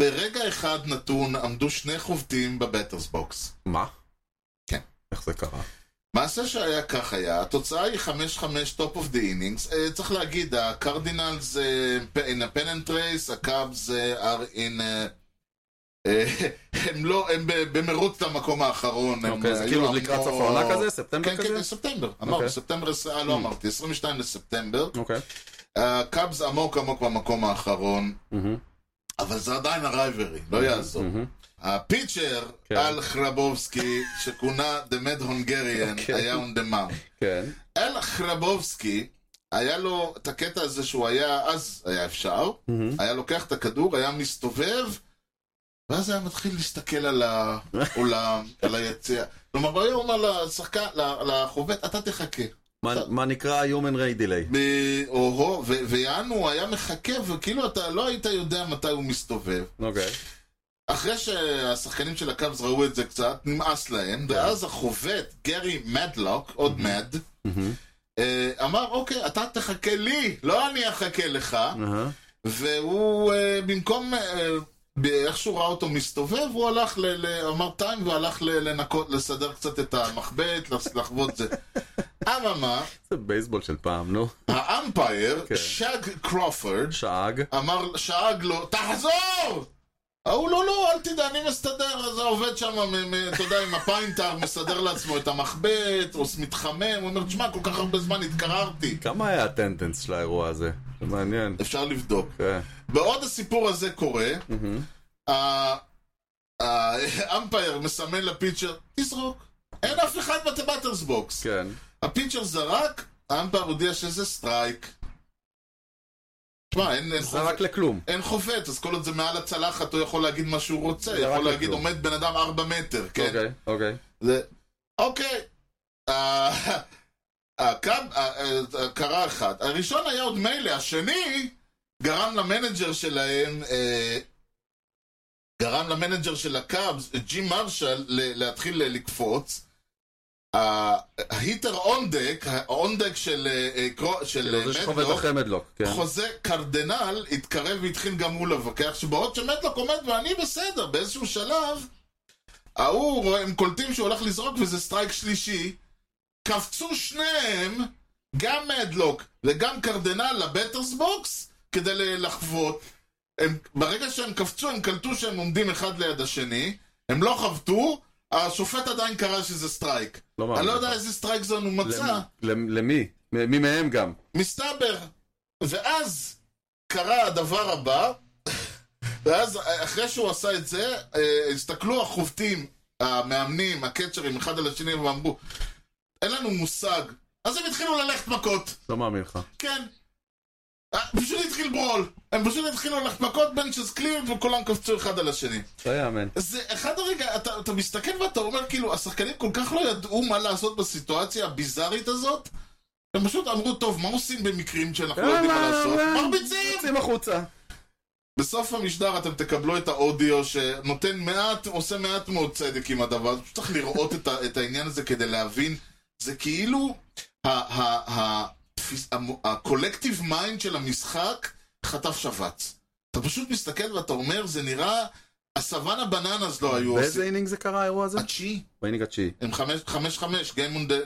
Speaker 2: ברגע אחד נתון עמדו שני חובטים בבטרס בוקס.
Speaker 1: מה?
Speaker 2: כן.
Speaker 1: איך זה קרה?
Speaker 2: מעשה שהיה כך היה, התוצאה היא 5-5 טופ אוף דה אינינגס. אה, צריך להגיד, הקרדינלס אה, פ- in a pen and trace, הקאבס אה, are in... אה, אה, הם לא, הם ב- במרוץ למקום האחרון. הם אה,
Speaker 1: אוקיי, זה
Speaker 2: היו
Speaker 1: כאילו עוד לקראת סוף
Speaker 2: המון-
Speaker 1: העונה כזה? ספטמבר
Speaker 2: כן, כן,
Speaker 1: כזה?
Speaker 2: ספטמבר. אמרתי,
Speaker 1: אוקיי.
Speaker 2: ספטמבר, עש- אה, לא אמרתי, 22 לספטמבר.
Speaker 1: אוקיי.
Speaker 2: הקאבס עמוק עמוק במקום האחרון,
Speaker 1: מהמם,
Speaker 2: אבל זה עדיין הרייברי, לא יעזור.
Speaker 1: מהמם.
Speaker 2: הפיצ'ר,
Speaker 1: Hmm. כן.
Speaker 2: אל חרבובסקי, שכונה The Mad Hungarian,
Speaker 1: אוקיי.
Speaker 2: היה on the mound.
Speaker 1: כן.
Speaker 2: אל חרבובסקי, היה לו את הקטע הזה שהוא היה, אז היה אפשר,
Speaker 1: מהמם.
Speaker 2: היה לוקח את הכדור, היה מסתובב, ואז היה מתחיל להסתכל על העולם, על היציע. כלומר, הוא היה אומר לשחקן, ל- לחובט, אתה תחכה.
Speaker 1: מה- מה נקרא Human Ray Delay.
Speaker 2: ב- או-הו, ו- ויענו, הוא היה מחכה, וכאילו אתה לא היית יודע מתי הוא מסתובב.
Speaker 1: אוקיי.
Speaker 2: אחרי שהשחקנים של הקאבס ראו את זה קצת, נמאס להם, ואז החובט, גרי מדלוק, עוד מד,
Speaker 1: מהמם.
Speaker 2: אה, אמר, אוקיי, אתה תחכה לי, לא אני אחכה לך.
Speaker 1: אהה.
Speaker 2: והוא, אה, במקום, אה, ב- איך שהוא ראה אותו מסתובב, הוא הלך, ל- ל- אמר טיים, והלך ל- לנקות, לסדר קצת את המחבט, לח- לחוות זה. אממה,
Speaker 1: זה בייסבול של פעם, נו.
Speaker 2: האמפייר,
Speaker 1: כן.
Speaker 2: שג קרופורד,
Speaker 1: שאג.
Speaker 2: אמר, שאג לו, תחזור! ההוא לא, לא, אל תדע, אני מסתדר, אז העובד שם, מ- מ- אתה יודע, עם הפיינטר, מסדר לעצמו את המחבט, או מתחמם, הוא אומר, תשמע, כל כך הרבה זמן התקררתי.
Speaker 1: כמה היה הטנדנס של האירוע הזה? זה מעניין.
Speaker 2: אפשר לבדוק.
Speaker 1: כן.
Speaker 2: בעוד הסיפור הזה קורה,
Speaker 1: מהמם.
Speaker 2: ה- האמפייר מסמן לפיצ'ר, תזרוק. אין אף אחד בבטרס בוקס.
Speaker 1: כן.
Speaker 2: הפיצ'ר זרק, האמפייר הודיע שזה סטרייק. תשמע, אין אין
Speaker 1: זה
Speaker 2: חובט.
Speaker 1: רק לכלום.
Speaker 2: אין חובט, אז כל עוד זה מעל הצלחת, הוא יכול להגיד מה שהוא רוצה.
Speaker 1: זה רק
Speaker 2: יכול להגיד,
Speaker 1: לכלום.
Speaker 2: עומד בן אדם ארבע מטר, כן?
Speaker 1: אוקיי, אוקיי.
Speaker 2: זה... אוקיי. אה, הקאב- אה, אה, קרה אחת. הראשון היה עוד מילא, השני גרם למנג'ר שלהם, אה, גרם למנג'ר של הקאבס, ג'י מרשל, ל- להתחיל לקפוץ. ההיטר אונדק, האונדק של אה, אה, קרו- של
Speaker 1: כאילו,
Speaker 2: אה,
Speaker 1: זה שחובד
Speaker 2: מדלוק,
Speaker 1: אחרי מדלוק, כן.
Speaker 2: חוזה קרדנל התקרב והתחיל גם הוא לבקח, שבעוד שמדלוק עומד ואני בסדר, באיזשהו שלב, ההוא, רואה- הם קולטים שהוא הולך לזרוק וזה סטרייק שלישי, קפצו שניהם, גם מדלוק וגם קרדנל לבטרס בוקס, כדי ל- לחוות. הם, ברגע שהם קפצו, הם קלטו שהם עומדים אחד ליד השני, הם לא חבטו, השופט עדיין קרא שזה סטרייק.
Speaker 1: לא מאמין
Speaker 2: אני לא
Speaker 1: לך.
Speaker 2: יודע איזה סטרייק זון הוא מצא.
Speaker 1: למ- למי? מ- מי מהם גם?
Speaker 2: מסתבר. ואז קרה הדבר הבא, ואז אחרי שהוא עשה את זה, אה, הסתכלו החובטים, המאמנים, הקצ'רים, אחד על השני, ואמרו, אין לנו מושג. אז הם התחילו ללכת מכות,
Speaker 1: לא מאמין לך.
Speaker 2: כן. אה, פשוט התחיל ברול. הם פשוט התחילו ללכת מכות בין שזקלין וכולם קפצו אחד על השני.
Speaker 1: לא יאמן.
Speaker 2: זה אחד הרגע, אתה, אתה מסתכל ואתה אומר כאילו, השחקנים כל כך לא ידעו מה לעשות בסיטואציה הביזארית הזאת, הם פשוט אמרו, טוב, מה עושים במקרים שאנחנו לא יודעים מה לעשות? מרביצים!
Speaker 1: אה, יוצאים החוצה.
Speaker 2: בסוף המשדר אתם תקבלו את האודיו שנותן מעט, עושה מעט מאוד צדק עם הדבר הזה, פשוט צריך לראות את, ה, את העניין הזה כדי להבין, זה כאילו ה- ה- ה- תפיס- המ- הקולקטיב מיינד של המשחק חטף שבץ. אתה פשוט מסתכל ואתה אומר, זה נראה, הסוואנה בננז לא היו
Speaker 1: באיזה
Speaker 2: עושים.
Speaker 1: אינינג זה קרה האירוע הזה?
Speaker 2: התשיעי.
Speaker 1: באינינג התשיעי.
Speaker 2: הם חמש- חמש חמש,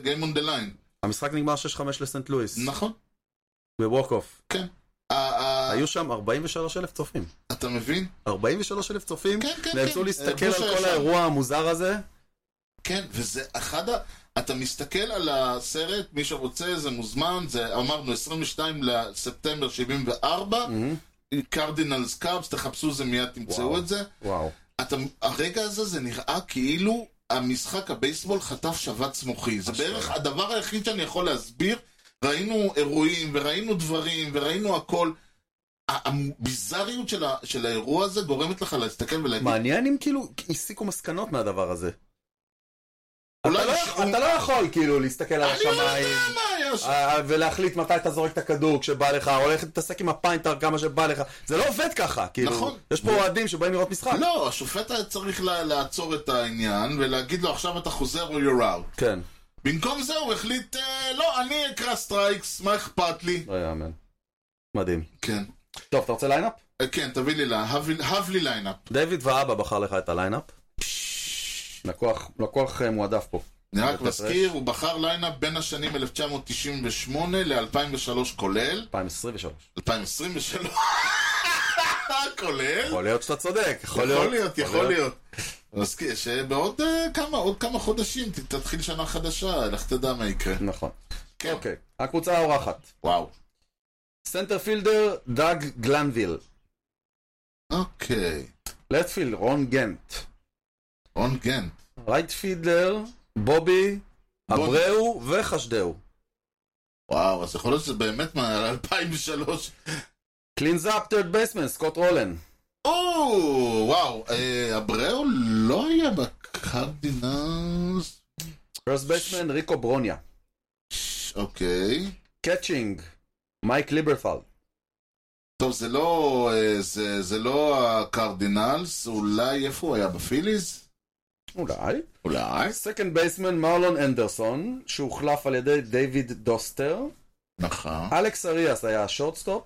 Speaker 2: גיים און דה ליין.
Speaker 1: המשחק נגמר 6-5 לסנט לואיס.
Speaker 2: נכון. אה.
Speaker 1: בווק אוף.
Speaker 2: ה- ה-
Speaker 1: היו שם 43 אלף צופים.
Speaker 2: אתה מבין?
Speaker 1: 43 אלף צופים?
Speaker 2: כן, כן,
Speaker 1: נאלצו
Speaker 2: כן.
Speaker 1: להסתכל
Speaker 2: בוש
Speaker 1: על
Speaker 2: הישן.
Speaker 1: כל האירוע המוזר הזה?
Speaker 2: כן, וזה אחד ה... אתה מסתכל על הסרט, מי שרוצה זה מוזמן, זה אמרנו 22 לספטמבר 74, קרדינלס קאבס, תחפשו זה מיד תמצאו
Speaker 1: Mm. וואו.
Speaker 2: את זה.
Speaker 1: וואו.
Speaker 2: אתה, הרגע הזה זה נראה כאילו המשחק הבייסבול חטף שבץ מוחי. זה בערך הדבר היחיד שאני יכול להסביר. ראינו אירועים, וראינו דברים, וראינו הכל. ה- הביזאריות של, ה, של האירוע הזה גורמת לך להסתכל ולהגיד,
Speaker 1: מעניין אם כאילו הסיקו מסקנות מהדבר הזה.
Speaker 2: אולי
Speaker 1: אתה לא-
Speaker 2: שהוא-
Speaker 1: אתה לא יכול כאילו להסתכל על
Speaker 2: אני לא
Speaker 1: השמיים.
Speaker 2: יודע מה היה שם.
Speaker 1: אה, ולהחליט מתי אתה זורק את הכדור כשבא לך, או הולך להתעסק עם הפיינטר כמה שבא לך. זה לא עובד ככה, כאילו.
Speaker 2: נכון.
Speaker 1: יש פה אוהדים שבאים לראות משחק.
Speaker 2: לא, השופט היה צריך לה, לעצור את העניין ולהגיד לו עכשיו אתה חוזר או you're out.
Speaker 1: כן,
Speaker 2: במקום זה הוא החליט, "אה, לא, אני אקרא סטרייקס, מה אכפת לי?
Speaker 1: לא יאמן. מדהים.
Speaker 2: כן,
Speaker 1: טוב, אתה רוצה ליינאפ?
Speaker 2: אה, כן, תביא לי, לה- הב לי- הב לי ליינאפ.
Speaker 1: דיוויד ואבא בחר לך את הליינאפ. לקוח, לקוח אה, מועדף פה.
Speaker 2: אני רק
Speaker 1: אתה
Speaker 2: מזכיר, הוא בחר ליינאפ בין השנים 1998 ל-2003 כולל,
Speaker 1: 2023.
Speaker 2: 2023 כולל,
Speaker 1: יכול להיות שאתה צודק, יכול להיות.
Speaker 2: יכול להיות, יכול להיות. מזכיר שבעוד אה, כמה, עוד כמה חודשים ת- תתחיל שנה חדשה, לך תדע מה יקרה.
Speaker 1: נכון.
Speaker 2: כן,
Speaker 1: אוקיי, הקבוצה האורחת.
Speaker 2: וואו.
Speaker 1: סנטרפילדר דאג גלנביל.
Speaker 2: אוקיי,
Speaker 1: לטפילד רון גנט.
Speaker 2: רון גנט.
Speaker 1: רייט פידלר, בובי, אברהו וחשדהו.
Speaker 2: וואו, אז יכול להיות שזה באמת מה-2003.
Speaker 1: קלינס אפ טרד בייסמן, סקוט רולן.
Speaker 2: או, וואו, אה, אבראו לא היה בקרדינלס.
Speaker 1: פרס בייסמן, ריקו ברוניה.
Speaker 2: ש- אוקיי.
Speaker 1: קאצ'ינג, מייק ליברפל.
Speaker 2: טוב, זה לא, אה, זה, זה לא הקרדינלס, אולי איפה הוא היה? בפיליז?
Speaker 1: אולי.
Speaker 2: אולי.
Speaker 1: סקנד בייסמן, מרלון אנדרסון, שהוחלף על ידי דיוויד דוסטר.
Speaker 2: נכון.
Speaker 1: אלכס אריאס היה השורטסטופ.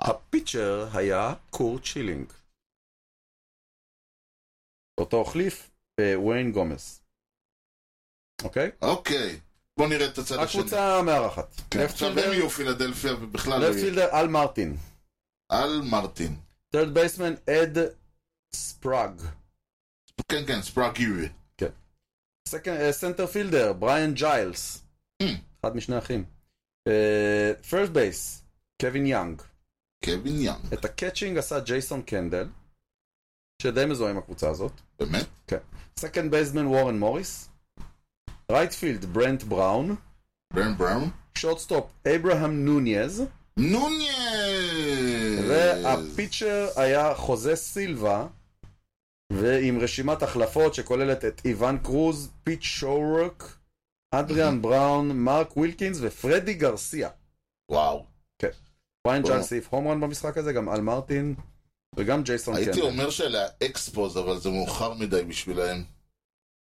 Speaker 1: הפיצ'ר היה קורט שילינג. אותו החליף, אה, וויין גומס. אוקיי?
Speaker 2: אוקיי, בוא נראה את הצד השני.
Speaker 1: הקבוצה המארחת.
Speaker 2: כן, עכשיו הם
Speaker 1: לפטפילדר-
Speaker 2: יהיו פילדלפיה ובכלל לא יהיו.
Speaker 1: לפטפילדר אל מרטין.
Speaker 2: על מרטין.
Speaker 1: טרד בייסמן אד ספראג.
Speaker 2: כן, כן, ספראק יורי.
Speaker 1: סנטר פילדר אה, בריאן ג'יילס.
Speaker 2: Hmm.
Speaker 1: אחד משני אחים. פרסט בייס קווין יאנג.
Speaker 2: קווין יאנג,
Speaker 1: את הקאצ'ינג עשה ג'ייסון קנדל. שדי מזוהה עם הקבוצה הזאת.
Speaker 2: באמת?
Speaker 1: כן. סקנד בייסמן וורן מוריס. רייטפילד ברנט בראון.
Speaker 2: ברן בראון?
Speaker 1: שורטסטופ אברהם נוניז.
Speaker 2: נוניאז!
Speaker 1: והפיצ'ר היה חוזה סילבה, ועם רשימת החלפות שכוללת את איוון קרוז, פיט שורק, אדריאן בראון, מרק ווילקינס ופרדי גרסיה.
Speaker 2: וואו.
Speaker 1: פיין
Speaker 2: וואו.
Speaker 1: ג'אנס העיף הום רן במשחק הזה, גם אל מרטין, וגם ג'ייסון
Speaker 2: הייתי
Speaker 1: קנדל.
Speaker 2: אומר שאלה אקספוז, אבל זה מאוחר מדי בשבילהם. כי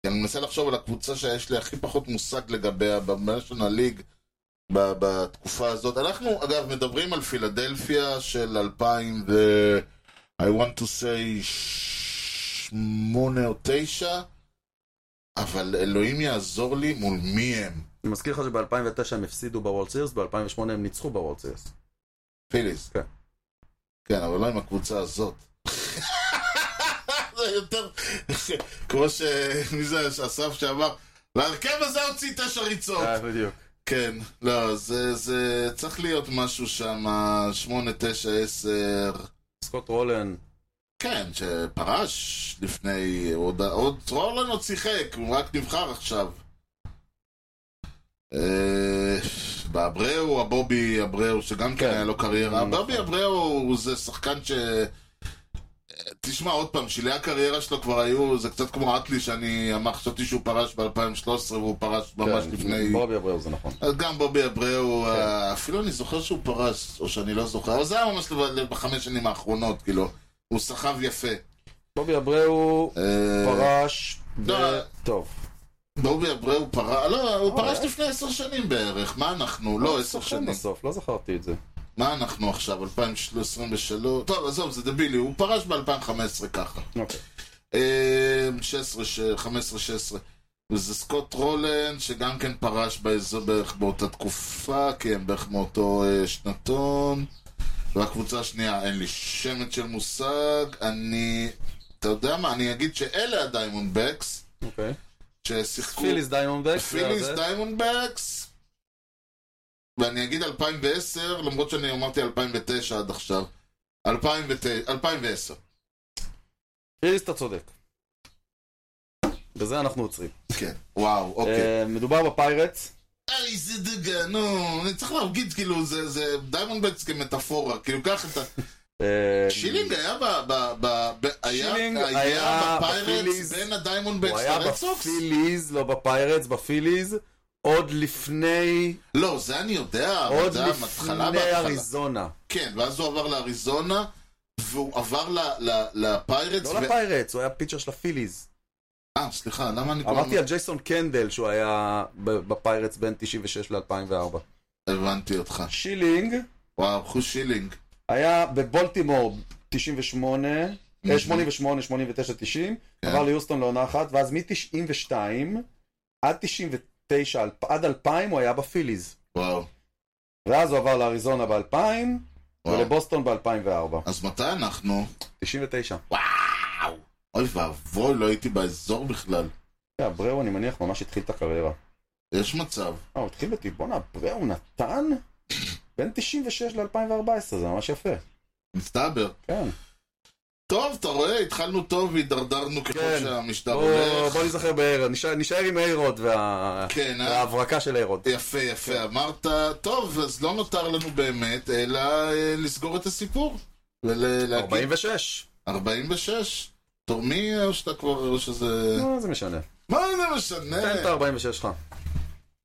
Speaker 2: כי אני מנסה לחשוב על הקבוצה שיש לי הכי פחות מושג לגביה בנשיונל ליג ב- בתקופה הזאת. אנחנו, אגב, מדברים על פילדלפיה של 2000 ו... I want to say שמונה או תשע, אבל אלוהים יעזור לי מול מי הם.
Speaker 1: אני מזכיר לך שב-2009 הם הפסידו בוולד סירס, ב-2008 הם ניצחו בוולד סירס.
Speaker 2: פיליס.
Speaker 1: כן.
Speaker 2: כן, אבל לא עם הקבוצה הזאת. זה יותר... כמו ש... מי זה שאסף שאמר? להרכב הזה הוציא תשע ריצות.
Speaker 1: בדיוק.
Speaker 2: כן, לא, זה, זה צריך להיות משהו שם, שמונה, תשע, עשר.
Speaker 1: סקוט רולן,
Speaker 2: כן, שפרש לפני... עוד, עוד רולן עוד שיחק, הוא רק נבחר עכשיו. אה, באברהו, הבובי אברהו, שגם כן
Speaker 1: כן.
Speaker 2: היה לו קריירה.
Speaker 1: נכון.
Speaker 2: הבובי אברהו הוא זה שחקן ש... תשמע עוד פעם, שלהי הקריירה שלו כבר היו, זה קצת כמו אטלי שאני אמר, חשבתי שהוא פרש ב-2013 והוא פרש ממש
Speaker 1: כן,
Speaker 2: לפני...
Speaker 1: בובי אברהו זה נכון.
Speaker 2: אז גם בובי אברהו, אה, אפילו אני זוכר שהוא פרש, או שאני לא זוכר, אבל זה היה ממש לבד- בחמש שנים האחרונות, כאילו, הוא סחב יפה.
Speaker 1: בובי אברהו
Speaker 2: אה,
Speaker 1: פרש, ב-
Speaker 2: לא.
Speaker 1: טוב,
Speaker 2: בובי אברהו פרש, לא, הוא
Speaker 1: אוקיי.
Speaker 2: פרש לפני עשר שנים בערך, מה אנחנו? לא עשר
Speaker 1: סוכן
Speaker 2: שנים.
Speaker 1: בסוף, לא זכרתי את זה.
Speaker 2: מה אנחנו עכשיו, 2023? טוב, עזוב, זה דבילי, הוא פרש ב-2015 ככה.
Speaker 1: אוקיי.
Speaker 2: אה, 16, ש- 15, 16. וזה סקוט רולן, שגם כן פרש באזור בערך באותה תקופה, כי הם בערך מאותו אה, שנתון. והקבוצה השנייה, אין לי שמץ של מושג. אני, אתה יודע מה, אני אגיד שאלה הדיימונדבקס,
Speaker 1: אוקיי.
Speaker 2: ששיחקו...
Speaker 1: פיליס דיימונדבק.
Speaker 2: פיליס דיימונדבקס. ואני אגיד 2010, למרות שאני אמרתי 2009 עד עכשיו. 2009, 2010.
Speaker 1: פיליס אתה צודק. בזה אנחנו עוצרים.
Speaker 2: כן. וואו, אוקיי.
Speaker 1: אה, מדובר בפיירטס.
Speaker 2: היי, זה דגה, נו, אני צריך להגיד, כאילו, זה, זה דיימונדבקס כמטאפורה, כאילו, קח את ה...
Speaker 1: אה,
Speaker 2: שילינג היה ב... ב, ב, ב היה,
Speaker 1: שילינג
Speaker 2: היה,
Speaker 1: היה
Speaker 2: בפיירטס
Speaker 1: בפיליז.
Speaker 2: בין
Speaker 1: הוא
Speaker 2: הדיימונדבקס
Speaker 1: היה
Speaker 2: לרד סוקס?
Speaker 1: בפיליז, לא בפיירטס, בפיליז, עוד לפני,
Speaker 2: לא, זה אני יודע, אבל
Speaker 1: עוד
Speaker 2: זה היה מתחלה
Speaker 1: לפני
Speaker 2: בהתחלה.
Speaker 1: אריזונה.
Speaker 2: כן, ואז הוא עבר לאריזונה, והוא עבר ל- ל- לפיירטס.
Speaker 1: לא
Speaker 2: ו-
Speaker 1: לפיירטס, הוא היה פיצ'ר של הפיליז.
Speaker 2: אה, סליחה, למה אני... כל
Speaker 1: אמרתי
Speaker 2: הזמן-
Speaker 1: על ג'ייסון קנדל שהוא היה ב- בפיירטס בין 96 ל-2004.
Speaker 2: הבנתי אותך.
Speaker 1: שילינג
Speaker 2: וואו, חוש שילינג.
Speaker 1: היה בבולטימור 98, אה, 88, 89, 90,
Speaker 2: כן.
Speaker 1: עבר ליוסטון לעונה אחת, ואז מ-92 עד 99, אלפ- עד 2000 הוא היה בפיליז.
Speaker 2: וואו.
Speaker 1: ואז הוא עבר לאריזונה ב-2000,
Speaker 2: וואו.
Speaker 1: ולבוסטון ב-2004.
Speaker 2: אז מתי אנחנו?
Speaker 1: 99.
Speaker 2: וואו! אוי ואבוי, לא הייתי באזור בכלל.
Speaker 1: כן, אבראו אני מניח ממש התחיל את הקריירה.
Speaker 2: יש מצב.
Speaker 1: אה, הוא התחיל בטיבונה, אבראו נתן? בין 96 ל-2014, זה ממש יפה.
Speaker 2: מסתבר.
Speaker 1: כן.
Speaker 2: טוב, אתה רואה, התחלנו טוב והידרדרנו ככל
Speaker 1: כן.
Speaker 2: שהמשטר
Speaker 1: בוא
Speaker 2: הולך.
Speaker 1: בוא ניזכר באיירוד, נשאר- נשאר עם איירוד וה-
Speaker 2: כן, אה?
Speaker 1: וההברקה של איירוד.
Speaker 2: יפה, יפה, אמרת. טוב, אז לא נותר לנו באמת, אלא אה, לסגור את הסיפור. ולהגיד
Speaker 1: 46.
Speaker 2: 46. תורמי או אה, שאתה כבר, או שזה...
Speaker 1: מה אה, זה משנה?
Speaker 2: מה זה
Speaker 1: תן את
Speaker 2: משנה?
Speaker 1: ה-46 שלך.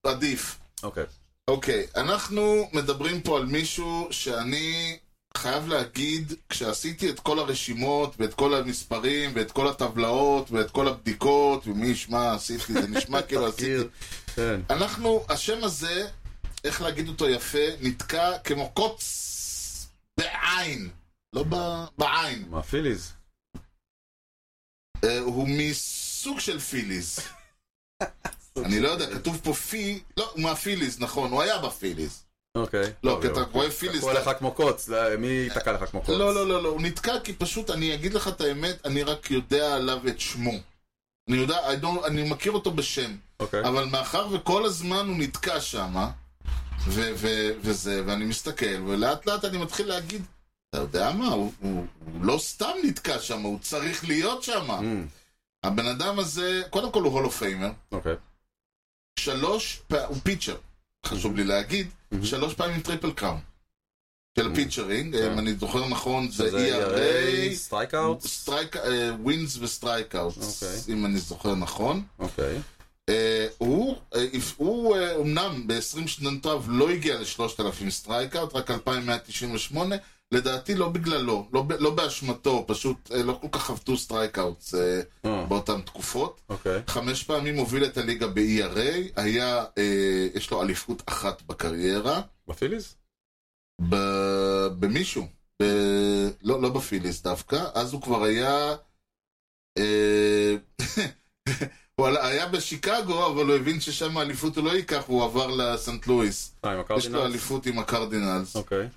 Speaker 2: עדיף.
Speaker 1: אוקיי.
Speaker 2: אוקיי, אנחנו מדברים פה על מישהו שאני חייב להגיד, כשעשיתי את כל הרשימות, ואת כל המספרים, ואת כל הטבלאות, ואת כל הבדיקות, ומי ישמע, עשיתי, זה נשמע כאילו עשיתי.
Speaker 1: תכיר. כן.
Speaker 2: אנחנו, השם הזה, איך להגיד אותו יפה, נתקע כמו קוץ בעין. לא ב... בעין.
Speaker 1: מה, פיליז?
Speaker 2: אה, הוא מסוג של פיליז. אני לא יודע, כתוב פה פי... לא, הוא מהפיליז, נכון, הוא היה בפיליז.
Speaker 1: אוקיי.
Speaker 2: לא, כי אתה
Speaker 1: אוקיי.
Speaker 2: רואה פיליז.
Speaker 1: תקוע
Speaker 2: אתה-
Speaker 1: לך כמו קוץ, לא, מי ייתקע לך כמו קוץ?
Speaker 2: לא, לא, לא, לא, הוא נתקע כי פשוט, אני אגיד לך את האמת, אני רק יודע עליו את שמו. אני יודע, I don't, אני מכיר אותו בשם,
Speaker 1: אוקיי.
Speaker 2: אבל מאחר וכל הזמן הוא נתקע שם, ו- ו- וזה, ואני מסתכל, ולאט לאט אני מתחיל להגיד, אתה יודע מה, הוא, הוא, הוא לא סתם נתקע שם, הוא צריך להיות שם.
Speaker 1: אמ,
Speaker 2: הבן אדם הזה, קודם כל הוא הולו פיימר,
Speaker 1: אוקיי.
Speaker 2: שלוש פעמים, הוא פיצ'ר, חשוב לי להגיד, שלוש פעמים טריפל קראון. של הפיצ'רינג, אם אני זוכר נכון, זה
Speaker 1: זה
Speaker 2: ERA,
Speaker 1: ERA, סטרייקאוט?
Speaker 2: סטרייק, ווינס וסטרייקאוטס,
Speaker 1: אוקיי.
Speaker 2: אה, אם אני זוכר נכון.
Speaker 1: אוקיי.
Speaker 2: אה, הוא, אה, if- הוא אה, אומנם ב-20 שנותיו לא הגיע ל-3,000 סטרייקאוט, רק 2,198, לדעתי לא בגללו, לא, ב- לא באשמתו, פשוט אה, לא כל כך חבטו סטרייקאוטס אה,
Speaker 1: אה,
Speaker 2: באותן תקופות.
Speaker 1: אוקיי.
Speaker 2: חמש פעמים הוביל את הליגה ב-ERA, היה, אה, יש לו אליפות אחת בקריירה,
Speaker 1: בפיליז?
Speaker 2: ב... במישהו, ב... לא, לא בפיליס דווקא, אז הוא כבר היה... אה, הוא עלה- היה בשיקגו, אבל הוא הבין ששם האליפות הוא לא ייקח, והוא עבר לסנט לואיס.
Speaker 1: אה, עם
Speaker 2: יש לו
Speaker 1: הקרדינלס?
Speaker 2: אליפות עם הקרדינלס.
Speaker 1: אוקיי.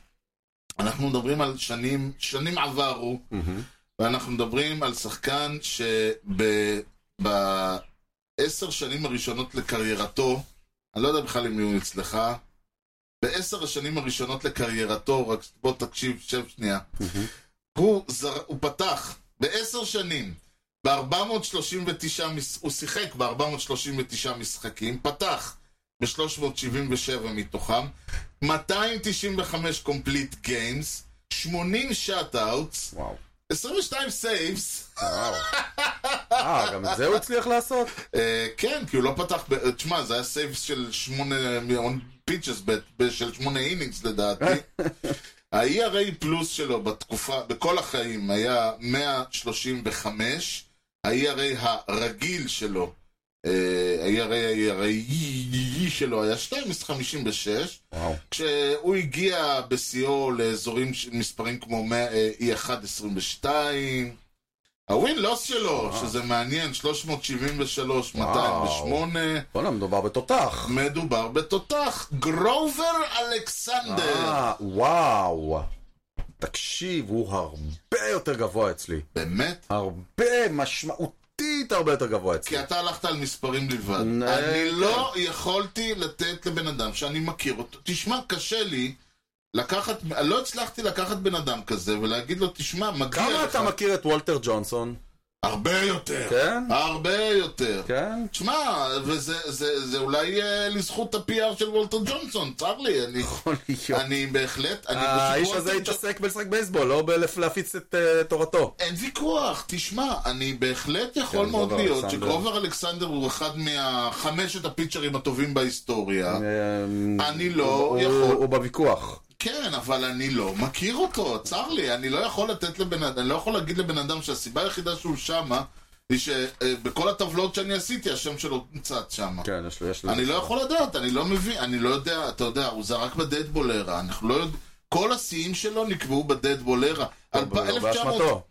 Speaker 2: אנחנו מדברים על שנים, שנים עברו,
Speaker 1: מהמם.
Speaker 2: ואנחנו מדברים על שחקן שבעשר שנים הראשונות לקריירתו, אני לא יודע בכלל אם הוא אצלך, בעשר השנים הראשונות לקריירתו, רק בוא תקשיב, שב שנייה, הוא, זר, הוא פתח בעשר שנים, ב-439, הוא שיחק ב-439 משחקים, פתח ב-377 מתוכם, 295 קומפליט גיימס, 80 שאט-אוטס,
Speaker 1: וואו.
Speaker 2: 22 סייבס,
Speaker 1: וואו. אה, גם את זה הוא הצליח לעשות?
Speaker 2: אה, כן, כי הוא לא פתח, ב- תשמע, זה היה סייב של שמונה פיצ'ס, של שמונה אינינגס לדעתי. ה-ERA פלוס שלו בתקופה, בכל החיים, היה 135. ה-ERA הרגיל שלו, אה, ה-ERA ה-ERA שלו היה 2.56.
Speaker 1: וואו.
Speaker 2: כשהוא הגיע בשיאו לאזורים, ש- מספרים כמו מאה, אה, E1-22, הווין-לוס שלו, שזה מעניין, 373,
Speaker 1: אה. וואו.
Speaker 2: 208,
Speaker 1: בואנה, מדובר בתותח.
Speaker 2: מדובר בתותח, גרובר אלכסנדר.
Speaker 1: אה, וואו. תקשיב, הוא הרבה יותר גבוה אצלי.
Speaker 2: באמת?
Speaker 1: הרבה משמעותית הרבה יותר גבוה אצלי.
Speaker 2: כי אתה הלכת על מספרים לבד.
Speaker 1: נ-
Speaker 2: אני לא יכולתי לתת לבן אדם שאני מכיר אותו. תשמע, קשה לי לקחת, לא הצלחתי לקחת בן אדם כזה ולהגיד לו, תשמע, מגיע
Speaker 1: כמה
Speaker 2: לך.
Speaker 1: אתה מכיר את וולטר ג'ונסון?
Speaker 2: הרבה יותר.
Speaker 1: כן?
Speaker 2: הרבה יותר.
Speaker 1: כן?
Speaker 2: תשמע, וזה זה, זה אולי אה, לזכות ה-PR של וולטר ג'ונסון, צר לי, אני,
Speaker 1: יכול להיות.
Speaker 2: אני בהחלט, אני פשוט
Speaker 1: אוקיי. האיש
Speaker 2: וולטר
Speaker 1: הזה
Speaker 2: ג'ון-
Speaker 1: התעסק בלשחק בייסבול, לא בלהפיץ את אה, תורתו.
Speaker 2: אין ויכוח, תשמע, אני בהחלט יכול
Speaker 1: כן,
Speaker 2: מאוד
Speaker 1: גרובר
Speaker 2: להיות
Speaker 1: אלכסנדר.
Speaker 2: שגרובר אלכסנדר הוא אחד מהחמשת הפיצ'רים הטובים בהיסטוריה.
Speaker 1: אה,
Speaker 2: אני לא
Speaker 1: הוא-
Speaker 2: יכול.
Speaker 1: הוא- הוא בוויכוח.
Speaker 2: כן, אבל אני לא מכיר אותו, צר לי, אני לא יכול לתת לבן אדם, אני לא יכול להגיד לבן אדם שהסיבה היחידה שהוא שמה, היא שבכל הטבלאות שאני עשיתי, השם שלו נמצא שמה.
Speaker 1: כן, יש לו, יש לו.
Speaker 2: אני לא יכול לדעת, אני לא מבין, אני לא יודע, אתה יודע, הוא זרק בדדבול ארה, אנחנו לא יודעים, כל השיאים שלו נקבעו בדדבול ארה. אלפ-
Speaker 1: אבל לא
Speaker 2: 1900
Speaker 1: באשמתו.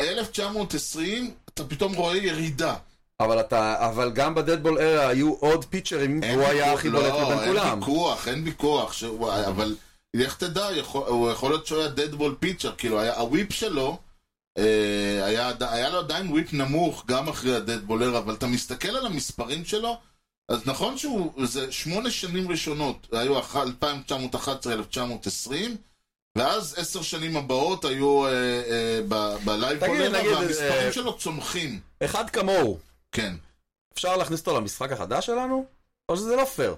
Speaker 2: 1920, אתה פתאום רואה ירידה.
Speaker 1: אבל אתה, אבל גם בדדבול ארה היו עוד פיצ'רים,
Speaker 2: אין
Speaker 1: והוא היה
Speaker 2: ויכוח-
Speaker 1: הכי בולט
Speaker 2: לא,
Speaker 1: מבין
Speaker 2: אין
Speaker 1: כולם.
Speaker 2: ויכוח, אין ויכוח, שהוא- אבל לך תדע, יכול- הוא יכול להיות שהוא היה דדבול פיצ'ר, כאילו היה- הוויפ שלו, אה, היה עד- היה לו עדיין וויפ נמוך גם אחרי הדדבולר, אבל אתה מסתכל על המספרים שלו, אז נכון שהוא, זה שמונה שנים ראשונות, היו 1911-1920, ואז עשר שנים הבאות היו אה, אה, ב- בלייב
Speaker 1: תגיד,
Speaker 2: בולר,
Speaker 1: נגיד,
Speaker 2: והמספרים
Speaker 1: אה,
Speaker 2: שלו צומחים,
Speaker 1: אחד כמוהו,
Speaker 2: כן.
Speaker 1: אפשר להכניס אותו למשחק החדש שלנו? או שזה לא פייר?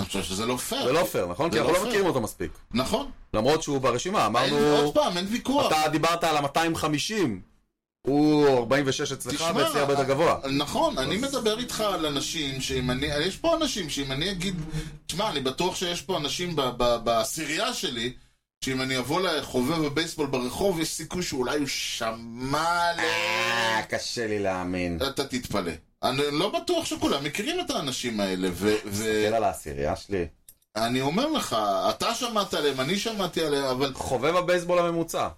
Speaker 2: אני חושב שזה לא פייר.
Speaker 1: זה לא פייר, נכון?
Speaker 2: זה
Speaker 1: כי אנחנו
Speaker 2: לא
Speaker 1: לא
Speaker 2: פייר.
Speaker 1: מכירים אותו מספיק.
Speaker 2: נכון.
Speaker 1: למרות שהוא ברשימה,
Speaker 2: אין, עוד
Speaker 1: אמרנו...
Speaker 2: פעם, אין ויכוח.
Speaker 1: אתה דיברת על ה-250, הוא 46 אצלך,
Speaker 2: תשמע,
Speaker 1: ואצלי הרבה יותר גבוה.
Speaker 2: נכון, אני מדבר איתך על אנשים שאם אני, יש פה אנשים שאם אני אגיד, תשמע, אני בטוח שיש פה אנשים ב- ב- בעשירייה שלי, שאם אני אבוא לחובב הבייסבול ברחוב, יש סיכוי שאולי הוא שמע ל...
Speaker 1: אה, קשה לי להאמין.
Speaker 2: אתה תתפלא. אני לא בטוח שכולם מכירים את האנשים האלה,
Speaker 1: תסתכל על העשירייה שלי.
Speaker 2: ואני אומר לך, אתה שמעת עליהם, אני שמעתי עליהם, אבל
Speaker 1: חובב הבייסבול הממוצע.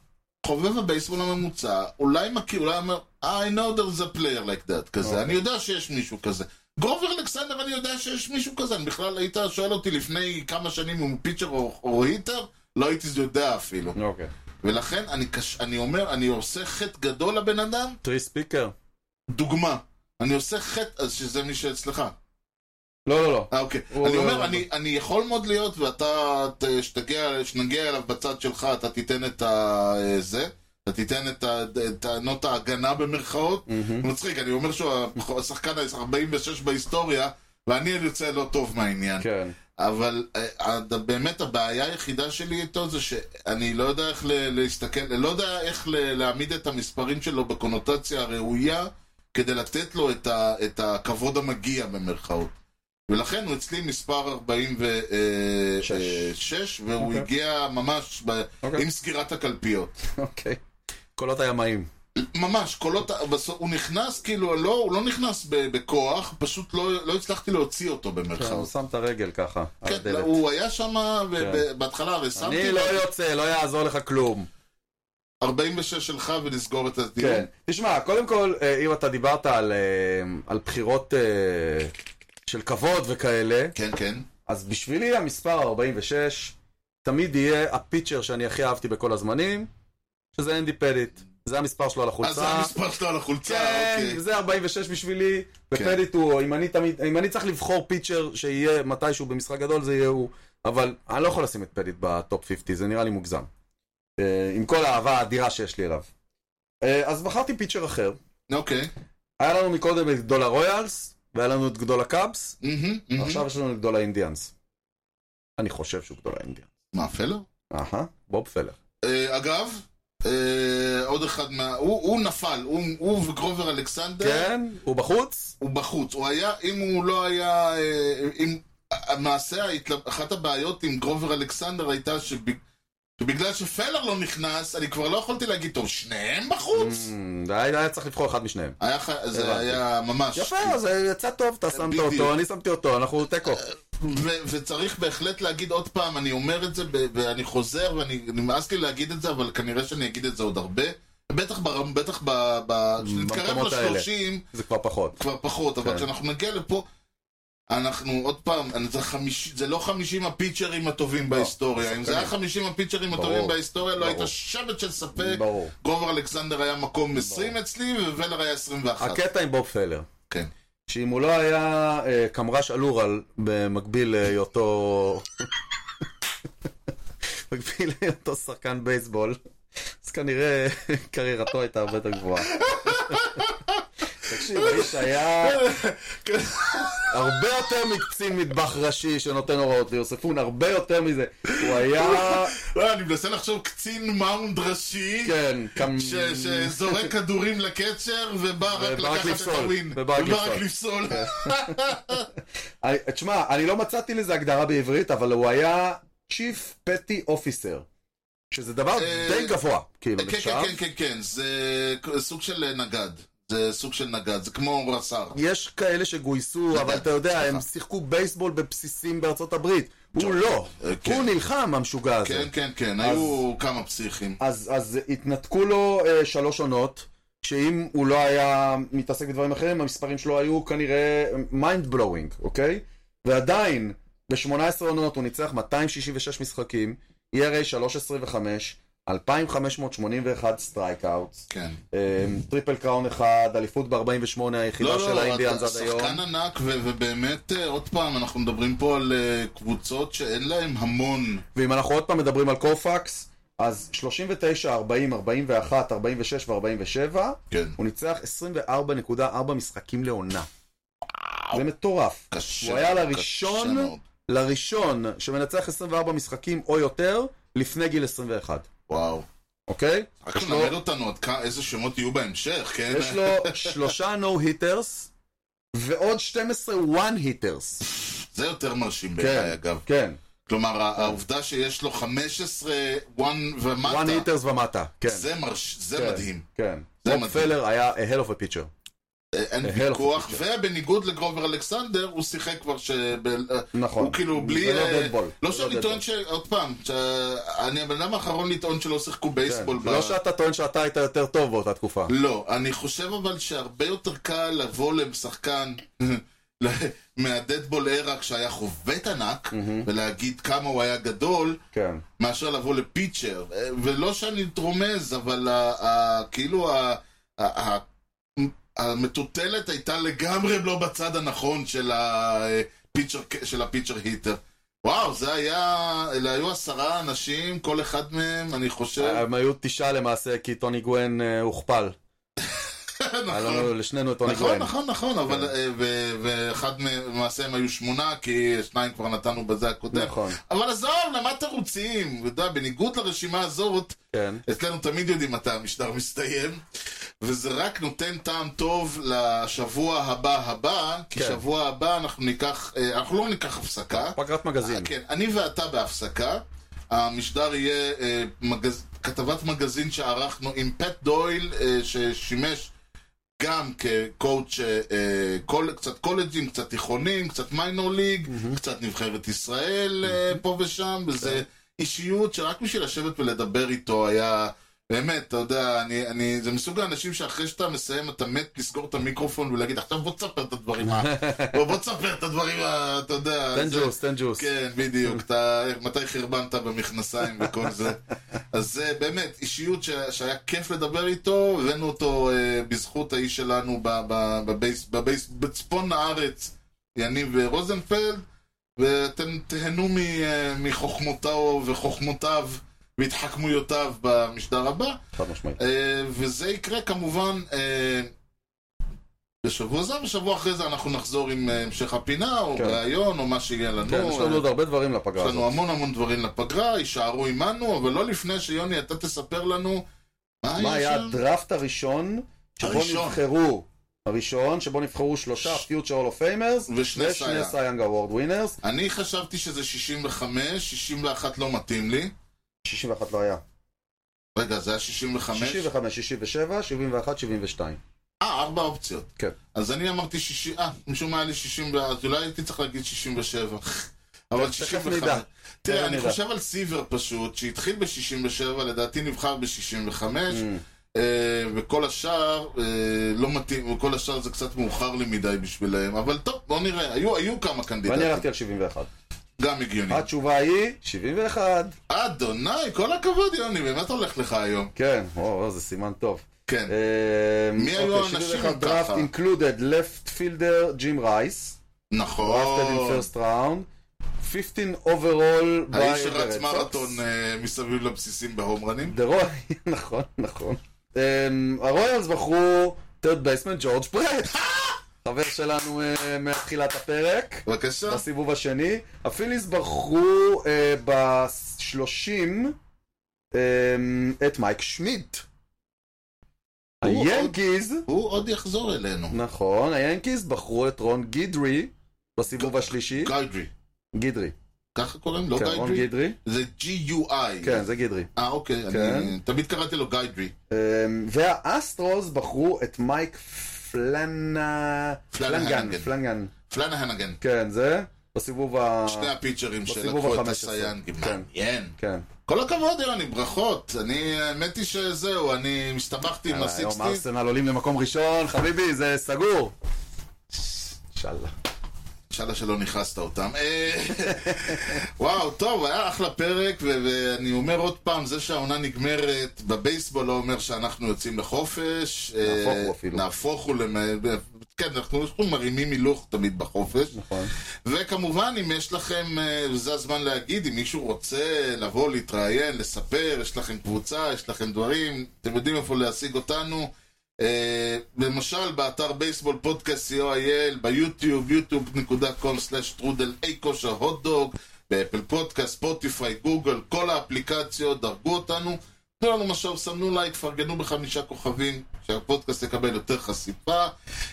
Speaker 2: חובב הבייסבול הממוצע, אולי מכיר, אולי אומר, I know there's a player like that כזה,
Speaker 1: אוקיי.
Speaker 2: אני יודע שיש מישהו כזה. גרובר אלכסנדר, אני יודע שיש מישהו כזה, אני בכלל, היית שואל אותי לפני כמה שנים אם הוא פיצ'ר או, או היטר, לא הייתי יודע אפילו.
Speaker 1: אוקיי.
Speaker 2: ולכן אני, קש... אני אומר, אני עושה חטא גדול לבן אדם,
Speaker 1: טרי ספיקר?
Speaker 2: דוגמה. אני עושה חטא, אז שזה מי שאצלך.
Speaker 1: לא, לא, לא.
Speaker 2: אה, אוקיי.
Speaker 1: הוא-
Speaker 2: אני
Speaker 1: הוא-
Speaker 2: אומר, אני, אני יכול מאוד להיות, ואתה, ת- שתגיע- כשנגיע אליו בצד שלך, אתה תיתן את ה... זה, אתה תיתן את ה- את טענות ההגנה במרכאות.
Speaker 1: מהמם.
Speaker 2: מצחיק, אני אומר שהוא השחקן ה-46 בהיסטוריה, ואני יוצא לא טוב מהעניין.
Speaker 1: כן.
Speaker 2: אבל אה, הד- באמת הבעיה היחידה שלי איתו זה שאני לא יודע איך ל- להסתכל, לא יודע איך ל- להעמיד את המספרים שלו בקונוטציה הראויה כדי לתת לו את ה- את הכבוד המגיע במרכאות. ולכן הוא אצלי מספר 46, אה, והוא
Speaker 1: אוקיי.
Speaker 2: הגיע ממש ב-
Speaker 1: אוקיי.
Speaker 2: עם סגירת הקלפיות.
Speaker 1: אוקיי. קולות הימאים.
Speaker 2: ממש, קולות, בסוף- הוא נכנס כאילו, לא, הוא לא נכנס ב- בכוח, פשוט לא לא הצלחתי להוציא אותו
Speaker 1: הוא
Speaker 2: במרכאות.
Speaker 1: שם את הרגל ככה, על
Speaker 2: כן,
Speaker 1: הדלת.
Speaker 2: הוא כאילו היה שם,
Speaker 1: כן.
Speaker 2: בהתחלה הרי שמתי
Speaker 1: אני לא יוצא, לא יעזור לך כלום.
Speaker 2: 46 שלך ונסגור את הדיון.
Speaker 1: כן. תשמע, קודם כל, אה, אם אתה דיברת על, אה, על בחירות אה, של כבוד וכאלה,
Speaker 2: כן, כן.
Speaker 1: אז בשבילי המספר 46 תמיד יהיה הפיצ'ר שאני הכי אהבתי בכל הזמנים, שזה אנדי פדיט. זה המספר שלו על החולצה.
Speaker 2: אז זה המספר שלו על החולצה,
Speaker 1: כן,
Speaker 2: אוקיי.
Speaker 1: זה 46 בשבילי,
Speaker 2: כן.
Speaker 1: ופדיט הוא, אם אני תמיד, אם אני צריך לבחור פיצ'ר שיהיה מתישהו במשחק גדול, זה יהיה הוא, אבל אני לא יכול לשים את פדיט בטופ 50, זה נראה לי מוגזם. אה, עם כל האהבה האדירה שיש לי אליו. אה, אז בחרתי פיצ'ר אחר.
Speaker 2: אוקיי.
Speaker 1: היה לנו מקודם את גדול הרויאלס, והיה לנו את גדול הקאבס,
Speaker 2: מהמם, מהמם.
Speaker 1: ועכשיו יש לנו את גדול האינדיאנס. אני חושב שהוא גדול האינדיאנס.
Speaker 2: מה, פלר?
Speaker 1: אהה, בוב פלר.
Speaker 2: אה, אגב, אה, עוד אחד מה... הוא הוא נפל, הוא- הוא וגרובר אלכסנדר,
Speaker 1: כן, הוא בחוץ?
Speaker 2: הוא בחוץ. הוא היה, אם הוא לא היה... אה, אם- המעשה, ההתל- אחת הבעיות עם גרובר אלכסנדר הייתה שב- שבגלל שפלר לא נכנס, אני כבר לא יכולתי להגיד, טוב, שניהם בחוץ?
Speaker 1: אמ, זה היה היה צריך לבחור אחד משניהם.
Speaker 2: היה ח- זה
Speaker 1: הבנתי.
Speaker 2: היה ממש...
Speaker 1: יפה, אז אה, יצא טוב, אתה שמת
Speaker 2: בדיוק.
Speaker 1: אותו, אני שמתי אותו, אנחנו תיקו.
Speaker 2: ו- וצריך בהחלט להגיד עוד פעם, אני אומר את זה ב- ואני חוזר ואני נמאס לי להגיד את זה, אבל כנראה שאני אגיד את זה עוד הרבה. בטח ברם, בטח ב... ב- כשנתקרב
Speaker 1: במקומות האלה.
Speaker 2: לשלושים,
Speaker 1: זה כבר פחות.
Speaker 2: כבר פחות, אבל
Speaker 1: כן.
Speaker 2: כשאנחנו נגיע לפה, אנחנו עוד פעם, אני- זה, חמיש, זה לא חמישים הפיצ'רים
Speaker 1: לא,
Speaker 2: הטובים בהיסטוריה. אם זה היה חמישים הפיצ'רים
Speaker 1: כן ברור.
Speaker 2: הטובים בהיסטוריה, לא
Speaker 1: ברור.
Speaker 2: הייתה שבט של ספק.
Speaker 1: ברור.
Speaker 2: גרובר אלכסנדר היה מקום 20 אצלי, וולר היה 21.
Speaker 1: הקטע עם בוב פלר,
Speaker 2: כן.
Speaker 1: שאם הוא לא היה אה, קמרש אלור על במקביל להיותו... במקביל להיותו שחקן בייסבול, אז כנראה קריירתו הייתה הרבה יותר גבוהה. תקשיב, האיש היה
Speaker 2: כן.
Speaker 1: הרבה יותר מקצין מטבח ראשי שנותן הוראות ליוספון, הרבה יותר מזה. הוא היה,
Speaker 2: לא, אני מנסה לחשוב קצין מאונד ראשי.
Speaker 1: כן, כמ-
Speaker 2: ש- שזורק כדורים לקצ'ר ובא רק
Speaker 1: ובא רק
Speaker 2: לקחת את
Speaker 1: לפסול.
Speaker 2: הווין.
Speaker 1: ובא רק
Speaker 2: ובא רק לפסול.
Speaker 1: אה, אני- תשמע, אני לא מצאתי לזה הגדרה בעברית, אבל הוא היה Chief Petty Officer, שזה דבר
Speaker 2: אה,
Speaker 1: די גבוה, כאילו,
Speaker 2: כן,
Speaker 1: נחשב.
Speaker 2: כן, כן, כן, כן, זה סוג של נגד. זה סוג של נגד, זה כמו רס"ר.
Speaker 1: יש כאלה שגויסו, אבל אתה יודע, הם שיחקו בייסבול בבסיסים בארצות הברית. הוא לא.
Speaker 2: אה, כן.
Speaker 1: הוא נלחם, המשוגע הזה.
Speaker 2: כן, כן, כן, היו כמה פסיכים.
Speaker 1: אז אז התנתקו לו אה, שלוש עונות, שאם הוא לא היה מתעסק בדברים אחרים, המספרים שלו היו כנראה mind blowing, אוקיי? ועדיין, ב-18 עונות הוא ניצח 266 משחקים, ERA 325, 2,581 סטרייקאוטס,
Speaker 2: כן.
Speaker 1: אה, טריפל קראון אחד, אליפות ב-48 היחידה
Speaker 2: לא,
Speaker 1: של
Speaker 2: לא,
Speaker 1: האינדיאנס
Speaker 2: אתה
Speaker 1: עד היום.
Speaker 2: שחקן ענק, ו- ובאמת, אה, עוד פעם, אנחנו מדברים פה על אה, קבוצות שאין להן המון.
Speaker 1: ואם אנחנו עוד פעם מדברים על קורפקס, אז 39, 40, 41, 46 ו-47,
Speaker 2: כן.
Speaker 1: הוא ניצח 24.4 משחקים לעונה. זה מטורף.
Speaker 2: קשה.
Speaker 1: הוא היה
Speaker 2: קשה
Speaker 1: לראשון,
Speaker 2: מאוד.
Speaker 1: לראשון שמנצח 24 משחקים או יותר, לפני גיל 21,
Speaker 2: וואו.
Speaker 1: אוקיי?
Speaker 2: רק
Speaker 1: יש לו-
Speaker 2: ללמד אותנו עוד כ- איזה שמות יהיו בהמשך, כן?
Speaker 1: יש לו שלושה נו היטרס, ועוד 12 וואן היטרס.
Speaker 2: זה יותר מרשים בעיניי,
Speaker 1: כן,
Speaker 2: אגב.
Speaker 1: כן.
Speaker 2: כלומר, העובדה שיש לו 15 וואן ומטה,
Speaker 1: וואן היטרס ומטה, כן.
Speaker 2: זה, מרש... זה
Speaker 1: כן,
Speaker 2: מדהים.
Speaker 1: כן.
Speaker 2: זה
Speaker 1: בוב
Speaker 2: מדהים.
Speaker 1: פלר היה a hell of a pitcher.
Speaker 2: אה, אין
Speaker 1: אה,
Speaker 2: ויכוח,
Speaker 1: אה,
Speaker 2: ובניגוד לגרובר אלכסנדר, הוא שיחק כבר ש...
Speaker 1: נכון.
Speaker 2: הוא כאילו בלי...
Speaker 1: זה לא
Speaker 2: אה,
Speaker 1: dead ball.
Speaker 2: לא
Speaker 1: זה לא
Speaker 2: שאני
Speaker 1: dead
Speaker 2: טוען
Speaker 1: ball.
Speaker 2: ש... עוד פעם, ש... אני הבן אדם האחרון לטעון שלא שיחקו
Speaker 1: כן.
Speaker 2: בייסבול. ב-
Speaker 1: לא שאתה טוען שאתה היית יותר טוב באותה תקופה.
Speaker 2: לא, אני חושב אבל שהרבה יותר קל לבוא לשחקן מהדדבול עירה כשהיה חובט ענק, ולהגיד כמה הוא היה גדול,
Speaker 1: כן.
Speaker 2: מאשר לבוא לפיצ'ר. אה, ולא שאני רומז, אבל ה- ה- כאילו ה- ה- ה- המטוטלת הייתה לגמרי לא בצד הנכון של הפיצ'ר, של הפיצ'ר היטר. וואו, זה היה, אלה היו עשרה אנשים, כל אחד מהם, אני חושב,
Speaker 1: הם היו תשעה למעשה, כי טוני גואן אה, הוכפל. היה
Speaker 2: נכון.
Speaker 1: לנו לשנינו את טוני
Speaker 2: נכון,
Speaker 1: גואן.
Speaker 2: נכון, נכון, אבל אה, ו- ואחד מ- למעשה הם היו שמונה, כי שניים כבר נתנו בזה הקודם.
Speaker 1: נכון.
Speaker 2: אבל עזוב, למה תירוצים? אתה יודע, בניגוד לרשימה הזאת,
Speaker 1: כן.
Speaker 2: אצלנו תמיד יודעים מתי המשדר מסתיים. וזה רק נותן טעם טוב לשבוע הבא הבא, כי
Speaker 1: כן.
Speaker 2: שבוע הבא אנחנו ניקח, אה, אנחנו לא ניקח הפסקה.
Speaker 1: פגרת מגזין.
Speaker 2: כן, אני ואתה בהפסקה. המשדר יהיה אה, מגז... כתבת מגזין שערכנו עם פט דויל, אה, ששימש גם כקואוצ' אה, קול... קצת קולג'ים, קצת תיכונים, קצת מיינור ליג, קצת נבחרת ישראל אה, פה ושם, וזה אישיות שרק בשביל לשבת ולדבר איתו היה... באמת, אתה יודע, אני, אני, זה מסוג האנשים שאחרי שאתה מסיים אתה מת לסגור את המיקרופון ולהגיד עכשיו בוא תספר את הדברים, ה- בוא בוא תספר את הדברים, ה- אתה יודע,
Speaker 1: תן
Speaker 2: זה-
Speaker 1: ג'וס, תן ג'וס.
Speaker 2: כן, בדיוק, אתה, מתי חרבנת במכנסיים וכל זה. אז זה באמת אישיות ש, שהיה כיף לדבר איתו, הבאנו אותו אה, בזכות האיש שלנו ב, ב, בבייס, בבייס, בצפון הארץ, יניב רוזנפלד, ואתם תהנו מ, אה, מחוכמותיו וחוכמותיו והתחכמויותיו במשדר הבא,
Speaker 1: חד משמעית.
Speaker 2: אה, וזה יקרה כמובן... אה, בשבוע זה, ושבוע אחרי זה אנחנו נחזור עם אה, המשך הפינה, או
Speaker 1: כן.
Speaker 2: ראיון, או מה שיהיה לנו.
Speaker 1: כן, יש
Speaker 2: אה,
Speaker 1: לנו עוד הרבה דברים לפגרה
Speaker 2: יש לנו
Speaker 1: הזאת.
Speaker 2: המון המון דברים לפגרה, יישארו עמנו, אבל לא לפני שיוני, אתה תספר לנו
Speaker 1: מה היה
Speaker 2: שם.
Speaker 1: הדראפט הראשון שבו
Speaker 2: הראשון.
Speaker 1: נבחרו, הראשון שבו נבחרו שלושה פיוטר אול אוף פיימרס
Speaker 2: ושני
Speaker 1: ושני
Speaker 2: סייאנג.
Speaker 1: סייאנג אבורד ווינרס,
Speaker 2: אני חשבתי שזה 65, 61 לא מתאים לי.
Speaker 1: 61 לא היה,
Speaker 2: רגע, זה היה 65?
Speaker 1: 65, 67, 71, 72.
Speaker 2: אה, ארבע אופציות.
Speaker 1: כן.
Speaker 2: אז אני אמרתי 60, אה, משום מה היה לי 60, ו- אז אולי הייתי צריך להגיד 67. אבל
Speaker 1: תכף נדע.
Speaker 2: 65. תראה,
Speaker 1: תכף
Speaker 2: אני
Speaker 1: נדע.
Speaker 2: חושב על סיבר פשוט, שהתחיל ב-67, לדעתי נבחר ב-65.
Speaker 1: Mm.
Speaker 2: אה, וכל השאר אה, לא מתאים, וכל השאר זה קצת מאוחר לי מדי בשבילהם, אבל טוב, בוא נראה, היו, היו כמה
Speaker 1: ואני
Speaker 2: קנדידטים,
Speaker 1: הלכתי על 71.
Speaker 2: Mm. גם הגיוני.
Speaker 1: התשובה היא 71.
Speaker 2: אדוני, כל הכבוד יוני, באמת הולך לך היום.
Speaker 1: כן, וואו, זה סימן טוב.
Speaker 2: כן,
Speaker 1: אה,
Speaker 2: מי היו
Speaker 1: אוקיי,
Speaker 2: האנשים
Speaker 1: 71
Speaker 2: ככה?
Speaker 1: דראפט אינקלודד לפט פילדר ג'ים רייס. דראפטד אין
Speaker 2: נכון.
Speaker 1: פרסט ראונד. 15 אוברול.
Speaker 2: האיש שרץ מרתון אה, מסביב לבסיסים בהומרנים.
Speaker 1: נכון, נכון. אמ, הרויאלס בחרו טרד בייסמן ג'ורג' ברט. חבר שלנו אה, מתחילת הפרק.
Speaker 2: בבקשה.
Speaker 1: בסיבוב השני. הפיליס ברחו אה, ב-30 אה, את מייק שמידט.
Speaker 2: הוא עוד-
Speaker 1: היאנקיז,
Speaker 2: הוא עוד יחזור אלינו.
Speaker 1: נכון, היאנקיז בחרו את רון גידרי בסיבוב השלישי.
Speaker 2: גיידרי.
Speaker 1: גידרי.
Speaker 2: ככה קוראים? לא
Speaker 1: כן, רון
Speaker 2: גיידרי?
Speaker 1: גידרי.
Speaker 2: זה G-U-I.
Speaker 1: כן, זה גידרי.
Speaker 2: אה, אוקיי. אני
Speaker 1: כן.
Speaker 2: תמיד קראתי לו גיידרי.
Speaker 1: אה, והאסטרוס בחרו את מייק פלנה... פלנגן.
Speaker 2: פלנהנגן.
Speaker 1: פלנגן.
Speaker 2: פלנהנגן.
Speaker 1: כן, זה. בסיבוב ה...
Speaker 2: שני הפיצ'רים
Speaker 1: בסיבוב
Speaker 2: שלקחו את
Speaker 1: ה- 15.
Speaker 2: הסייאנגים.
Speaker 1: כן.
Speaker 2: מעניין.
Speaker 1: כן.
Speaker 2: כל הכבוד, יוני, ברכות. אני, האמת היא שזהו, אני הסתבכתי עם
Speaker 1: אה, היום
Speaker 2: הסיקסטיז.
Speaker 1: ארסנל עולים למקום ראשון, חביבי, זה סגור. אינשאללה.
Speaker 2: שאלה שלא נכנסת אותם. אה, וואו, טוב, היה אחלה פרק, ו- ואני אומר עוד פעם, זה שהעונה נגמרת בבייסבול לא אומר שאנחנו יוצאים לחופש. אה,
Speaker 1: נהפוך הוא אפילו.
Speaker 2: נהפוך הוא למ... כן, אנחנו אנחנו מרימים הילוך תמיד בחופש.
Speaker 1: נכון.
Speaker 2: וכמובן, אם יש לכם, אה, וזה הזמן להגיד, אם מישהו רוצה לבוא, להתראיין, לספר, יש לכם קבוצה, יש לכם דברים, אתם יודעים איפה להשיג אותנו. אה, למשל, באתר בייסבול פודקאסט co.il, ביוטיוב, יוטיוב.com/טרודל אי כושר הוטדוג, באפל פודקאסט, ספוטיפיי, גוגל, כל האפליקציות, דרגו אותנו. תנו לנו משוב, סמנו לייק, פרגנו בחמישה כוכבים, שהפודקאסט יקבל יותר חשיפה.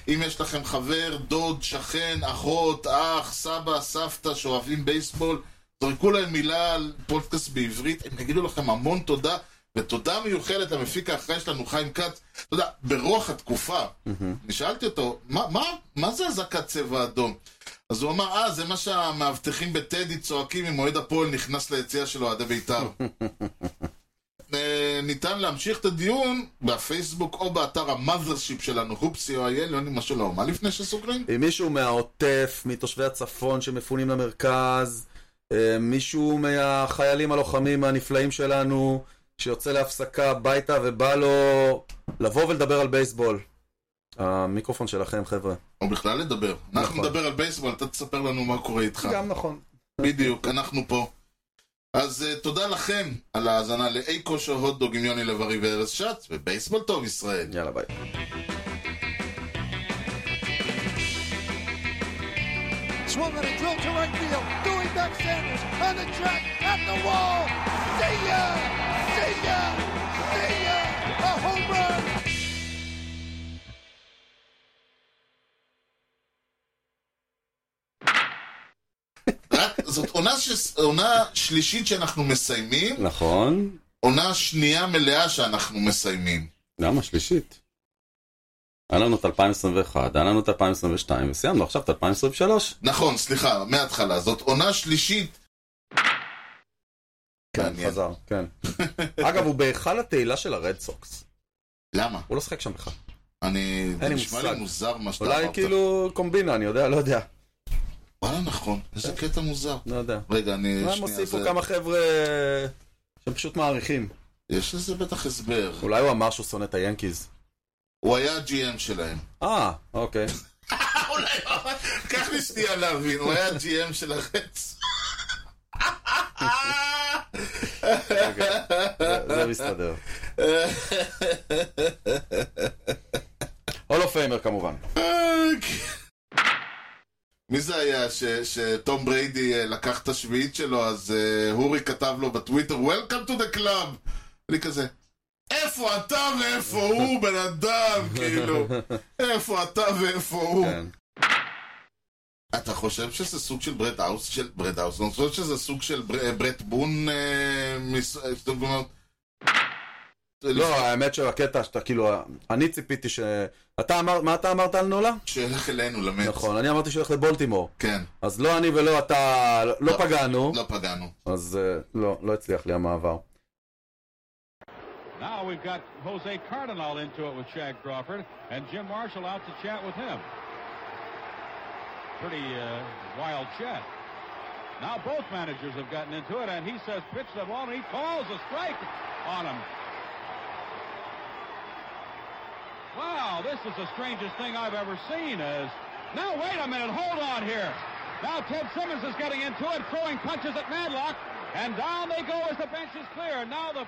Speaker 2: אם יש לכם חבר, דוד, שכן, אחות, אח, סבא, סבתא, שאוהבים בייסבול, זרקו להם מילה על פודקאסט בעברית, הם יגידו לכם המון תודה, ותודה מיוחדת למפיק האחראי שלנו, חיים כץ, אתה יודע, ברוח התקופה. אני שאלתי אותו, מה, מה, מה זה אזעקת צבע אדום? אז הוא אמר, אה, זה מה שהמאבטחים בטדי צועקים אם אוהד הפועל נכנס ליציאה של אוהדי בית"ר. אה, ניתן להמשיך את הדיון בפייסבוק או באתר המאזרשיפ שלנו, הופסי או אייל, יוני משהו לא, מה לפני שסוגרים?
Speaker 1: אם מישהו מהעוטף, מתושבי הצפון שמפונים למרכז, אה, מישהו מהחיילים הלוחמים הנפלאים שלנו, שיוצא להפסקה הביתה ובא לו לבוא ולדבר על בייסבול. המיקרופון שלכם, חבר'ה.
Speaker 2: או בכלל לדבר. אנחנו
Speaker 1: נכון.
Speaker 2: נדבר על בייסבול, אתה תספר לנו מה קורה איתך.
Speaker 1: גם נכון.
Speaker 2: בדיוק, אנחנו פה. אז אה, תודה לכם על ההאזנה לאי כושר הוטדוג עם יוני לב-ארי וארז שץ, ובייסבול טוב ישראל.
Speaker 1: יאללה, ביי.
Speaker 3: Swung and a drill to right field. Doing back Sanders on the track at the wall. See ya! See ya! See ya! A home run!
Speaker 2: זאת עונה, ש... עונה שלישית שאנחנו מסיימים,
Speaker 1: נכון.
Speaker 2: עונה שנייה מלאה שאנחנו מסיימים.
Speaker 1: למה? שלישית. היה לנו את 2021, היה לנו את 2022, וסיימנו עכשיו את 2023.
Speaker 2: נכון, סליחה, מההתחלה. זאת עונה שלישית. מעניין.
Speaker 1: חזר, כן. אגב, הוא בהיכל התהילה של הרד סוקס.
Speaker 2: למה?
Speaker 1: הוא לא שחק שם בכלל.
Speaker 2: אני... זה
Speaker 1: לי
Speaker 2: נשמע
Speaker 1: מושג.
Speaker 2: לי מוזר מה שאתה
Speaker 1: אולי
Speaker 2: אמרת.
Speaker 1: כאילו קומבינה, אני יודע, לא יודע.
Speaker 2: וואלה, נכון. איזה קטע מוזר.
Speaker 1: לא יודע.
Speaker 2: רגע, אני...
Speaker 1: אולי הם
Speaker 2: שנייה,
Speaker 1: הוסיפו
Speaker 2: זה-
Speaker 1: כמה חבר'ה אה, שהם פשוט מעריכים.
Speaker 2: יש לזה בטח הסבר.
Speaker 1: אולי הוא אמר שהוא שונא את היאנקיז.
Speaker 2: הוא היה GM שלהם.
Speaker 1: אה, אוקיי.
Speaker 2: אולי... לא, קח לי שנייה להבין, הוא היה GM של החץ. אוקיי.
Speaker 1: זה- זה מסתדר. הולו פיימר כמובן.
Speaker 2: מי זה היה ש- שטום בריידי אה, לקח את השביעית שלו, אז אה, אורי כתב לו בטוויטר, Welcome to the club! אני כזה, איפה אתה ואיפה הוא, בן אדם, כאילו? איפה אתה ואיפה הוא?
Speaker 1: כן.
Speaker 2: אתה חושב שזה סוג של ברד האוס, של ברד האוס, אני חושב שזה סוג של בר- ברט בון, אה, מס- אה, זאת אומרת...
Speaker 1: לא, האמת שהקטע שאתה כאילו, אני ציפיתי ש... אתה אמר, מה אתה אמרת על נולה?
Speaker 2: שילך אלינו למת.
Speaker 1: נכון, אני אמרתי שהוא הולך לבולטימור.
Speaker 2: כן,
Speaker 1: אז לא אני ולא אתה, לא
Speaker 2: לא.
Speaker 1: פגענו.
Speaker 2: לא פגענו.
Speaker 1: אז אה, לא, לא הצליח לי המעבר.
Speaker 5: Now we've got Jose Cardinal into it with Shag Crawford and Jim Marshall out to chat with him. Pretty uh, wild chat. Now both managers have gotten into it, and he says pitch the ball, and he calls a strike on him. Wow, this is the strangest thing I've ever seen. Is now wait a minute, hold on here. Now Ted Simmons is getting into it, throwing punches at Madlock, and down they go as the bench is clear. Now the